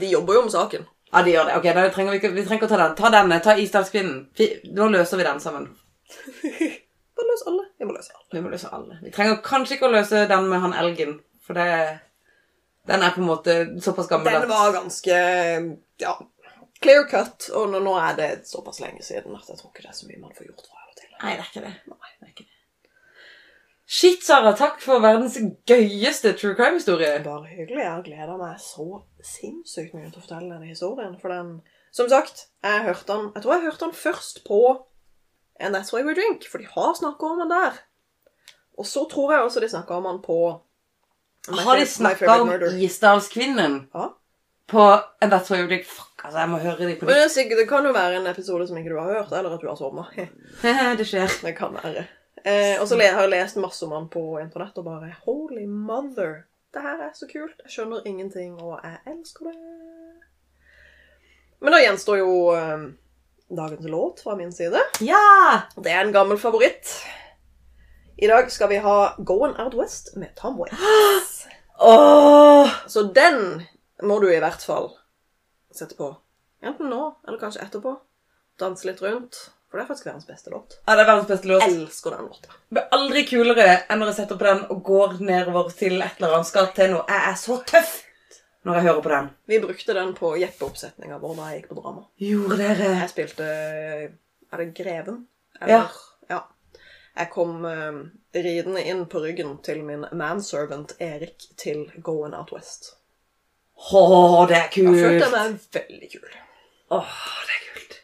Speaker 2: De jobber jo om saken.
Speaker 3: Ja, de gjør det. Ok, da trenger vi, ikke, vi trenger ikke å ta den. Ta denne. Ta Isdalskvinnen. Vi- Nå løser vi den sammen.
Speaker 2: Bare løs alle. Vi må løse alle.
Speaker 3: Vi må løse alle. Vi trenger kanskje ikke å løse den med han elgen, for det Den er på en måte såpass gammel
Speaker 2: Den var ganske ja, clear cut, og nå, nå er det såpass lenge siden at jeg tror ikke det er så mye man får gjort fra eller til.
Speaker 3: Nei, det er ikke det. Nei, det er ikke det. Shit, Sara. Takk for verdens gøyeste true crime-historie.
Speaker 2: Bare hyggelig. Jeg gleder meg så sinnssykt mye til å fortelle denne historien. For den Som sagt, jeg hørte den Jeg tror jeg hørte den først på And That's Why We Drink, for de har snakka om den der. Og så tror jeg også de snakka om den på My
Speaker 3: Har de
Speaker 2: Fav- My Favorite
Speaker 3: snakka om
Speaker 2: Murder.
Speaker 3: Isdalskvinnen?
Speaker 2: Ja.
Speaker 3: På And That's Why You Dig Fuck, altså, jeg må høre dem på
Speaker 2: Men
Speaker 3: nytt.
Speaker 2: det, er sikkert, det kan jo være en episode som ikke du har hørt, eller at du har sovna.
Speaker 3: [laughs] det skjer.
Speaker 2: Det kan være. Eh, og så le- har jeg lest masse om han på internett og bare Holy mother! Det her er så kult. Jeg skjønner ingenting, og jeg elsker det. Men da gjenstår jo eh, dagens låt fra min side.
Speaker 3: Ja!
Speaker 2: Det er en gammel favoritt. I dag skal vi ha Going Out West med Tom Waits.
Speaker 3: Åh!
Speaker 2: Så den må du i hvert fall sette på. Enten nå, eller kanskje etterpå. Danse litt rundt. For det er faktisk verdens beste låt.
Speaker 3: Ja, det er verdens beste låt.
Speaker 2: Jeg elsker den låta.
Speaker 3: Det blir aldri kulere enn når jeg setter på den og går nedover til et eller annet skal til noe. Jeg er så tøff når jeg hører på den.
Speaker 2: Vi brukte den på Jeppe-oppsetninga vår da jeg gikk på drama.
Speaker 3: Gjorde dere
Speaker 2: Jeg spilte Er det Greven?
Speaker 3: Ja.
Speaker 2: ja. Jeg kom eh, ridende inn på ryggen til min manservant Erik til Going Out West.
Speaker 3: Åh, det
Speaker 2: Da
Speaker 3: er
Speaker 2: følte jeg
Speaker 3: kult.
Speaker 2: meg veldig kul.
Speaker 3: Åh, det er kult.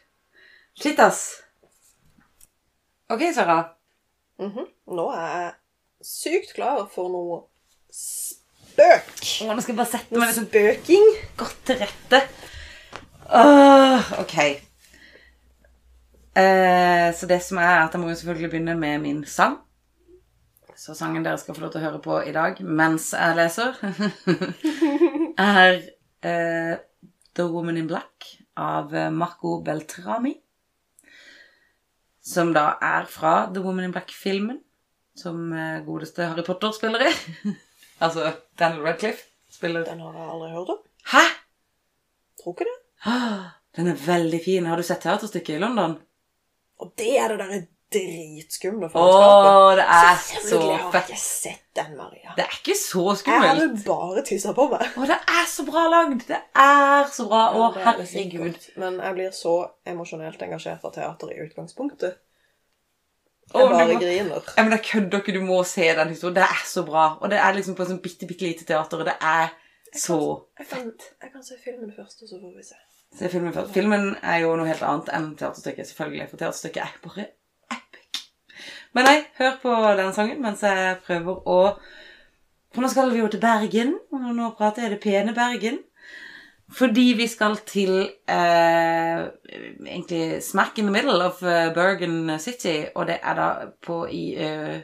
Speaker 3: Shit, ass. Ok, Sara.
Speaker 2: Nå er jeg sykt klar for noe spøk.
Speaker 3: Å, nå skal jeg bare sette meg
Speaker 2: Noe
Speaker 3: litt sånn
Speaker 2: spøking.
Speaker 3: godt til rette. Åh, ok. Eh, så det som er at jeg må jo selvfølgelig begynne med min sang. Så sangen dere skal få lov til å høre på i dag mens jeg leser, [laughs] er eh, The Woman in Black av eh, Marco Beltrami. Som da er fra The Woman in Black-filmen, som eh, godeste Harry Potter spiller i. [laughs] altså Daniel Radcliffe spiller
Speaker 2: Den har jeg aldri hørt om.
Speaker 3: Hæ?!
Speaker 2: Tror ikke det.
Speaker 3: Ah, Den er veldig fin. Har du sett teaterstykket i London?
Speaker 2: Og det er det derre dritskumle
Speaker 3: Å,
Speaker 2: faenskapet.
Speaker 3: det er så
Speaker 2: Selvfølgelig har jeg
Speaker 3: fett.
Speaker 2: ikke sett den, Maria.
Speaker 3: Det er ikke så
Speaker 2: Jeg hadde
Speaker 3: skummelt.
Speaker 2: bare tissa på meg.
Speaker 3: Å, det er så bra lagd. Det er så bra. Å,
Speaker 2: Det er liksom
Speaker 3: herregud.
Speaker 2: godt. Men jeg blir så emosjonelt engasjert av teater i utgangspunktet.
Speaker 3: Å,
Speaker 2: Jeg bare
Speaker 3: du må-
Speaker 2: griner.
Speaker 3: Ja, men jeg kødder ikke. Du må se den historien. Det er så bra. Og det er liksom på et sånt bitte, bitte lite teater, og det er så
Speaker 2: Jeg kan, jeg kan se filmen først, og så får vi se.
Speaker 3: Se filmen først. Filmen er jo noe helt annet enn teaterstykket, selvfølgelig. For teaterstykket er bare epic. Men nei, hør på den sangen mens jeg prøver å For nå skal vi jo til Bergen, og nå prater jeg det pene Bergen. Fordi vi skal til eh, egentlig smack in the middle of eh, Bergen City, og det er da på i eh,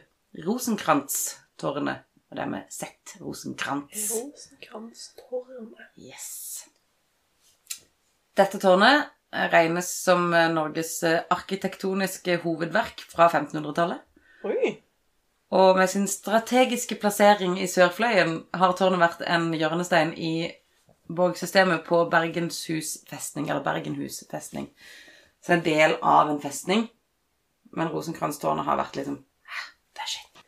Speaker 3: Rosenkrantz-tårnet. Og det er med Z. Rosenkrantz.
Speaker 2: Rosenkrantz-tårnet.
Speaker 3: Yes. Dette tårnet regnes som eh, Norges eh, arkitektoniske hovedverk fra 1500-tallet.
Speaker 2: Oi!
Speaker 3: Og med sin strategiske plassering i sørfløyen har tårnet vært en hjørnestein i borgsystemet på Bergenshus festning, eller Bergenhus festning. Så det er en del av en festning, men Rosenkrantz-tårnet har vært liksom «Hæ, Det er shit.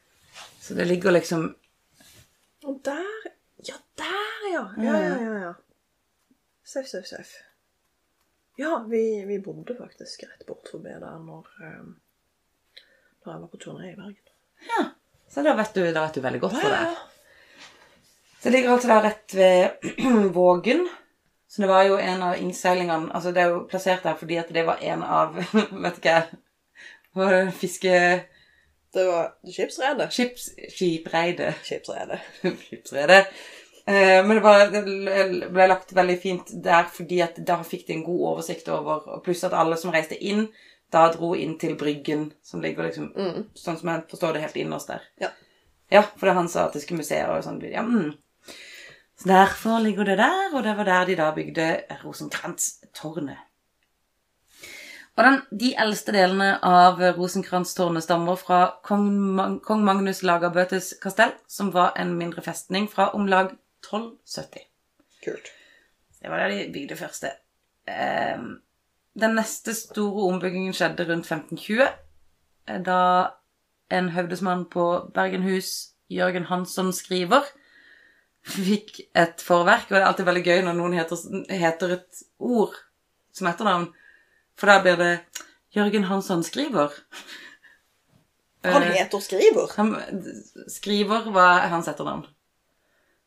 Speaker 3: Så det ligger liksom
Speaker 2: Og der Ja, der, ja! Ja, ja, ja. ja. Seff, seff, seff. Ja, vi, vi bodde faktisk rett bort forbi der når, um, når jeg var på turné i Bergen.
Speaker 3: Ja. Så da vet du, da vet du veldig godt hva det er. Så det ligger altså da rett ved [clears throat] Vågen. Så det var jo en av innseilingene Altså, det er jo plassert der fordi at det var en av [laughs] Vet ikke jeg Var det fiske...
Speaker 2: Det var skipsredet.
Speaker 3: Skips... [laughs] Skipreidet.
Speaker 2: Skipsredet.
Speaker 3: Skipsredet. Eh, Men det, var, det ble lagt veldig fint der fordi at da fikk de en god oversikt over og Pluss at alle som reiste inn, da dro inn til Bryggen, som ligger liksom
Speaker 2: Mm.
Speaker 3: sånn som jeg forstår det, helt innerst der.
Speaker 2: Ja.
Speaker 3: Ja, fordi han sa at det skulle museer og sånn. Ja, mm. Så derfor ligger det der, og det var der de da bygde Rosenkrantz-tårnet. Og den, De eldste delene av Rosenkrantz-tårnet stammer fra kong, Mag kong Magnus Lagerbøtes kastell, som var en mindre festning fra om lag 1270.
Speaker 2: Kult.
Speaker 3: Det var der de bygde første. Ehm, Den neste store ombyggingen skjedde rundt 1520, eh, da en høvdesmann på Bergenhus, Jørgen Hansson, skriver, fikk et forverk, og det er alltid veldig gøy når noen heter, heter et ord som etternavn, for da blir det Jørgen Hansson skriver.
Speaker 2: Han
Speaker 3: Eh,
Speaker 2: heter Skriver.
Speaker 3: han, skriver var hans etternavn.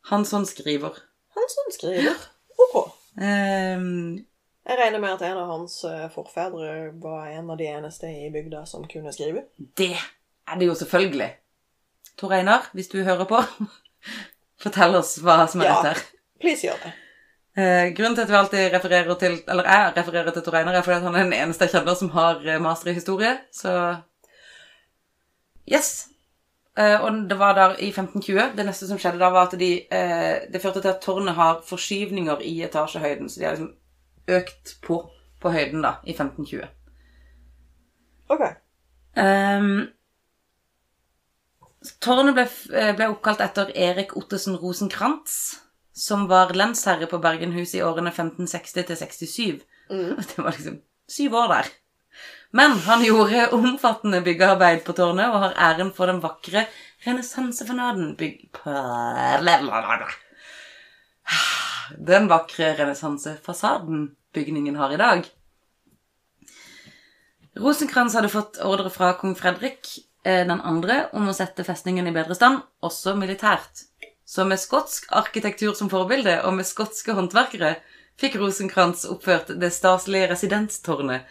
Speaker 3: Hansson skriver.
Speaker 2: Han som skriver. Ok.
Speaker 3: Ehm,
Speaker 2: Jeg regner med at en av hans eh, forfedre var en av de eneste i bygda som kunne skrive.
Speaker 3: Det er det jo selvfølgelig. Tor Einar, hvis du hører på, [laughs] fortell oss hva som er
Speaker 2: Ja.
Speaker 3: rett her.
Speaker 2: Please gjør det.
Speaker 3: Eh, grunnen til at vi alltid refererer til, eller jeg refererer til Tor Einar, er fordi at han er den eneste jeg kjenner som har eh, master i historie, så Yes. Eh, og det var der i 1520. Det neste som skjedde da, var at de eh, Det førte til at tårnet har forskyvninger i etasjehøyden, så de har liksom økt på på høyden da, i 1520.
Speaker 2: Ok.
Speaker 3: Ehm, tårnet ble, f- eh, ble oppkalt etter Erik Ottesen Rosenkrantz, som var lensherre på Bergenhuset i årene 1560 til 67.
Speaker 2: Mm.
Speaker 3: [laughs] Det var liksom syv år der. Men han gjorde omfattende byggearbeid på tårnet og har æren for den vakre renessansefasaden byg... [sighs] Den vakre renessansefasaden bygningen har i dag. Rosenkrantz hadde fått ordre fra kong Fredrik eh, den andre om å sette festningen i bedre stand, også militært. Så med skotsk arkitektur som forbilde, og med skotske håndverkere, fikk Rosenkrantz oppført det staselige residenstårnet,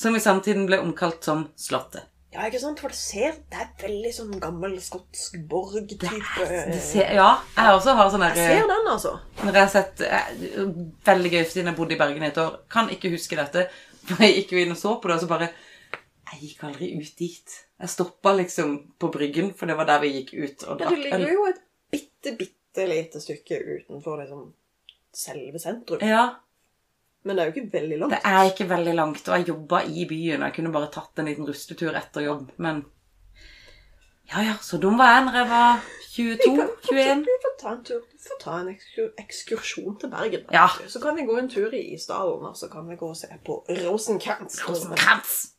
Speaker 3: som i samtiden ble omkalt som Slottet.
Speaker 2: Ja, ikke sant? For det ser Det er veldig sånn gammel skotsk borg-type
Speaker 3: Det ser, ja, jeg også har sånn
Speaker 2: Eh, Jeg
Speaker 3: der
Speaker 2: ser den, altså.
Speaker 3: Når jeg har sett eh, Veldig gøy, siden jeg bodde i Bergen i et år. Kan ikke huske dette. For jeg gikk jo inn og så på det, og så bare Jeg gikk aldri ut dit. Jeg stoppa liksom på Bryggen, for det var der vi gikk ut og
Speaker 2: Men du
Speaker 3: drakk øl.
Speaker 2: ligger jo et bitte, bitte lite stykke utenfor liksom selve sentrum.
Speaker 3: Ja,
Speaker 2: Men det er jo ikke veldig langt.
Speaker 3: Det er ikke veldig langt, og jeg jobba i byen. og Jeg kunne bare tatt en liten rustetur etter jobb, men Ja ja, så dum var jeg når jeg var 22-21.
Speaker 2: Vi får ta en tur. Vi får ta en ekskur- ekskursjon til Bergen. da,
Speaker 3: Ja.
Speaker 2: vet du. Så kan vi gå en tur i Isdalen, og så kan vi gå og se på Rosenkrantz.
Speaker 3: Rosenkrantz.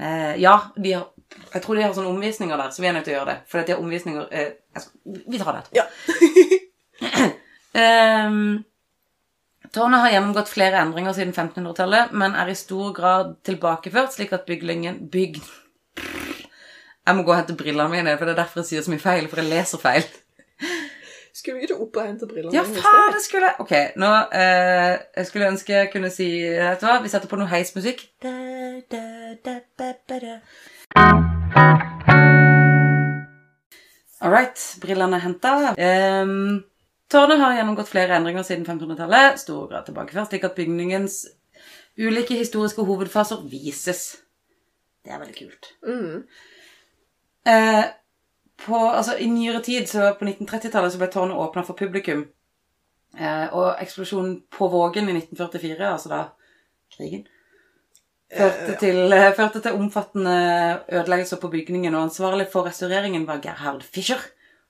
Speaker 3: Eh, ja, de har, jeg tror de har sånne omvisninger der, så vi er nødt til å gjøre det. For de har omvisninger eh, jeg skal, Vi tar det etterpå.
Speaker 2: Ja.
Speaker 3: Ehm, tårnet har gjennomgått flere endringer siden 1500-tallet, men er i stor grad tilbakeført, slik at byglingen bygd... Jeg må gå og hente brillene mine, for det er derfor jeg sier så mye feil, for jeg leser feil.
Speaker 2: Skulle ikke du opp og hente brillene?
Speaker 3: Ja,
Speaker 2: dine i
Speaker 3: faen,
Speaker 2: sted?
Speaker 3: det skulle jeg Ok, nå eh, jeg skulle ønske jeg kunne si Vet du hva, vi setter på noe heismusikk. Da, da, da, ba, ba, da. All right, brillene er henta. Ehm, tårnet har gjennomgått flere endringer siden 1500-tallet. Stor grad tilbakeført, slik at bygningens ulike historiske hovedfaser vises. Det er veldig kult.
Speaker 2: Mm.
Speaker 3: Eh, på, altså, I nyere tid, så på 1930-tallet, så ble tårnet åpna for publikum. Eh, og eksplosjonen på Vågen i 1944, altså da krigen, førte, til, eh, førte til omfattende ødeleggelser på bygningen. Og ansvarlig for restaureringen var Gerhard Fischer.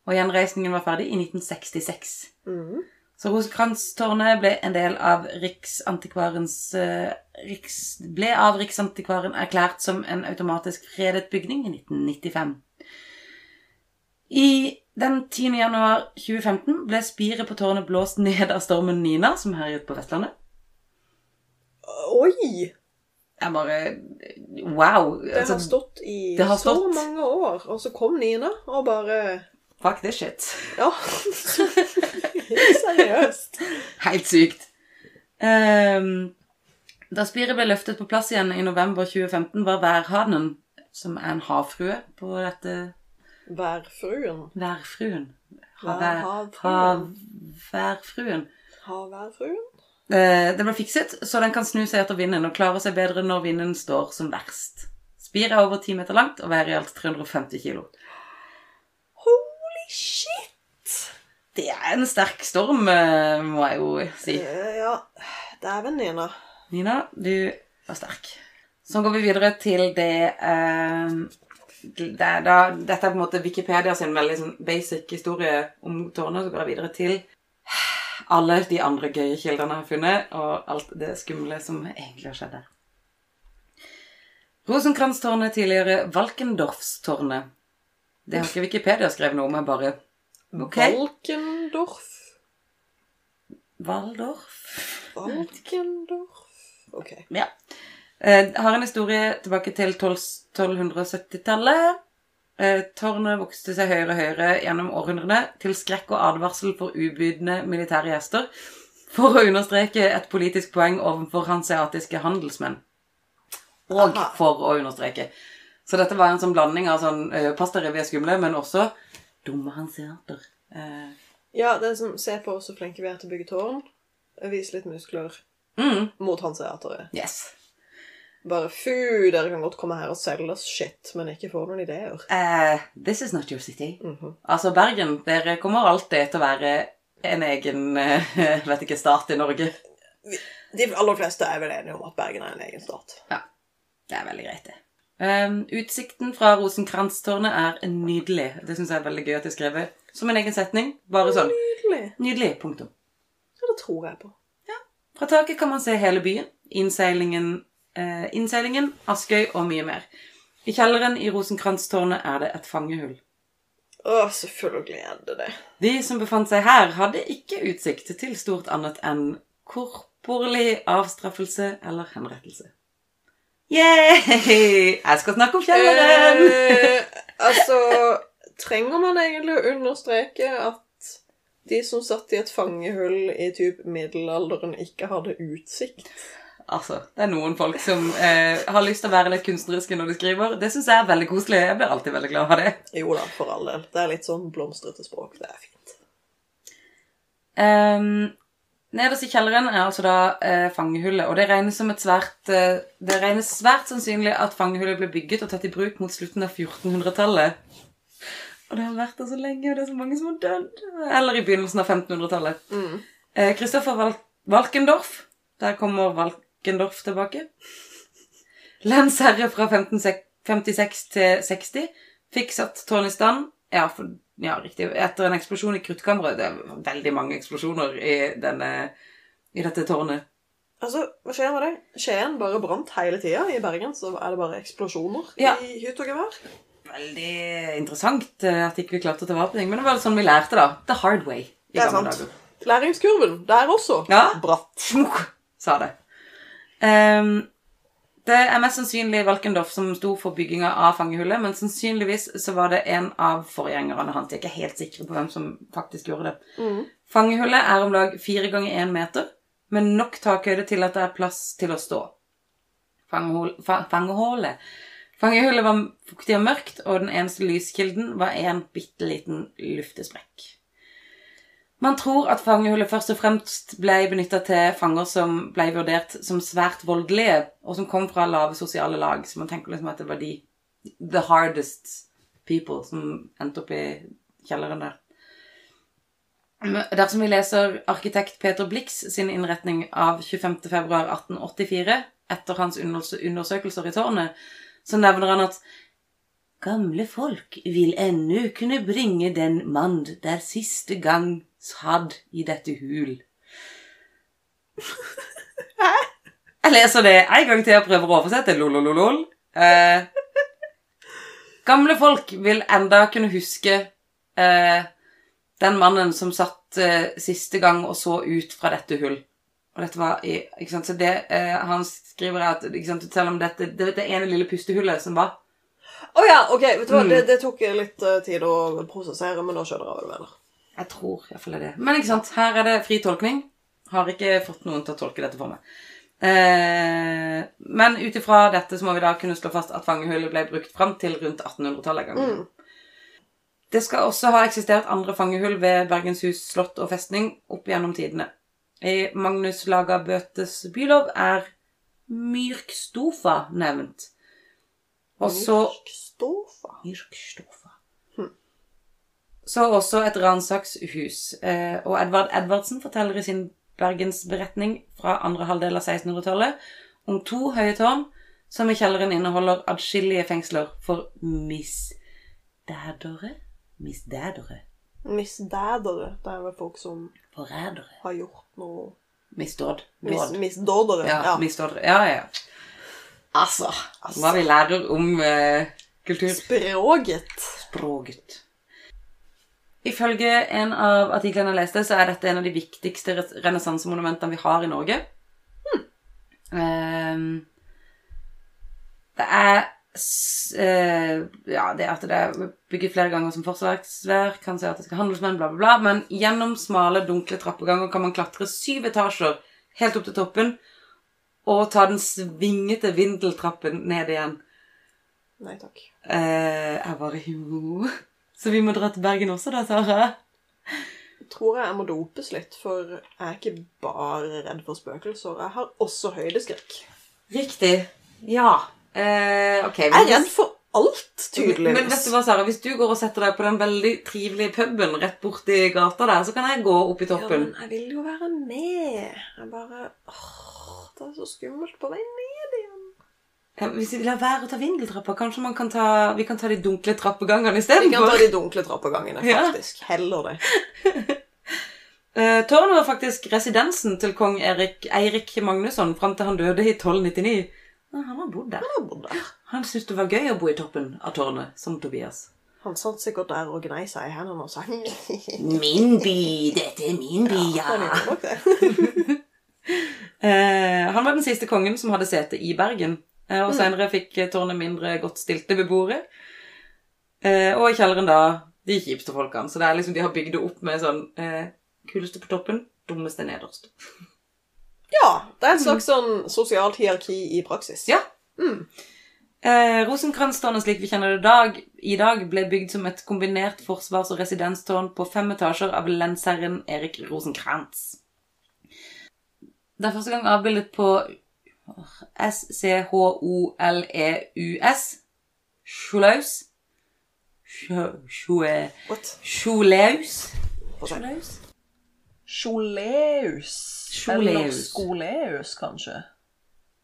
Speaker 3: Og gjenreisningen var ferdig i 1966.
Speaker 2: Mm.
Speaker 3: Så Rosenkrantz-tårnet ble en del av Riksantikvarens eh, Riks, ble av Riksantikvaren erklært som en automatisk fredet bygning i 1995. I den 10. januar 2015 ble spiret på tårnet blåst ned av stormen Nina, som herjet på Vestlandet.
Speaker 2: Oi!
Speaker 3: Jeg bare Wow!
Speaker 2: Det har
Speaker 3: Altså,
Speaker 2: stått i
Speaker 3: det har
Speaker 2: så
Speaker 3: stått.
Speaker 2: mange år, og så kom Nina og bare
Speaker 3: fuck this shit.
Speaker 2: Ja. [laughs] Seriøst.
Speaker 3: Helt sykt. Ehm, da spiret ble løftet på plass igjen i november 2015, var værhanen, som er en havfrue på dette
Speaker 2: Værfruen.
Speaker 3: Værfruen.
Speaker 2: Vær-
Speaker 3: Havær-
Speaker 2: havfruen.
Speaker 3: hav- Værfruen.
Speaker 2: Har værfruen?
Speaker 3: Eh, Det ble fikset, så den kan snu seg etter vinden og klare seg bedre når vinden står som verst. Spiret er over 10 meter langt og veier i alt 350 kilo.
Speaker 2: Holy shit!
Speaker 3: Det er en sterk storm, eh, må jeg jo si.
Speaker 2: Eh, Ja, dæven, Nina.
Speaker 3: Nina, du var sterk. Så går vi videre til det, eh, det er da, Dette er på en måte Wikipedia sin veldig sånn basic historie om tårnet. Så går jeg videre til alle de andre gøye kildene jeg har funnet, og alt det skumle som egentlig har skjedd der. Rosenkrantz-tårnet, tidligere Valkendorfstårnet. Det har ikke Wikipedia skrevet noe om, jeg bare Ok.
Speaker 2: Valkendorf.
Speaker 3: Waldorf?
Speaker 2: Valkendorf. Ok.
Speaker 3: Ja. Eh, har en historie tilbake til 12 1270-tallet. Eh, tårnet vokste seg høyere og høyere gjennom århundrene, til skrekk og advarsel for ubudne militære gjester, for å understreke et politisk poeng overfor hanseatiske handelsmenn. Og
Speaker 2: Aha.
Speaker 3: for å understreke. Så dette var en sånn blanding av sånn eh, pastarevy er skumle, men også dumme hanseater. Eh,
Speaker 2: Ja, det er som Se på oss så flinke vi er til å bygge tårn. Vis litt muskler
Speaker 3: mm,
Speaker 2: mot hanseatere.
Speaker 3: yes.
Speaker 2: Bare fu, dere kan godt komme her og selge oss shit, men ikke få noen ideer.
Speaker 3: Eh, this is not your city.
Speaker 2: Mhm.
Speaker 3: Altså, Bergen, dere kommer alltid til å være en egen eh, [laughs] vet ikke, stat i Norge.
Speaker 2: De aller fleste er vel enige om at Bergen er en egen stat.
Speaker 3: Det er veldig greit, det. Um, utsikten fra Rosenkrantz-tårnet er nydelig. Det syns jeg er veldig gøy at jeg har skrevet som en egen setning. Bare sånn.
Speaker 2: Nydelig.
Speaker 3: Nydelig. Punktum.
Speaker 2: Ja, det tror jeg på.
Speaker 3: Fra taket kan man se hele byen, innseilingen, eh, innseilingen Askøy og mye mer. I kjelleren i Rosenkrantz-tårnet er det et fangehull.
Speaker 2: Å, selvfølgelig er det det.
Speaker 3: De som befant seg her, hadde ikke utsikt til stort annet enn korporlig avstraffelse eller henrettelse. Yay! Jeg skal snakke om kjelleren!
Speaker 2: Eh, [laughs] altså, trenger man egentlig å understreke at de som satt i et fangehull i typ middelalderen, ikke hadde utsikt?
Speaker 3: Altså, det er noen folk som eh, har lyst til å være litt kunstneriske når de skriver. Det syns jeg er veldig koselig. Jeg blir alltid veldig glad av det.
Speaker 2: Jo da, for all del. Det er litt sånn blomstrete språk. Det er fint.
Speaker 3: Ehm, nederst i kjelleren er altså da eh, fangehullet, og det regnes som et svært eh, Det regnes svært sannsynlig at fangehullet ble bygget og tatt i bruk mot slutten av 1400-tallet. Og det har vært der så lenge, og det er så mange som har dødd. Eller i begynnelsen av 1500-tallet.
Speaker 2: Mm.
Speaker 3: Eh, Kristoffer Val Valkendorf. Der kommer Valkendorf tilbake. Lensherre fra 1556 til 60 fikk satt tårnet i stand. Ja, for, ja, riktig. Etter en eksplosjon i kruttkammeret. Det er veldig mange eksplosjoner i, denne, i dette tårnet.
Speaker 2: Altså, hva skjer med det? Skien bare brant hele tida. I Bergen så er det bare eksplosjoner
Speaker 3: Ja.
Speaker 2: i hytt og gevær.
Speaker 3: Veldig interessant eh, at ikke vi klarte å ta vare på ting. Men det var sånn vi lærte, da. The hard way. i
Speaker 2: Det er
Speaker 3: gamle
Speaker 2: sant. Læringskurven der også.
Speaker 3: Ja.
Speaker 2: Bratt.
Speaker 3: Smukk, sa det. Ehm, det er mest sannsynlig Valkendorf som sto for bygginga av fangehullet, men sannsynligvis så var det en av forgjengerne hans. Jeg er ikke helt sikker på hvem som faktisk gjorde det. Fangehullet er om lag fire ganger én meter, med nok takhøyde til at det er plass til å stå. Fangehul, fa, fangehullet. Fangehullet var fuktig og mørkt, og den eneste lyskilden var en bitte liten luftesprekk. Man tror at fangehullet først og fremst ble benytta til fanger som ble vurdert som svært voldelige, og som kom fra lave sosiale lag. Så man tenker liksom at det var de the hardest people som endte opp i kjelleren der. Men Dersom vi leser arkitekt Peter Blix sin innretning av 25.2.1884, etter hans unders- undersøkelser i tårnet, så nevner han at Gamle folk vil ennu kunne bringe den mann der siste gang sadd i dette hul. Jeg leser det en gang til og prøver å oversette. Lolololol. Eh, gamle folk vil enda kunne huske eh, den mannen som satt eh, siste gang og så ut fra dette hull. Og dette var i, ikke sant? Så det eh, han skriver er at ikke sant? selv om dette, det, det ene lille pustehullet som var
Speaker 2: Å ja, ok, vet du hva?
Speaker 3: Mm.
Speaker 2: Det, det tok litt eh, tid å prosessere, men nå skjønner jeg hva du mener.
Speaker 3: Jeg tror iallfall det er det. Men ikke sant, her er det fri tolkning. Har ikke fått noen til å tolke dette for meg. Eh, men ut ifra dette så må vi da kunne slå fast at fangehullet ble brukt fram til rundt 1800-tallet. en gang.
Speaker 2: Mm.
Speaker 3: Det skal også ha eksistert andre fangehull ved Bergenshus slott og festning opp gjennom tidene. I Magnus Laga Bøtes bylov er Myrkstofa nevnt. Og så
Speaker 2: Norsk Stofa.
Speaker 3: Myrkstofa. Hmm. Så også et ransakshus. eh, Og Edvard Edvardsen forteller i sin bergensberetning fra andre halvdel av 1600-tallet om to høye tårn som i kjelleren inneholder adskillige fengsler for misdædere Misdædere?
Speaker 2: Misdædere. Det er vel folk som
Speaker 3: Forrædere?
Speaker 2: har gjort noe
Speaker 3: Misdåd?
Speaker 2: mis,
Speaker 3: Dåd.
Speaker 2: Misdådere.
Speaker 3: Ja,
Speaker 2: Ja.
Speaker 3: misdåd. Ja, ja. Altså,
Speaker 2: Altså.
Speaker 3: hva vi lærer om eh, kultur.
Speaker 2: Språget.
Speaker 3: språket. Ifølge en av artiklene jeg leste, så er dette en av de viktigste res- renessansemonumentene vi har i Norge. Hm. Ehm, det er s- eh, Ja, det at det er bygget flere ganger som forsvarsverk, kan si at det skal handelsmenn, bla, bla, bla. Men gjennom smale, dunkle trappeganger kan man klatre syv etasjer helt opp til toppen og ta den svingete vindeltrappen ned igjen.
Speaker 2: Nei takk.
Speaker 3: Eh, jeg bare jo. Så vi må dra til Bergen også da, Sara?
Speaker 2: Tror jeg jeg må dopes litt, for jeg er ikke bare redd for spøkelser. Jeg har også høydeskrekk.
Speaker 3: Riktig. Ja. Eh, ok.
Speaker 2: Jeg er redd for alt, tydeligvis.
Speaker 3: Men vet du hva, Sara? Hvis du går og setter deg på den veldig trivelige puben rett borti gata der, så kan jeg gå opp i
Speaker 2: Ja,
Speaker 3: toppen.
Speaker 2: men jeg vil jo være med. Jeg bare åh, Det er så skummelt på vei ned igjen.
Speaker 3: Ja, hvis vi lar være å ta vindeltrappa, kanskje man kan ta, vi kan ta de dunkle trappegangene
Speaker 2: Vi kan ta
Speaker 3: istedenfor?
Speaker 2: de dunkle trappegangene,
Speaker 3: Ja.
Speaker 2: faktisk. Heller det.
Speaker 3: Eh, tårnet var faktisk residensen til kong Erik, Eirik Magnusson fram til han døde i 1299. Men han har bodd der.
Speaker 2: Jeg bor der.
Speaker 3: Han syntes det var gøy å bo i toppen av tårnet, som Tobias.
Speaker 2: Han satt sikkert der og gnei seg i hendene og sang. [laughs]
Speaker 3: Min by, dette er min by,
Speaker 2: Han
Speaker 3: ja.
Speaker 2: gjorde nok det.
Speaker 3: Eh, han var den siste kongen som hadde sete i Bergen. Eh, og senere fikk eh, tårnet mindre godt stilte beboere. Eh, og i kjelleren da de kjipeste folkene. Så det er liksom de har bygd det opp med sånn eh, kuleste på toppen, dummeste nederst.
Speaker 2: Ja. Det er et slags sånn sosialt hierarki i praksis.
Speaker 3: Ja.
Speaker 2: Mm.
Speaker 3: Eh, Rosenkrantz-tårnet slik vi kjenner det dag, i dag, ble bygd som et kombinert forsvars- og residenstårn på fem etasjer av lensherren Erik Rosenkrantz. Det er første gang avbildet på E S-C-H-O-L-E-U-S. Sjolaus. Sjolaus.
Speaker 2: What?
Speaker 3: Sjolaus.
Speaker 2: Sjoleus.
Speaker 3: Sjoleus.
Speaker 2: skoleus, kanskje.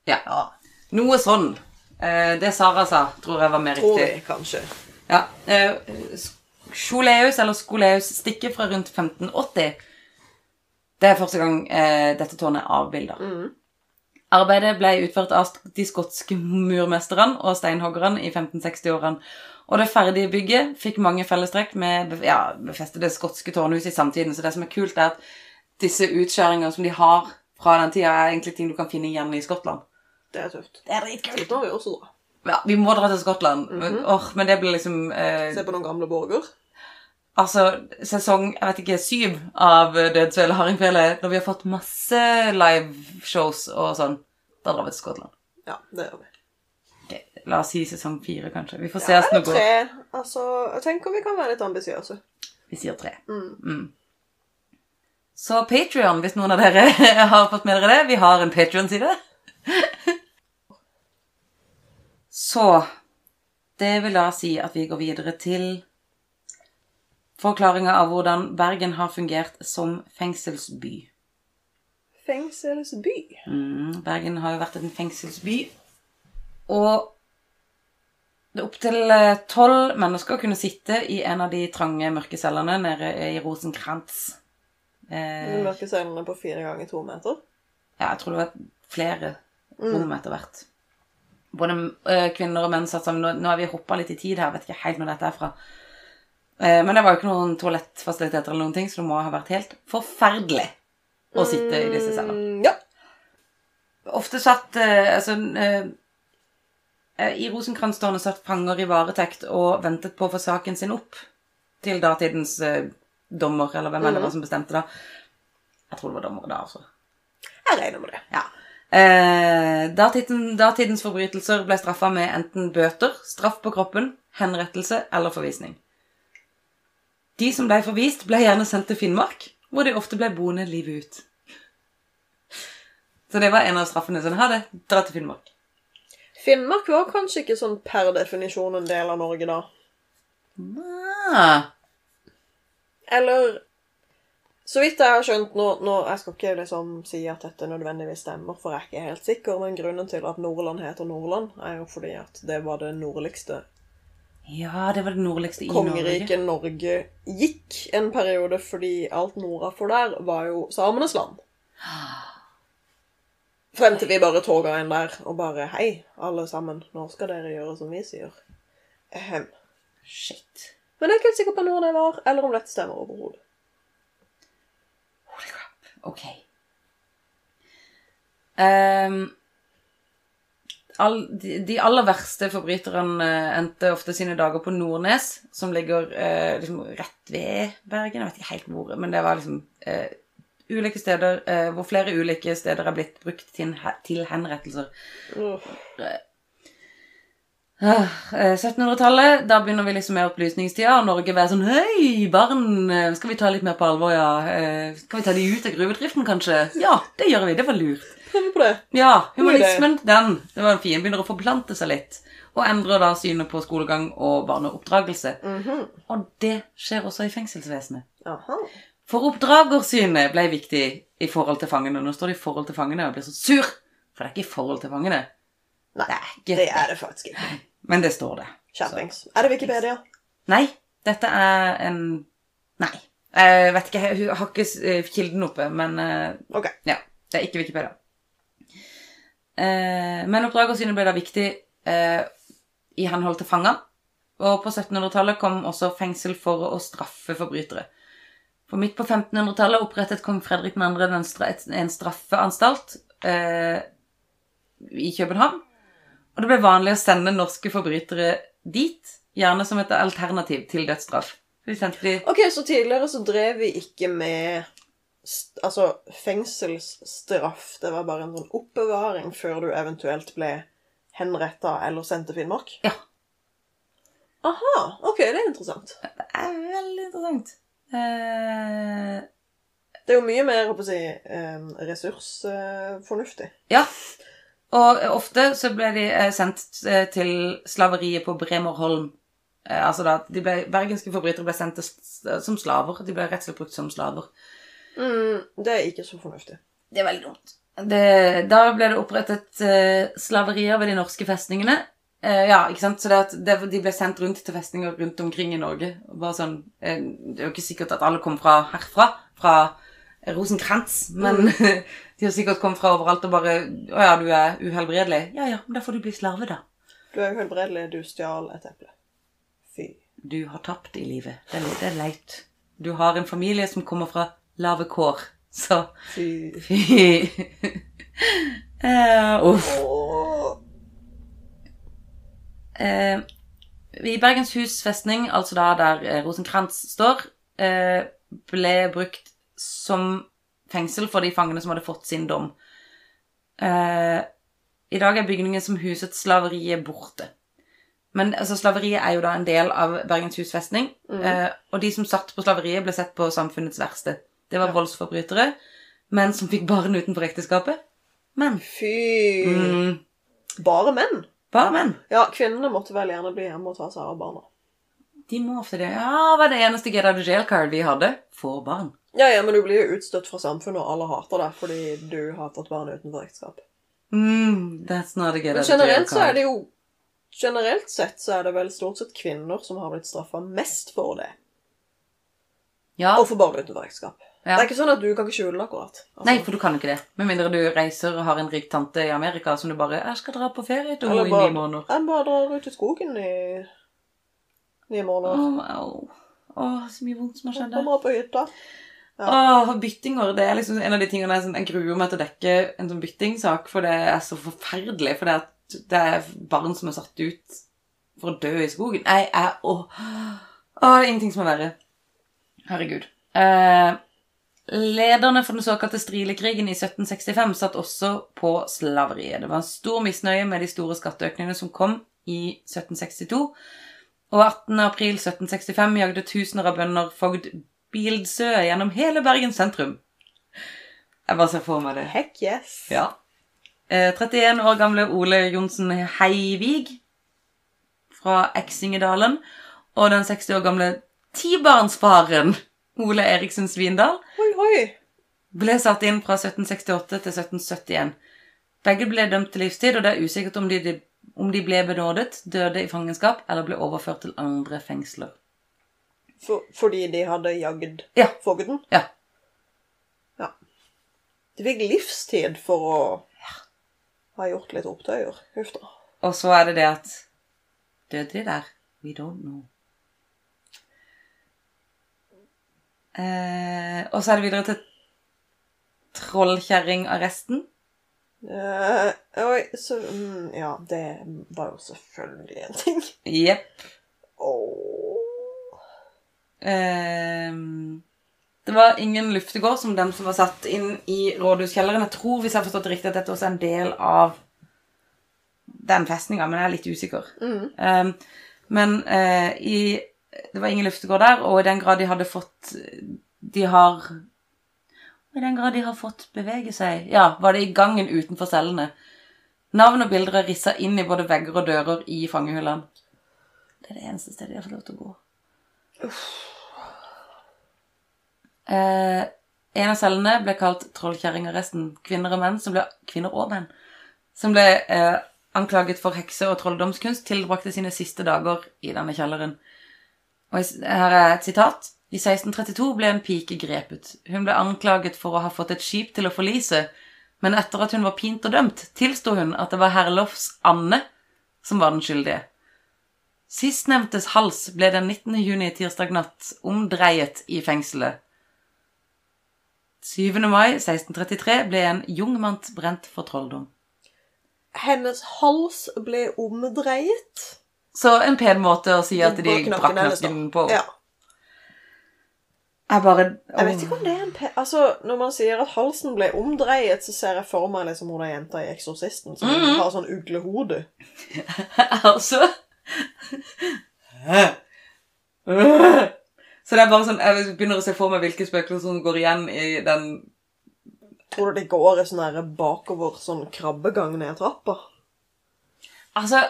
Speaker 3: Ja. Noe sånn. Eh, det Sara sa, tror jeg var mer
Speaker 2: Tror
Speaker 3: riktig.
Speaker 2: jeg, kanskje.
Speaker 3: Ja. eh, sk- Scholeus, eller Skoleus, stikker fra rundt 1580. Det er første gang eh, dette tårnet er avbildet. Arbeidet ble utført av sk- de skotske murmesterne og steinhoggerne i 1560-årene. Og det ferdige bygget fikk mange fellestrekk med bef- ja, befestede skotske tårnhus i samtiden. Så det som er kult, er at disse utskjæringene som de har fra den tida, er egentlig ting du kan finne igjen i Skottland.
Speaker 2: Det er tøft.
Speaker 3: Det er dritkult. Mhm.
Speaker 2: Dit må vi også dra.
Speaker 3: Ja, vi må dra til Skottland. men, åh, men det blir liksom eh,
Speaker 2: Se på noen gamle borger.
Speaker 3: Altså, sesong jeg vet ikke, syv av Dødsøl og Hardingfjellet, når vi har fått masse liveshows og sånn, da drar vi til Skottland.
Speaker 2: Ja, det gjør vi.
Speaker 3: Ok, La oss si sesong fire, kanskje. Vi får se
Speaker 2: Ja,
Speaker 3: hvordan
Speaker 2: eller
Speaker 3: det går.
Speaker 2: tre. Altså, jeg tenker vi kan være litt ambisiøse.
Speaker 3: Vi sier tre.
Speaker 2: Mm.
Speaker 3: Mm. Så Patreon, hvis noen av dere [laughs] har fått med dere det. Vi har en Patreon-side. [laughs] Så det vil da si at vi går videre til forklaringa av hvordan Bergen har fungert som fengselsby.
Speaker 2: Fengselsby.
Speaker 3: Mm, Bergen har jo vært en fengselsby. Og det er opptil tolv mennesker kunne sitte i en av de trange mørke cellene nede i Rosenkrantz. Eh,
Speaker 2: De mørke seilene på fire ganger to meter.
Speaker 3: ja, jeg tror det var flere rom etter hvert. Både eh, kvinner og menn satt sammen. Nå, nå har vi hoppa litt i tid her, vet ikke helt hvor dette er fra. Eh, men det var jo ikke noen toalettfasiliteter eller noen ting, så det må ha vært helt forferdelig å sitte i disse cellene.
Speaker 2: Mm, ja.
Speaker 3: Ofte satt eh, altså, eh, eh, I Rosenkrantz-tårnet satt fanger i varetekt og ventet på å få saken sin opp til datidens eh, dommer, eller hvem enn det var som bestemte da. Jeg tror det var dommer da, altså.
Speaker 2: Jeg regner med det.
Speaker 3: Ja. Eh, datiden, datidens forbrytelser ble straffa med enten bøter, straff på kroppen, henrettelse eller forvisning. De som ble forvist, ble gjerne sendt til Finnmark, hvor de ofte ble boende livet ut. Så det var en av straffene. Sånn, ha det, dra til Finnmark.
Speaker 2: Finnmark var kanskje ikke sånn per definisjon en del av Norge da.
Speaker 3: Ah,
Speaker 2: Eller Så vidt jeg har skjønt nå, nå Jeg skal ikke liksom si at dette nødvendigvis stemmer, for jeg er ikke helt sikker, men grunnen til at Nordland heter Nordland, er jo fordi at det var det nordligste
Speaker 3: ja, det var det nordligste i Norge.
Speaker 2: kongeriket Norge gikk en periode, fordi alt nordafor der var jo samenes land. Frem til vi bare toga inn der og bare Hei, alle sammen, nå skal dere gjøre som vi sier. Ehem.
Speaker 3: Shit.
Speaker 2: Men jeg er ikke helt sikker på når det var, eller om dette stemmer overhodet.
Speaker 3: Holy crap. Ok. Ehm, all, de, de aller verste forbryterne eh, endte ofte sine dager på Nordnes, som ligger eh, liksom rett ved Bergen. Jeg vet ikke helt hvor, men det var liksom eh, ulike steder eh, hvor flere ulike steder er blitt brukt til, he- til henrettelser.
Speaker 2: Uff.
Speaker 3: Ah, eh, 1700-tallet, da begynner vi liksom med opplysningstida, og Norge er sånn Hei, barn, eh, skal vi ta litt mer på alvor, ja? Eh, Skal vi ta de ut av gruvedriften, kanskje? Ja, det gjør vi. Det var lurt.
Speaker 2: Prøv på det.
Speaker 3: Ja,
Speaker 2: God idé.
Speaker 3: humanismen, den. Det var en fin. Begynner å forplante seg litt. Og endrer da synet på skolegang og barneoppdragelse.
Speaker 2: Mhm.
Speaker 3: Og det skjer også i fengselsvesenet.
Speaker 2: Aha.
Speaker 3: For oppdragersynet ble viktig i forhold til fangene. Nå står det i forhold til fangene, og jeg blir så sur. For det er ikke i forhold til fangene.
Speaker 2: Nei,
Speaker 3: det er ikke
Speaker 2: Det er det faktisk ikke.
Speaker 3: Men det står det.
Speaker 2: Skjerpings. Er det Wikipedia?
Speaker 3: Nei, dette er en Nei. Jeg vet ikke, jeg har ikke eh, kilden oppe, men eh,
Speaker 2: Ok.
Speaker 3: Ja, det er ikke Wikipedia. Eh, men oppdragersynet ble da viktig eh, i henhold til fanger. Og på 1700-tallet kom også fengsel for å straffe forbrytere. For midt på 1500-tallet opprettet kong Fredrik 2. den stra- et- en straffeanstalt eh, i København. Og det ble vanlig å sende norske forbrytere dit, gjerne som et alternativ til dødsstraff. For de sendte de
Speaker 2: Ok, Så tidligere så drev vi ikke med st- Altså, fengselsstraff, det var bare en sånn oppbevaring før du eventuelt ble henretta eller sendt til Finnmark?
Speaker 3: Ja.
Speaker 2: Aha, ok, det er interessant.
Speaker 3: Det er veldig interessant. Eh,
Speaker 2: Det er jo mye mer, håper jeg, å si, em, ressursfornuftig.
Speaker 3: ja. Og eh, ofte så ble de eh, sendt eh, til slaveriet på Bremerholm. Eh, altså da, de ble, Bergenske forbrytere ble sendt til, s- som slaver. De ble rett og slett brukt som slaver.
Speaker 2: Mm, det er ikke så fornuftig.
Speaker 3: Det er veldig dumt. Det, da ble det opprettet eh, slaverier ved de norske festningene. Eh, ja, ikke sant? Så det at det, de ble sendt rundt til festninger rundt omkring i Norge. Og Bare sånn, eh, det er jo ikke sikkert at alle kom fra herfra, fra Rosenkrantz, men [laughs] de har sikkert kommet fra overalt og bare Å ja, du er uhelbredelig. Ja ja, men da får du bli slave, da.
Speaker 2: Du er uhelbredelig, du stjal et eple. Fy.
Speaker 3: Du har tapt i livet. Det er, det er leit. Du har en familie som kommer fra lave kår, så [laughs]
Speaker 2: Fy.
Speaker 3: Fy. Eh, uff.
Speaker 2: Åh.
Speaker 3: Eh, I Bergens hus festning, altså da der eh, Rosenkrantz står, eh, ble brukt som fengsel for de fangene som hadde fått sin dom. Eh, I dag er bygningen som huset slaveriet borte. Men altså, slaveriet er jo da en del av Bergens hus festning, eh, og de som satt på slaveriet, ble sett på samfunnets verste. Det var voldsforbrytere, menn som fikk barn utenfor ekteskapet. Menn.
Speaker 2: Fy.
Speaker 3: Mm,
Speaker 2: Bare menn?
Speaker 3: bare menn.
Speaker 2: Ja, kvinnene måtte vel gjerne bli hjemme og ta seg av barna.
Speaker 3: De må ofte det. Ja, var det eneste get out of jail card vi hadde. Få barn.
Speaker 2: Ja, ja, men du blir jo utstøtt fra samfunnet, og alle hater deg fordi du har fått barn utenfor ekteskap.
Speaker 3: Mm, that's not a get
Speaker 2: Men
Speaker 3: out of jail
Speaker 2: generelt så er
Speaker 3: card.
Speaker 2: det jo Generelt sett så er det vel stort sett kvinner som har blitt straffa mest for det.
Speaker 3: Ja,
Speaker 2: Og for barn utenfor ekteskap.
Speaker 3: Ja.
Speaker 2: Det er ikke sånn at du kan ikke skjule det, akkurat. Altså,
Speaker 3: Nei, for du kan ikke det. Med mindre du reiser og har en rik tante i Amerika som du bare 'Jeg skal dra på ferie til henne
Speaker 2: Altså, Eller
Speaker 3: i
Speaker 2: bare-
Speaker 3: ni måneder'.
Speaker 2: En bare drar ut i skogen i ni
Speaker 3: Åh,
Speaker 2: måneder.
Speaker 3: au. Åh, så mye vondt som har
Speaker 2: Og
Speaker 3: skjedd der.
Speaker 2: kommer opp på hytta.
Speaker 3: Åh, byttinger, det er liksom en av de tingene jeg, sånn, jeg gruer meg til å dekke en sånn byttingsak, for det er så forferdelig, for det er, at det er barn som er satt ut for å dø i skogen. Nei, jeg, åh, åh, det er ingenting som er verre. Herregud. Eh, lederne for den såkalte strilekrigen i 1765 satt også på slaveriet. Det var en stor misnøye med de store skatteøkningene som kom i 1762, og 18. april 1765 jagde tusener av bønder fogd Bildsø gjennom hele Bergen sentrum. Jeg bare ser for meg det.
Speaker 2: Heck yes.
Speaker 3: Ja. Eh, 31 år gamle Ole Johnsen Heivig fra Eksingedalen og den 60 år gamle tibarnsfaren Ole Eriksen Svindal
Speaker 2: Oi, oi.
Speaker 3: ble satt inn fra 1768 til 1771. Begge ble dømt til livstid, og det er usikkert om de, de, om de ble benådet, døde i fangenskap eller ble overført til andre fengsler.
Speaker 2: For, fordi de hadde jagd
Speaker 3: Ja.
Speaker 2: fogden?
Speaker 3: Ja.
Speaker 2: Ja. De fikk livstid for å ha gjort litt opptøyer. Huff da.
Speaker 3: Og så er det det at Døde de der? We don't know. Eh, og så er det videre til Trollkjerringarresten.
Speaker 2: Eh, oi, så mm, Ja, det var jo selvfølgelig en ting.
Speaker 3: Jepp.
Speaker 2: Åh.
Speaker 3: Eh, det var ingen luftegård som den som var satt inn i rådhuskjelleren. Jeg tror, hvis jeg har forstått det riktig, at dette også er en del av den festninga, men jeg er litt usikker.
Speaker 2: Mm.
Speaker 3: Um, men eh, i, det var ingen luftegård der, og i den grad de hadde fått De har I den grad de har fått bevege seg, ja, var det i gangen utenfor cellene. Navn og bilder er rissa inn i både vegger og dører i fangehullene. Det er det eneste stedet jeg får lov til å gå. Eh, en av cellene ble kalt trollkjerringarresten. Kvinner og menn som ble Kvinner og menn som ble eh, anklaget for hekse- og trolldomskunst, tilbrakte sine siste dager i denne kjelleren. Og i s- her er et sitat. I 1632 ble en pike grepet. Hun ble anklaget for å ha fått et skip til å forlise, men etter at hun var pint og dømt, tilsto hun at det var Herlofs Anne som var den skyldige. Sistnevntes hals ble den 19. juni tirsdag natt omdreiet i fengselet. 7. mai 1633 ble en jung mann brent for trolldom.
Speaker 2: Hennes hals ble omdreiet.
Speaker 3: Så en pen måte å si at de
Speaker 2: På
Speaker 3: brakk
Speaker 2: hennes, da.
Speaker 3: nakken på.
Speaker 2: Ja.
Speaker 3: Jeg bare
Speaker 2: Jeg vet ikke om det er en pe... Altså, Når man sier at halsen ble omdreiet, så ser jeg for meg liksom hun der jenta i 'Eksorsisten' som
Speaker 3: Mhm.
Speaker 2: har sånn uglehode.
Speaker 3: [laughs] Altså Så det er bare sånn Jeg begynner å se for meg hvilke spøkelser som går igjen i den
Speaker 2: Tror du det går i sånn der bakover sånn krabbegang ned trappa?
Speaker 3: Altså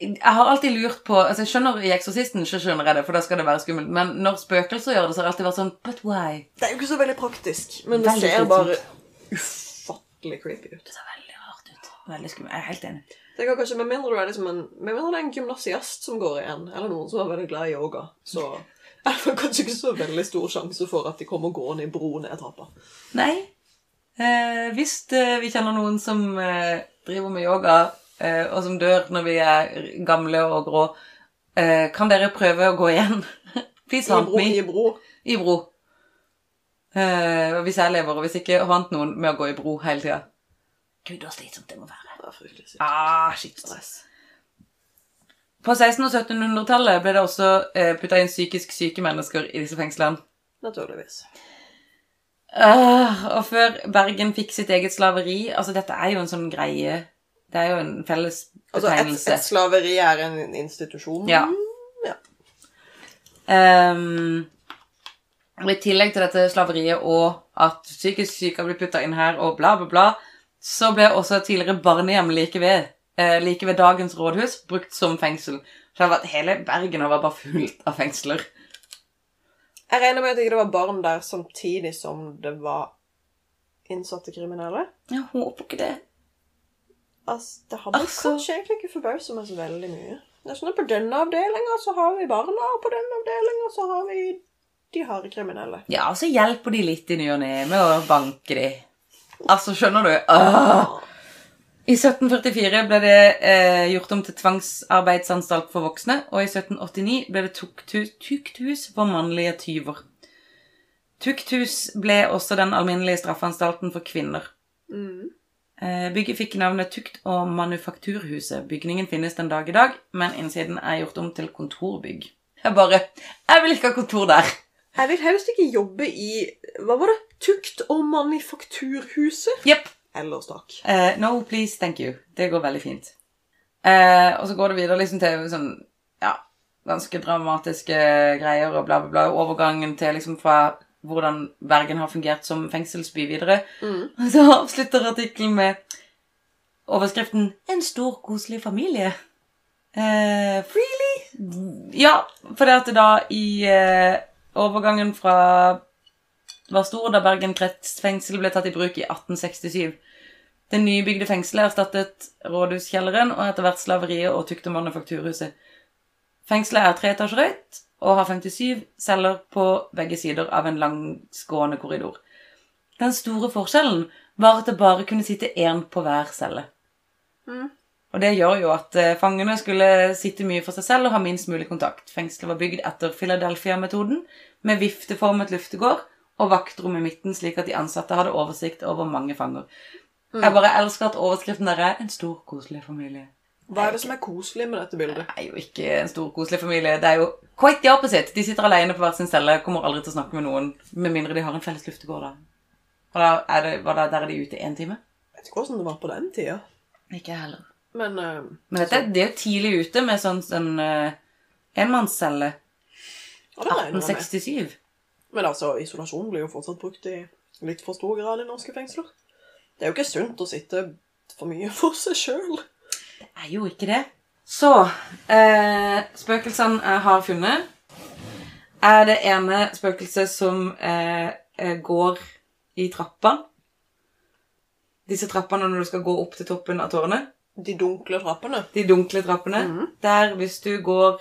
Speaker 3: jeg har alltid lurt på altså Jeg skjønner i Eksorsisten, så skjønner jeg det, for da skal det være skummelt. Men når spøkelser gjør det, så har jeg alltid vært sånn But why?
Speaker 2: Det er jo ikke så veldig praktisk, men det
Speaker 3: Veldig
Speaker 2: ser
Speaker 3: slitsomt.
Speaker 2: bare ufattelig creepy ut.
Speaker 3: Det ser veldig rart ut. Veldig skummelt. Jeg er helt enig.
Speaker 2: Det kan kanskje, med mindre, du er liksom en, med mindre det er en gymnasiast som går igjen, eller noen som er veldig glad i yoga, så er det kanskje ikke så veldig stor sjanse for at de kommer gående i bro ned trappa.
Speaker 3: Nei. Eh, hvis eh, vi kjenner noen som eh, driver med yoga, eh, og som dør når vi er gamle og grå, eh, kan dere prøve å gå igjen? [laughs] Please
Speaker 2: I
Speaker 3: haunt
Speaker 2: bro,
Speaker 3: me.
Speaker 2: i bro.
Speaker 3: I bro. Eh, og hvis jeg lever, og hvis ikke, vant noen med å gå i bro hele tida. Gud, så slitsomt det må være.
Speaker 2: Det er fryktelig sykt.
Speaker 3: Ah, shit, stress. På 1600- og 1700-tallet ble det også eh, putta inn psykisk syke mennesker i disse fengslene.
Speaker 2: Naturligvis.
Speaker 3: Åh, Ah, og før Bergen fikk sitt eget slaveri Altså, dette er jo en sånn greie Det er jo en felles
Speaker 2: Altså, et,
Speaker 3: betegnelse.
Speaker 2: et slaveri er en institusjon.
Speaker 3: Ja.
Speaker 2: ja.
Speaker 3: Ehm, og I tillegg til dette slaveriet og at psykisk syke blir putta inn her, og bla, bla, bla, så ble også tidligere barnehjem like ved, eh, like ved dagens rådhus brukt som fengsel. Så det har vært hele Bergen har vært bare fullt av fengsler.
Speaker 2: Jeg regner med at ikke det var barn der samtidig som det var innsatte kriminelle.
Speaker 3: Jeg håper ikke det.
Speaker 2: Altså, det hadde
Speaker 3: Altså-
Speaker 2: kanskje egentlig ikke forbauset meg så veldig mye. Det er sånn at På denne avdelinga så har vi barna, og på denne avdelinga så har vi de harde kriminelle.
Speaker 3: Ja, og så hjelper de litt i ny og ne med å banke de. Altså, skjønner du? Åh! I 1744 ble det eh, gjort om til tvangsarbeidsanstalt for voksne, og i 1789 ble det tukthus, tukthus for mannlige tyver. Tukthus ble også den alminnelige straffanstalten for kvinner.
Speaker 2: Mm.
Speaker 3: Eh, Bygget fikk navnet Tukt- og Manufakturhuset. Bygningen finnes den dag i dag, men innsiden er gjort om til kontorbygg. Jeg bare Jeg vil ikke ha kontor der!
Speaker 2: Jeg vil helst ikke jobbe i Hva var det? Tukt- og manufakturhuset?
Speaker 3: Jepp.
Speaker 2: Ellers takk.
Speaker 3: Eh, no, please, thank you. Det går veldig fint. Eh, og så går det videre liksom til sånn, ja, ganske dramatiske greier og bla, bla, bla. Overgangen til liksom fra hvordan Bergen har fungert som fengselsby videre.
Speaker 2: Mm.
Speaker 3: Og så avslutter artikkelen med overskriften En stor, koselig familie. Eh, really? Ja, for det at da i eh, overgangen fra var stor da Bergen kretsfengsel ble tatt i bruk i 1867. Det nybygde fengselet erstattet rådhuskjelleren og etter hvert slaveriet og tukt- og manufakturhuset. Fengselet er tre etasjer høyt og har 57 celler på begge sider av en langsgående korridor. Den store forskjellen var at det bare kunne sitte én på hver celle.
Speaker 2: Mm.
Speaker 3: Og det gjør jo at eh, fangene skulle sitte mye for seg selv og ha minst mulig kontakt. Fengselet var bygd etter Philadelphia-metoden, med vifteformet luftegård og vaktrom i midten, slik at de ansatte hadde oversikt over mange fanger. Jeg bare elsker at overskriften der er 'En stor, koselig familie'.
Speaker 2: Hva er det som er koselig med dette
Speaker 3: Det
Speaker 2: bildet?
Speaker 3: er jo ikke en stor, koselig familie. Det er jo quite the opposite. De sitter alene på hver sin celle, kommer aldri til å snakke med noen, med mindre de har en felles luftegård, da. Og da er det, var det der er de ute én time?
Speaker 2: Jeg vet ikke hvordan det var på den tida,
Speaker 3: Ikke jeg heller.
Speaker 2: men eh,
Speaker 3: Men dette, det er jo tidlig ute med sånn sånn eh, enmannscelle.
Speaker 2: ja, det regner jeg med.
Speaker 3: 1867.
Speaker 2: Men altså, isolasjon blir jo fortsatt brukt i litt for stor grad i norske fengsler. Det er jo ikke sunt å sitte for mye [laughs] for seg sjøl.
Speaker 3: Det er jo ikke det. Så eh, Spøkelsene jeg har funnet, er det ene spøkelset som eh, eh, går i trappa. Disse trappene når du skal gå opp til toppen av tårnet.
Speaker 2: De dunkle trappene.
Speaker 3: De dunkle trappene. Der, hvis du går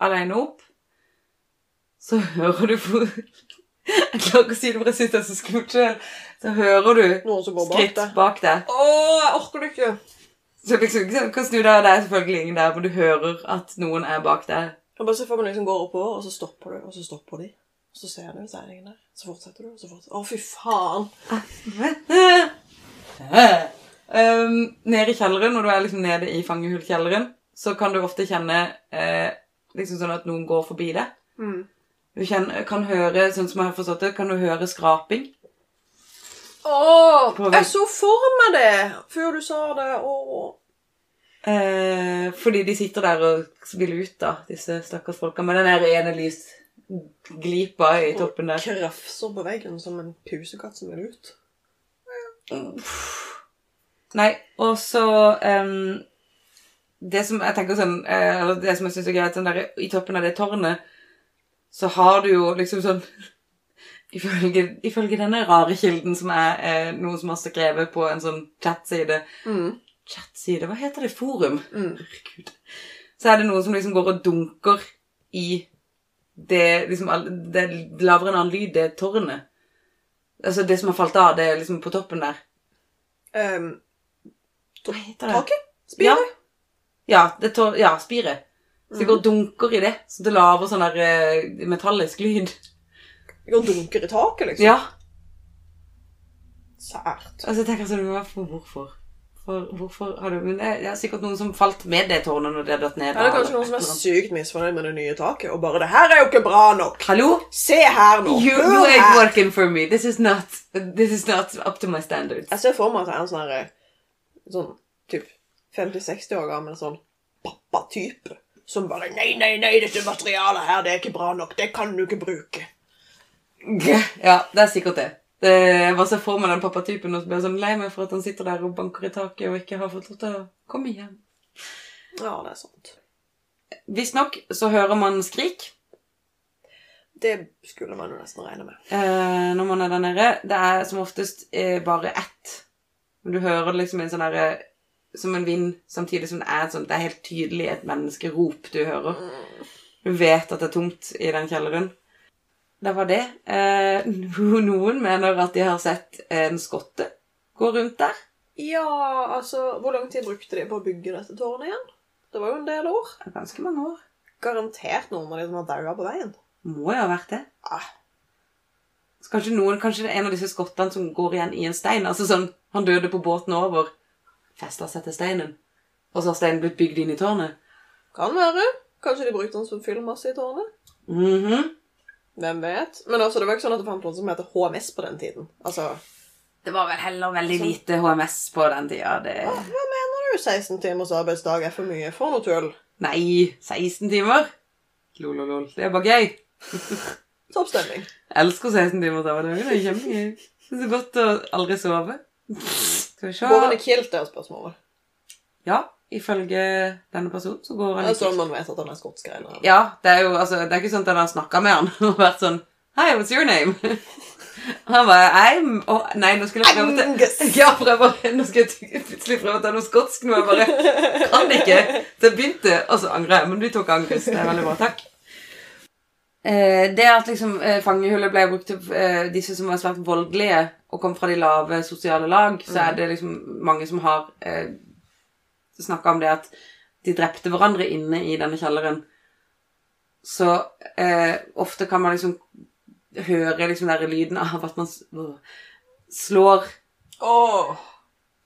Speaker 3: alene opp, så hører du fo- Jeg klarer ikke å si det, for jeg sitter så skummelt selv. Så hører du
Speaker 2: Noen som går bak
Speaker 3: skritt
Speaker 2: deg.
Speaker 3: bak deg.
Speaker 2: Å, jeg orker det ikke!
Speaker 3: Så liksom, du kan snu deg, og det er selvfølgelig ingen der, men du hører at noen er bak deg.
Speaker 2: Jeg bare ser for meg liksom går oppover, og så stopper du, og så stopper de. Og så ser du, så er det ingen der. Så fortsetter du, og så fortsetter du. Å, fy faen!
Speaker 3: um, nede i kjelleren, når du er liksom nede i
Speaker 2: Mm.
Speaker 3: fangehullkjelleren, så kan du ofte kjenne eh, liksom sånn at noen går forbi deg. Du kjen- kan høre, sånn som jeg har forstått det, kan du høre skraping.
Speaker 2: Åh,
Speaker 3: På vei-
Speaker 2: jeg så for meg det før du sa det. Åh.
Speaker 3: Eh, fordi de sitter der og vil ut, da, disse stakkars folka. Med den der ene lysglipa i toppen der.
Speaker 2: Krafser på veggen som en pusekatt som vil ut.
Speaker 3: Nei, og så em, Det som jeg tenker sånn eh, Eller det som jeg syns er greit, sånn der, i toppen av det tårnet, så har du jo liksom sånn [laughs] Ifølge, ifølge denne rare kilden som er eh, noen som har skrevet på en sånn chatside
Speaker 2: Mm.
Speaker 3: Chatside? Hva heter det? Forum?
Speaker 2: Mm.
Speaker 3: Herregud. Så er det noen som liksom går og dunker i det liksom all- Det lager en annen lyd, det tårnet. Altså det som har falt av, det er liksom på toppen der.
Speaker 2: Ehm,
Speaker 3: Hva heter det?
Speaker 2: taket? Spiret?
Speaker 3: Ja, det tår, ja spiret. Så det går og dunker i det, så det lager sånn der eh, metallisk lyd.
Speaker 2: Jeg går og dunker i taket, liksom.
Speaker 3: Ja.
Speaker 2: Sært.
Speaker 3: Altså, jeg tenker sånn Hvorfor? Hvorfor, for, hvorfor har du Men det er- det er sikkert noen som falt med det tårnet når det har datt ned.
Speaker 2: Er det kanskje noen som er sykt misfornøyd med det nye taket og bare 'Det her er jo ikke bra nok'.
Speaker 3: Hallo?
Speaker 2: Se her nå!
Speaker 3: You,
Speaker 2: Hør
Speaker 3: you ain't
Speaker 2: her!
Speaker 3: working for me. This is not This is not up to my standards.
Speaker 2: Jeg ser for meg at jeg er en sånn her, sånn typ 50-60 år gammel sånn pappa-type. Som bare 'Nei, nei, nei, dette materialet her, det er ikke bra nok. Det kan du ikke bruke'.
Speaker 3: Ja, det er sikkert det. det jeg bare ser for meg den pappatypen og så blir jeg sånn lei meg for at han sitter der og banker i taket og ikke har fått lov til å komme hjem.
Speaker 2: Ja, det er sant.
Speaker 3: Visstnok så hører man skrik
Speaker 2: Det skulle man jo nesten regne med.
Speaker 3: eh, når man er der nede. Det er som oftest eh, bare ett. Men du hører det liksom en sånn derre Som en vind, samtidig som det er et sånt Det er helt tydelig et menneskerop du hører. Du vet at det er tomt i den kjelleren. Det var det. Eh, [laughs] no- noen mener at de har sett en skotte gå rundt der.
Speaker 2: Ja, altså Hvor lang tid brukte de på å bygge dette tårnet igjen? Det var jo en del år.
Speaker 3: Det er Ganske mange år.
Speaker 2: Garantert noen av de som har daua på veien.
Speaker 3: Må jo ha vært det.
Speaker 2: Ah,
Speaker 3: Så kanskje, noen, kanskje det er en av disse skottene som går igjen i en stein. Altså sånn, Han døde på båten over. Festa seg til steinen. Og så har steinen blitt bygd inn i tårnet.
Speaker 2: kan være. Kanskje de brukte den som fyllmasse i tårnet.
Speaker 3: Mhm.
Speaker 2: Hvem vet? Men altså, det var ikke sånn at det fant noen som heter HMS på den tiden. Altså,
Speaker 3: Det var vel heller veldig lite HMS på den tida. Det...
Speaker 2: Hva mener du 16 timers arbeidsdag er for mye? For noe tull.
Speaker 3: Nei, 16 timer? Lol, lol, lol. Det er bare gøy.
Speaker 2: Topp stemning.
Speaker 3: Elsker 16 timer arbeid. Det er kjempegøy. Det er så godt å aldri sove. Skal vi
Speaker 2: Går han i
Speaker 3: se
Speaker 2: kilt, er spørsmålet.
Speaker 3: Ja, ifølge denne personen så går
Speaker 2: Det
Speaker 3: han
Speaker 2: er
Speaker 3: ikke
Speaker 2: sånn man vet at han er skotsk eller
Speaker 3: [laughs] Ja, det er jo altså, det er ikke sånn at han har snakka med han [laughs] og vært sånn Hei, what's your name? [laughs] Han bare I'm Å, Nei, nå skulle jeg prøve til
Speaker 2: Angus.
Speaker 3: ja, for [laughs] jeg bare, nå skal jeg ty- plutselig prøve å ta noe skotsk nå. Jeg bare kan ikke. Så jeg begynte, og så angrer jeg. Men du tok Angus. Det er veldig bra. Takk. Eh, det at liksom eh, fangehullet ble brukt til eh, disse som var svært voldelige og kom fra de lave sosiale lag, så er det liksom mange som har eh, snakka om det at de drepte hverandre inne i denne kjelleren. Så eh, ofte kan man liksom høre liksom der lyden av at man s- slår
Speaker 2: Åh.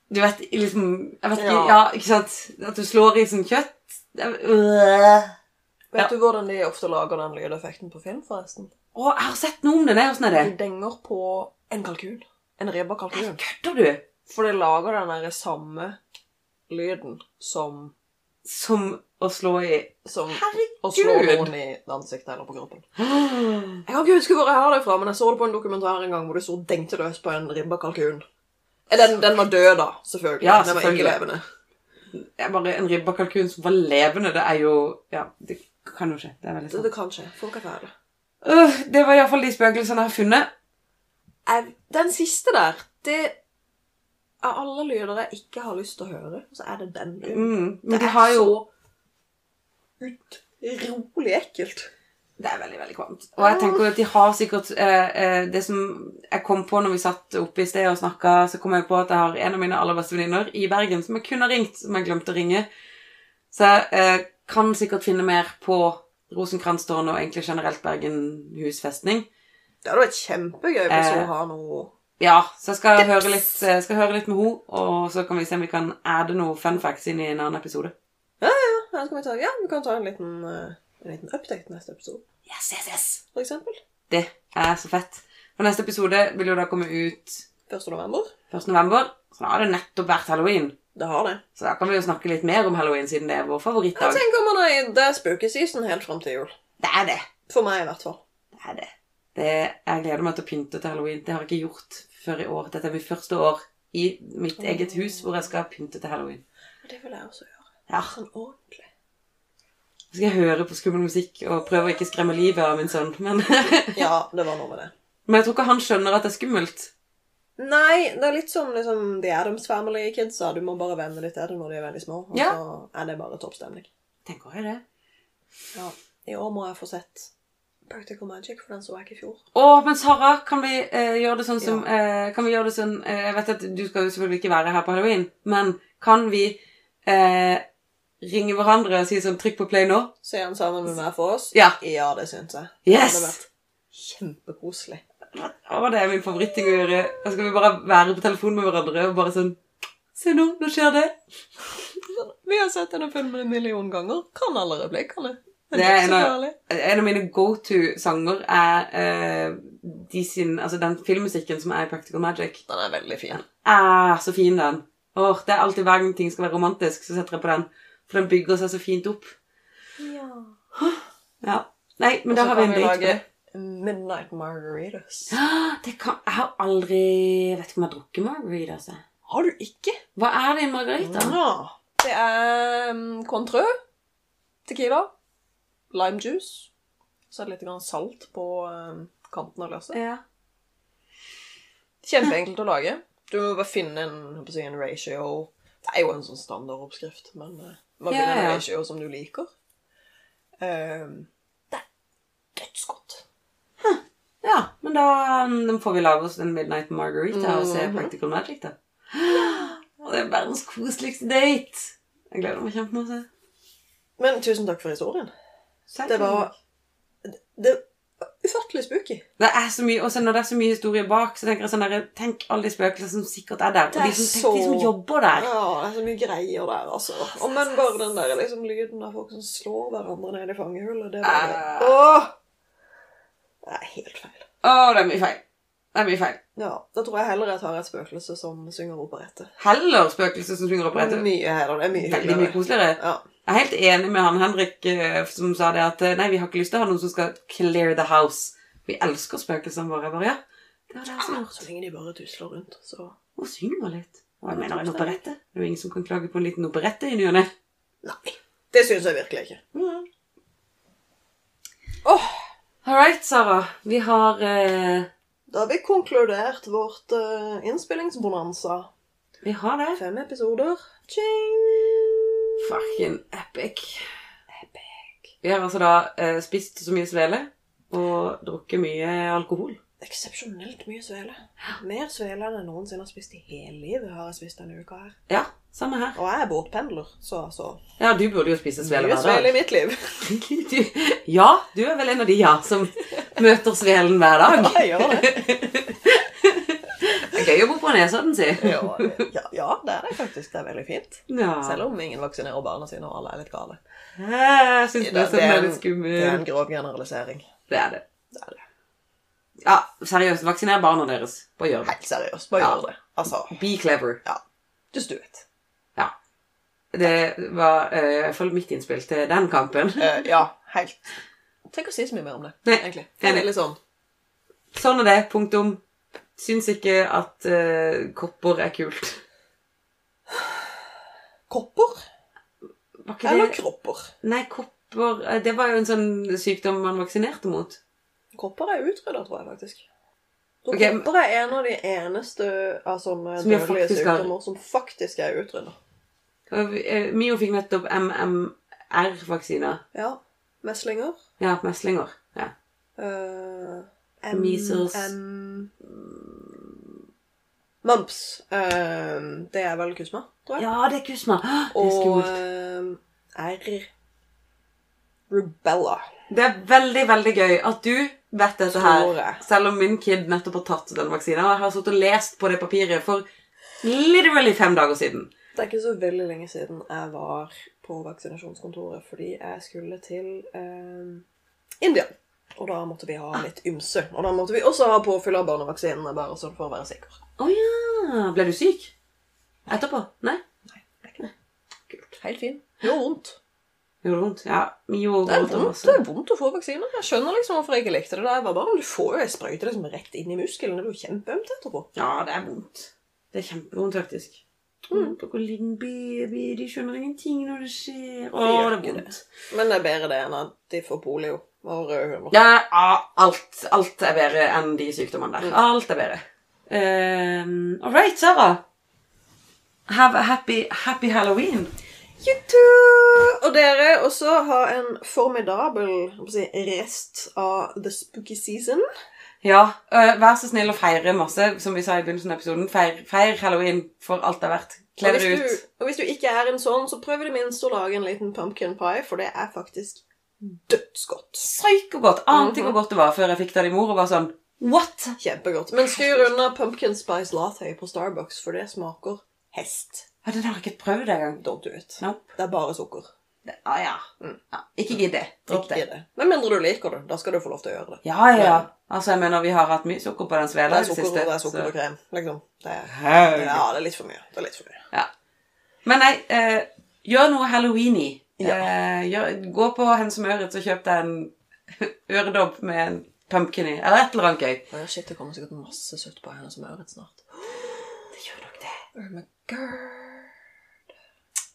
Speaker 3: du vet liksom jeg vet ikke,
Speaker 2: Ja.
Speaker 3: ja. ikke sant? At du slår i sånn kjøtt. Øh.
Speaker 2: Vet du hvordan de ofte lager den lydeffekten på film, forresten?
Speaker 3: Å, jeg har sett noe om det. Nei, Åssen er det?
Speaker 2: De denger på en kalkun. En ribba kalkun.
Speaker 3: Kødder du?
Speaker 2: For de lager den der samme lyden som,
Speaker 3: Som å slå i
Speaker 2: som å slå
Speaker 3: Herregud!
Speaker 2: noen i ansiktet eller på kroppen.
Speaker 3: Åh.
Speaker 2: Jeg kan ikke huske hvor jeg har det fra, men jeg så det på en dokumentar en gang hvor du så dengte løs på en ribba kalkun. Eh, Den, den var død, da. Selvfølgelig.
Speaker 3: Ja,
Speaker 2: Den var
Speaker 3: selvfølgelig.
Speaker 2: ikke levende.
Speaker 3: Det er bare en ribba kalkun som var levende. Det er jo Ja, det kan jo skje. Det er veldig
Speaker 2: Det,
Speaker 3: sant.
Speaker 2: det kan skje. Folk er fæle.
Speaker 3: Øh, det var iallfall de spøkelsene jeg har funnet.
Speaker 2: Jeg- Den siste der, det Av alle lyder jeg ikke har lyst til å høre, så er det den lyden.
Speaker 3: Mm.
Speaker 2: Det
Speaker 3: Men de
Speaker 2: er
Speaker 3: har jo
Speaker 2: Rolig ekkelt.
Speaker 3: Det er veldig, veldig kvalmt. Og jeg tenker jo at de har sikkert eh, eh, Det som jeg kom på når vi satt oppe i sted og snakka, så kom jeg på at jeg har en av mine aller beste venninner i Bergen som jeg kunne ha ringt, som jeg glemte å ringe. Så jeg eh, kan sikkert finne mer på Rosenkrantztårnet og egentlig generelt Bergen husfestning.
Speaker 2: Det hadde vært kjempegøy hvis
Speaker 3: Eh.
Speaker 2: hun har noe
Speaker 3: Ja, så jeg skal høre litt, eh, skal høre litt med henne, og så kan vi se om vi kan adde noe fun facts inn i en annen episode.
Speaker 2: Ja, skal vi ta, ja, vi kan ta en liten, eh, en liten update neste episode.
Speaker 3: Yes, yes, yes!
Speaker 2: for eksempel.
Speaker 3: Det er så fett. For neste episode vil jo da komme ut
Speaker 2: 1. november.
Speaker 3: 1. november, så da har det nettopp vært halloween.
Speaker 2: Det har det.
Speaker 3: Så da kan vi jo snakke litt mer om halloween, siden det er vår
Speaker 2: Jeg
Speaker 3: favorittdag.
Speaker 2: tenker man er i det er spøkeseason helt fram til jul.
Speaker 3: Det er det.
Speaker 2: For meg i hvert fall.
Speaker 3: Det er det. det. Jeg gleder meg til å pynte til halloween. Det har jeg ikke gjort før i år. Dette er mitt første år i mitt eget hus hvor jeg skal pynte til halloween.
Speaker 2: Det vil jeg også gjøre.
Speaker 3: Ja,
Speaker 2: Sånn
Speaker 3: [laughs]
Speaker 2: ordentlig.
Speaker 3: Så skal jeg høre på skummel musikk og prøve å ikke skremme livet av min sønn. Men, [laughs] men
Speaker 2: Ja, det var noe med det.
Speaker 3: jeg tror ikke han skjønner at det er skummelt.
Speaker 2: Nei, det er litt som liksom, The Adams Family-kidsa. Du må bare venne deg til det når de er veldig små. Og
Speaker 3: Ja.
Speaker 2: så er det bare toppstemning.
Speaker 3: Tenker jeg det.
Speaker 2: Ja. I år må jeg få sett Practical Magic, for den så jeg ikke i fjor.
Speaker 3: Å, men Sara, kan vi eh, gjøre det sånn som eh, Kan vi gjøre det sånn eh, Jeg vet at du skal jo selvfølgelig ikke være her på halloween, men kan vi eh, ringe hverandre og si sånn 'trykk på play nå'?
Speaker 2: Se den sammen med meg for oss.
Speaker 3: Ja.
Speaker 2: Ja, det syns jeg. Det
Speaker 3: Yes!
Speaker 2: hadde vært kjempekoselig.
Speaker 3: Å, det er min favoritting å gjøre. Da skal vi bare være på telefon med hverandre og bare sånn Se nå, nå skjer det.
Speaker 2: Vi har sett denne filmen en million ganger. Kan alle replikkene. Men
Speaker 3: Det er
Speaker 2: ikke så
Speaker 3: en av-
Speaker 2: farlig.
Speaker 3: En av mine go to-sanger er eh, de sin, altså den filmmusikken som er i Practical Magic.
Speaker 2: Den er veldig fin.
Speaker 3: Er Ah, så fin, den. Åh, det er alltid Hver gang ting skal være romantisk, så setter jeg på den. For den bygger seg så fint opp.
Speaker 2: Ja.
Speaker 3: Ja. Nei, men da har vi en date. på det.
Speaker 2: Midnight Margaritas.
Speaker 3: Ah, Det kan, jeg har aldri Jeg vet ikke om jeg har drukket margarita. Altså.
Speaker 2: Har du ikke?
Speaker 3: Hva er det i margarita?
Speaker 2: Ja. Det er um, Cointreau, tequila, lime juice, så er det litt grann salt på um, kanten av glasset.
Speaker 3: Ja.
Speaker 2: Kjempeenkelt å lage. Du må bare finne en, jeg holdt på å si, en ratio. Det er jo en sånn standardoppskrift, men eh, man
Speaker 3: Ja,
Speaker 2: finner
Speaker 3: ja.
Speaker 2: en ratio som du liker. Ehm, det er dødsgodt.
Speaker 3: ja, men da mm, får vi lage oss en Midnight Margarita og se
Speaker 2: Mhm.
Speaker 3: Practical Magic, da. [gasps] Og det er verdens koseligste date! Jeg gleder meg kjempemasse.
Speaker 2: Men tusen takk for historien.
Speaker 3: Selv
Speaker 2: Det
Speaker 3: om-
Speaker 2: var- Det var ufattelig spooky.
Speaker 3: Det er så mye, og så når det er så mye historie bak, så tenker jeg sånn der, tenk alle de spøkelsene som sikkert er der.
Speaker 2: Det
Speaker 3: og
Speaker 2: er
Speaker 3: de som, tenk
Speaker 2: så-
Speaker 3: de som jobber der.
Speaker 2: Ja, det er så mye greier der, altså. Og men bare den der liksom, lyden av folk som slår hverandre ned i fangehullet, det var
Speaker 3: Ah.
Speaker 2: Åh! Det er helt feil.
Speaker 3: Å, det er mye feil. Det er mye feil.
Speaker 2: Ja, da tror jeg heller jeg tar et spøkelse som synger operette.
Speaker 3: Heller spøkelser som synger opp
Speaker 2: Det
Speaker 3: rett.
Speaker 2: er mye heller, det er mye
Speaker 3: Veldig mye koseligere.
Speaker 2: Ja.
Speaker 3: Jeg er helt enig med han Henrik eh, som sa det at eh, nei, vi har ikke lyst til å ha noen som skal clear the house. Vi elsker spøkelsene våre. Jeg bare, ja. Det var det jeg som gjorde.
Speaker 2: Så lenge de bare tusler rundt, så
Speaker 3: Hun synger litt. Og jeg mener en operette. Det er jo ingen som kan klage på en liten operette i ny og ne.
Speaker 2: Nei. Det syns jeg virkelig ikke. Åh,
Speaker 3: All right, Sara. Vi har eh,
Speaker 2: Da har vi konkludert vårt eh, innspillingsbonanza.
Speaker 3: Vi har det.
Speaker 2: Fem episoder. Ching!
Speaker 3: Fucking epic. Vi har altså da eh, spist så mye svele og drukket mye alkohol.
Speaker 2: Eksepsjonelt mye svele. Mer svele enn jeg noensinne har spist i hele livet. har jeg spist denne uka her.
Speaker 3: Ja, samme her.
Speaker 2: Og jeg er båtpendler, så altså
Speaker 3: Ja, du burde jo spise svele
Speaker 2: Mye
Speaker 3: hver dag.
Speaker 2: svele i mitt liv.
Speaker 3: [laughs] Du, ja, du er vel en av de ja som møter svelen hver dag.
Speaker 2: Ja, jeg gjør det.
Speaker 3: Det er gøy å bo på Nesodden, si.
Speaker 2: Ja, ja, ja, det er det faktisk. Det er veldig fint.
Speaker 3: Ja.
Speaker 2: Selv om ingen vaksinerer barna sine, og alle er litt gale.
Speaker 3: Jeg syns
Speaker 2: Det
Speaker 3: Nesodden
Speaker 2: er
Speaker 3: er
Speaker 2: en, det er
Speaker 3: litt
Speaker 2: en
Speaker 3: skummel.
Speaker 2: grov generalisering.
Speaker 3: Det er det.
Speaker 2: Det er det.
Speaker 3: Ja, seriøst, vaksiner barna deres. Bare gjør det.
Speaker 2: Helt seriøst, bare
Speaker 3: Ja.
Speaker 2: gjør det. Altså,
Speaker 3: Be clever.
Speaker 2: just do it.
Speaker 3: Ja. Det var eh, i hvert fall mitt innspill til den kampen.
Speaker 2: Eh, ja, helt. Tenk å si så mye mer om det,
Speaker 3: Nei,
Speaker 2: egentlig. Det er
Speaker 3: enig.
Speaker 2: litt sånn,
Speaker 3: Sånn er det. Punktum. Syns ikke at eh, kopper er kult.
Speaker 2: kopper
Speaker 3: Var ikke
Speaker 2: eller
Speaker 3: det
Speaker 2: kropper?
Speaker 3: Nei, kopper eh, Det var jo en sånn sykdom man vaksinerte mot.
Speaker 2: Kropper er utrydda, tror jeg faktisk. Så
Speaker 3: Ok, men-
Speaker 2: Kropper er en av de eneste av sånne
Speaker 3: Som jeg
Speaker 2: dødelige
Speaker 3: faktisk har-
Speaker 2: sykdommer som faktisk er utrydda.
Speaker 3: Eh, Mio fikk nettopp MMR-vaksiner.
Speaker 2: Ja. Meslinger.
Speaker 3: Ja, meslinger. Ja.
Speaker 2: Uh,
Speaker 3: Measles.
Speaker 2: Mumps. Eh, det er vel kusma, tror jeg.
Speaker 3: ja, det er kusma. [gasps] Åh, Det er
Speaker 2: Og
Speaker 3: skummelt.
Speaker 2: eh, R. Rubella.
Speaker 3: Det er veldig, veldig gøy at du vet dette
Speaker 2: Tror
Speaker 3: Altså her.
Speaker 2: jeg.
Speaker 3: Selv om min kid nettopp har tatt den vaksinen. Og jeg har sittet og lest på det papiret for literally fem dager siden.
Speaker 2: Det er ikke så veldig lenge siden jeg var på vaksinasjonskontoret fordi jeg skulle til eh, India. Og da måtte vi ha litt ymse. Og da måtte vi også ha påfyll av barnevaksinene, bare sånn for å være sikker.
Speaker 3: Å ja. Ble du syk? Etterpå? Nei?
Speaker 2: Nei, det er ikke det. Kult. Helt fin. Gjorde vondt.
Speaker 3: Gjorde det vondt? Ja. Mye
Speaker 2: Det er
Speaker 3: vondt.
Speaker 2: vondt, det er vondt å få vaksiner. Jeg skjønner liksom hvorfor jeg ikke likte det da jeg var barn. Du får jo ei sprøyte liksom rett inn i muskelen. Det blir jo kjempeømt etterpå.
Speaker 3: Ja, det er vondt. Det er kjempevondt, faktisk. Mm. Dere er liten baby, de skjønner ingenting når det skjer. Å,
Speaker 2: gjør
Speaker 3: det er
Speaker 2: ikke
Speaker 3: vondt.
Speaker 2: Men det er bedre det enn at de får polio og rød humor.
Speaker 3: Ja, ja, alt, alt er bedre enn de sykdommene
Speaker 2: Mm.
Speaker 3: der. Alt er bedre. Um, all right, Sara. Have a happy, happy Halloween.
Speaker 2: You too! Og dere også har en formidabel jeg må si, rest av the spooky season.
Speaker 5: Ja.
Speaker 3: Eh, vær så snill å feire masse, som vi sa i begynnelsen av episoden. Feir, feir halloween for alt det er verdt. Kle
Speaker 2: Og
Speaker 3: dere
Speaker 2: hvis,
Speaker 3: ut.
Speaker 2: du, og hvis du ikke er en sånn, så prøv i det minste å lage en liten pumpkin pie, for det er faktisk dødsgodt.
Speaker 3: Psykogodt. Ante
Speaker 2: Mhm.
Speaker 3: ikke hvor godt det var før jeg fikk det av din mor og var sånn What?
Speaker 2: Kjempegodt. Men skyr unna pumpkin spice latte på Starbucks, for det smaker hest.
Speaker 3: Ja, Den har jeg ikke prøvd engang.
Speaker 2: Don't do it.
Speaker 3: Nope.
Speaker 2: Det er bare sukker.
Speaker 3: Det- Ah, ja.
Speaker 2: Mm.
Speaker 3: ja. Ikke gidd det. Dropp
Speaker 2: Ikke
Speaker 3: det.
Speaker 2: gi det. Med mindre du liker det. Da skal du få lov til å gjøre det.
Speaker 3: Ja, ja. Altså, jeg mener, vi har hatt mye sukker på den
Speaker 2: Det
Speaker 3: svela i
Speaker 2: er
Speaker 3: det
Speaker 2: sukker, og det
Speaker 3: siste.
Speaker 2: er sukker
Speaker 3: så-
Speaker 2: og krem. Liksom. Det er,
Speaker 3: Haug.
Speaker 2: ja, det er litt for mye. Det er litt for mye.
Speaker 3: Ja. Men nei, eh, gjør noe halloweeny.
Speaker 2: Ja.
Speaker 3: Eh, gjør, gå på Hens og Møritz og kjøp deg en [laughs] øredobb med en pumpkin i, eller et eller annet gøy.
Speaker 2: Men shit, det kommer sikkert masse søtt på henne som øret snart.
Speaker 3: [gasps] Det gjør nok det.
Speaker 2: Oh my god.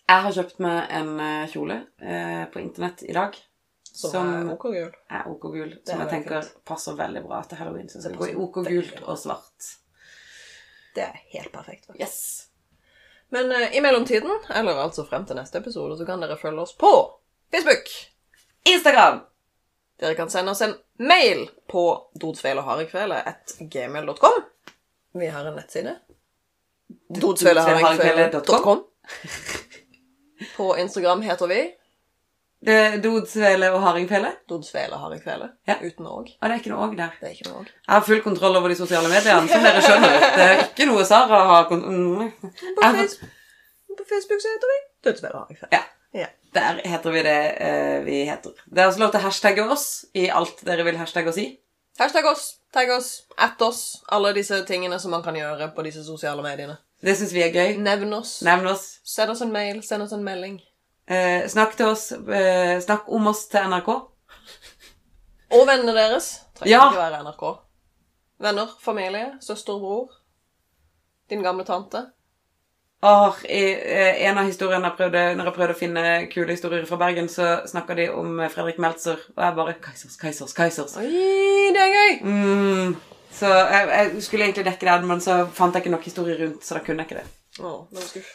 Speaker 3: Jeg har kjøpt meg en eh, kjole eh, på internett i dag.
Speaker 2: Som,
Speaker 3: Som
Speaker 2: er okergul.
Speaker 3: er OK gul,
Speaker 2: Det er
Speaker 3: som jeg
Speaker 2: veldig
Speaker 3: tenker
Speaker 2: fint.
Speaker 3: passer veldig bra til halloween. Så
Speaker 2: Det
Speaker 3: jeg skal gå i
Speaker 2: passer
Speaker 3: OK
Speaker 2: veldig
Speaker 3: gult
Speaker 2: bra.
Speaker 3: og svart.
Speaker 2: Det er helt perfekt. faktisk.
Speaker 3: Yes.
Speaker 2: Men eh, i mellomtiden, eller altså frem til neste episode, så kan dere følge oss på Facebook.
Speaker 3: Instagram!
Speaker 2: Dere kan sende oss en mail på dodsveilerharekvelet.gmail.com. Vi har en nettside. Dodsveilerharekvelet.com. På Instagram heter vi
Speaker 3: Det er Dodsvele og hardingfele.
Speaker 2: Dodsveilerharekvelet.
Speaker 3: Ja.
Speaker 2: Uten òg.
Speaker 3: Og det er ikke noe òg der.
Speaker 2: Det er ikke noe òg.
Speaker 3: Jeg har full kontroll over de sosiale mediene, som dere skjønner. Det er ikke noe Sara har kon- mm.
Speaker 2: På,
Speaker 3: Jeg har fått-
Speaker 2: Face- på Facebook så heter vi Dodsveilerharekvelet.
Speaker 3: Ja. Der heter vi det eh, vi heter. Det er også lov til å hashtagge oss i alt dere vil hashtagge oss i.
Speaker 2: Hashtag oss, tagg oss, at oss. Alle disse tingene som man kan gjøre på disse sosiale mediene.
Speaker 3: Det syns vi er gøy.
Speaker 2: Nevn oss.
Speaker 3: Nevn oss.
Speaker 2: Send oss en mail, send oss en melding.
Speaker 3: Eh, snakk til oss. Eh, snakk om oss til NRK.
Speaker 2: Og vennene deres. Trenger
Speaker 3: Ja.
Speaker 2: ikke være NRK. Venner, familie, søster og bror. Din gamle tante.
Speaker 3: Åh, i eh, en av historiene jeg prøvde, når jeg prøvde å finne kule historier fra Bergen, så snakka de om eh, Fredrik Meltzer, og jeg bare Keisers, Keisers, Keisers.
Speaker 2: Oi, det er gøy!
Speaker 3: Mm. Så jeg, jeg skulle egentlig dekke det, men så fant jeg ikke nok historier rundt, så da kunne jeg ikke det.
Speaker 2: Mm. Å, det var skuff.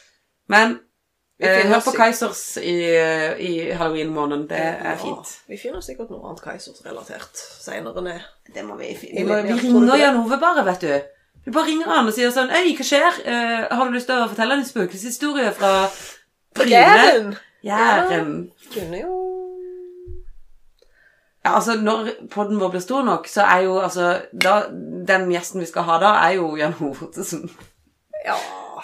Speaker 3: Men
Speaker 2: Vi
Speaker 3: eh,
Speaker 2: finner
Speaker 3: hør
Speaker 2: oss
Speaker 3: på
Speaker 2: i-
Speaker 3: Keisers i, eh, i halloween-måneden. Det er fint.
Speaker 2: Ja, vi finner sikkert noe annet Keisers-relatert senere ned.
Speaker 3: Det må vi
Speaker 2: Vi
Speaker 3: finne. Vi,
Speaker 2: må- vi tror
Speaker 3: ringer
Speaker 2: det.
Speaker 3: Jan Ove bare, vet du. Vi bare ringer han og sier sånn Øy, hva skjer? Eh, har du lyst til å fortelle en spøkelseshistorie fra Bryne?
Speaker 2: Jæren!
Speaker 3: Jæren.
Speaker 2: Kunne jo
Speaker 3: Ja, altså, når podden vår blir stor nok, så er jo altså da, Den gjesten vi skal ha da, er jo Jan Ove Ottesen.
Speaker 2: Ja.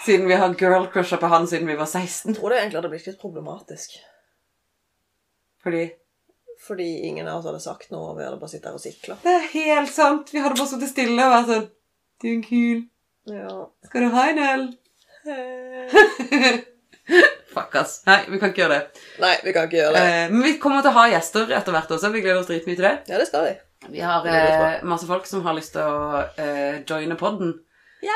Speaker 3: Siden vi har girlcrusha på han siden vi var 16.
Speaker 2: Jeg tror det egentlig hadde blitt litt problematisk.
Speaker 3: Fordi
Speaker 2: Fordi ingen av oss hadde sagt noe, og vi hadde bare sittet her og sikla.
Speaker 3: Det er helt sant. Vi hadde bare sittet stille og vært sånn Du er en kul. [laughs]
Speaker 2: Ja.
Speaker 3: Skal du ha en øl? Fuck, ass. Nei, vi kan ikke gjøre det.
Speaker 2: Nei, vi kan ikke gjøre det.
Speaker 3: Eh, men vi kommer til å ha gjester etter hvert også. Vi gleder oss dritmye til det.
Speaker 2: Ja, det skal vi.
Speaker 3: Vi har
Speaker 2: Det blir
Speaker 3: eh, masse folk som har lyst til å eh, joine podden.
Speaker 2: Ja!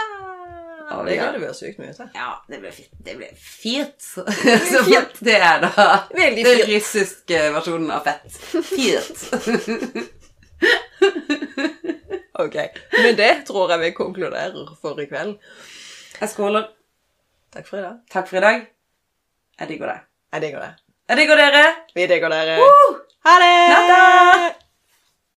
Speaker 3: Ja,
Speaker 2: Det
Speaker 3: vi
Speaker 2: gleder
Speaker 3: gjør
Speaker 2: vi oss sykt mye til.
Speaker 3: Ja, det blir fint. Det blir [laughs] fint. Som at det er da
Speaker 2: Veldig
Speaker 3: den
Speaker 2: fint.
Speaker 3: russiske versjonen av [laughs] fett. Fint.
Speaker 2: Ok. Med det tror jeg vi konkluderer for i kveld.
Speaker 3: Jeg skåler.
Speaker 2: Takk for i dag.
Speaker 3: Takk for i dag. Jeg digger deg.
Speaker 2: Jeg digger det.
Speaker 3: Jeg digger dere.
Speaker 2: Vi digger dere.
Speaker 3: Woo!
Speaker 2: Ha det!
Speaker 3: Natta!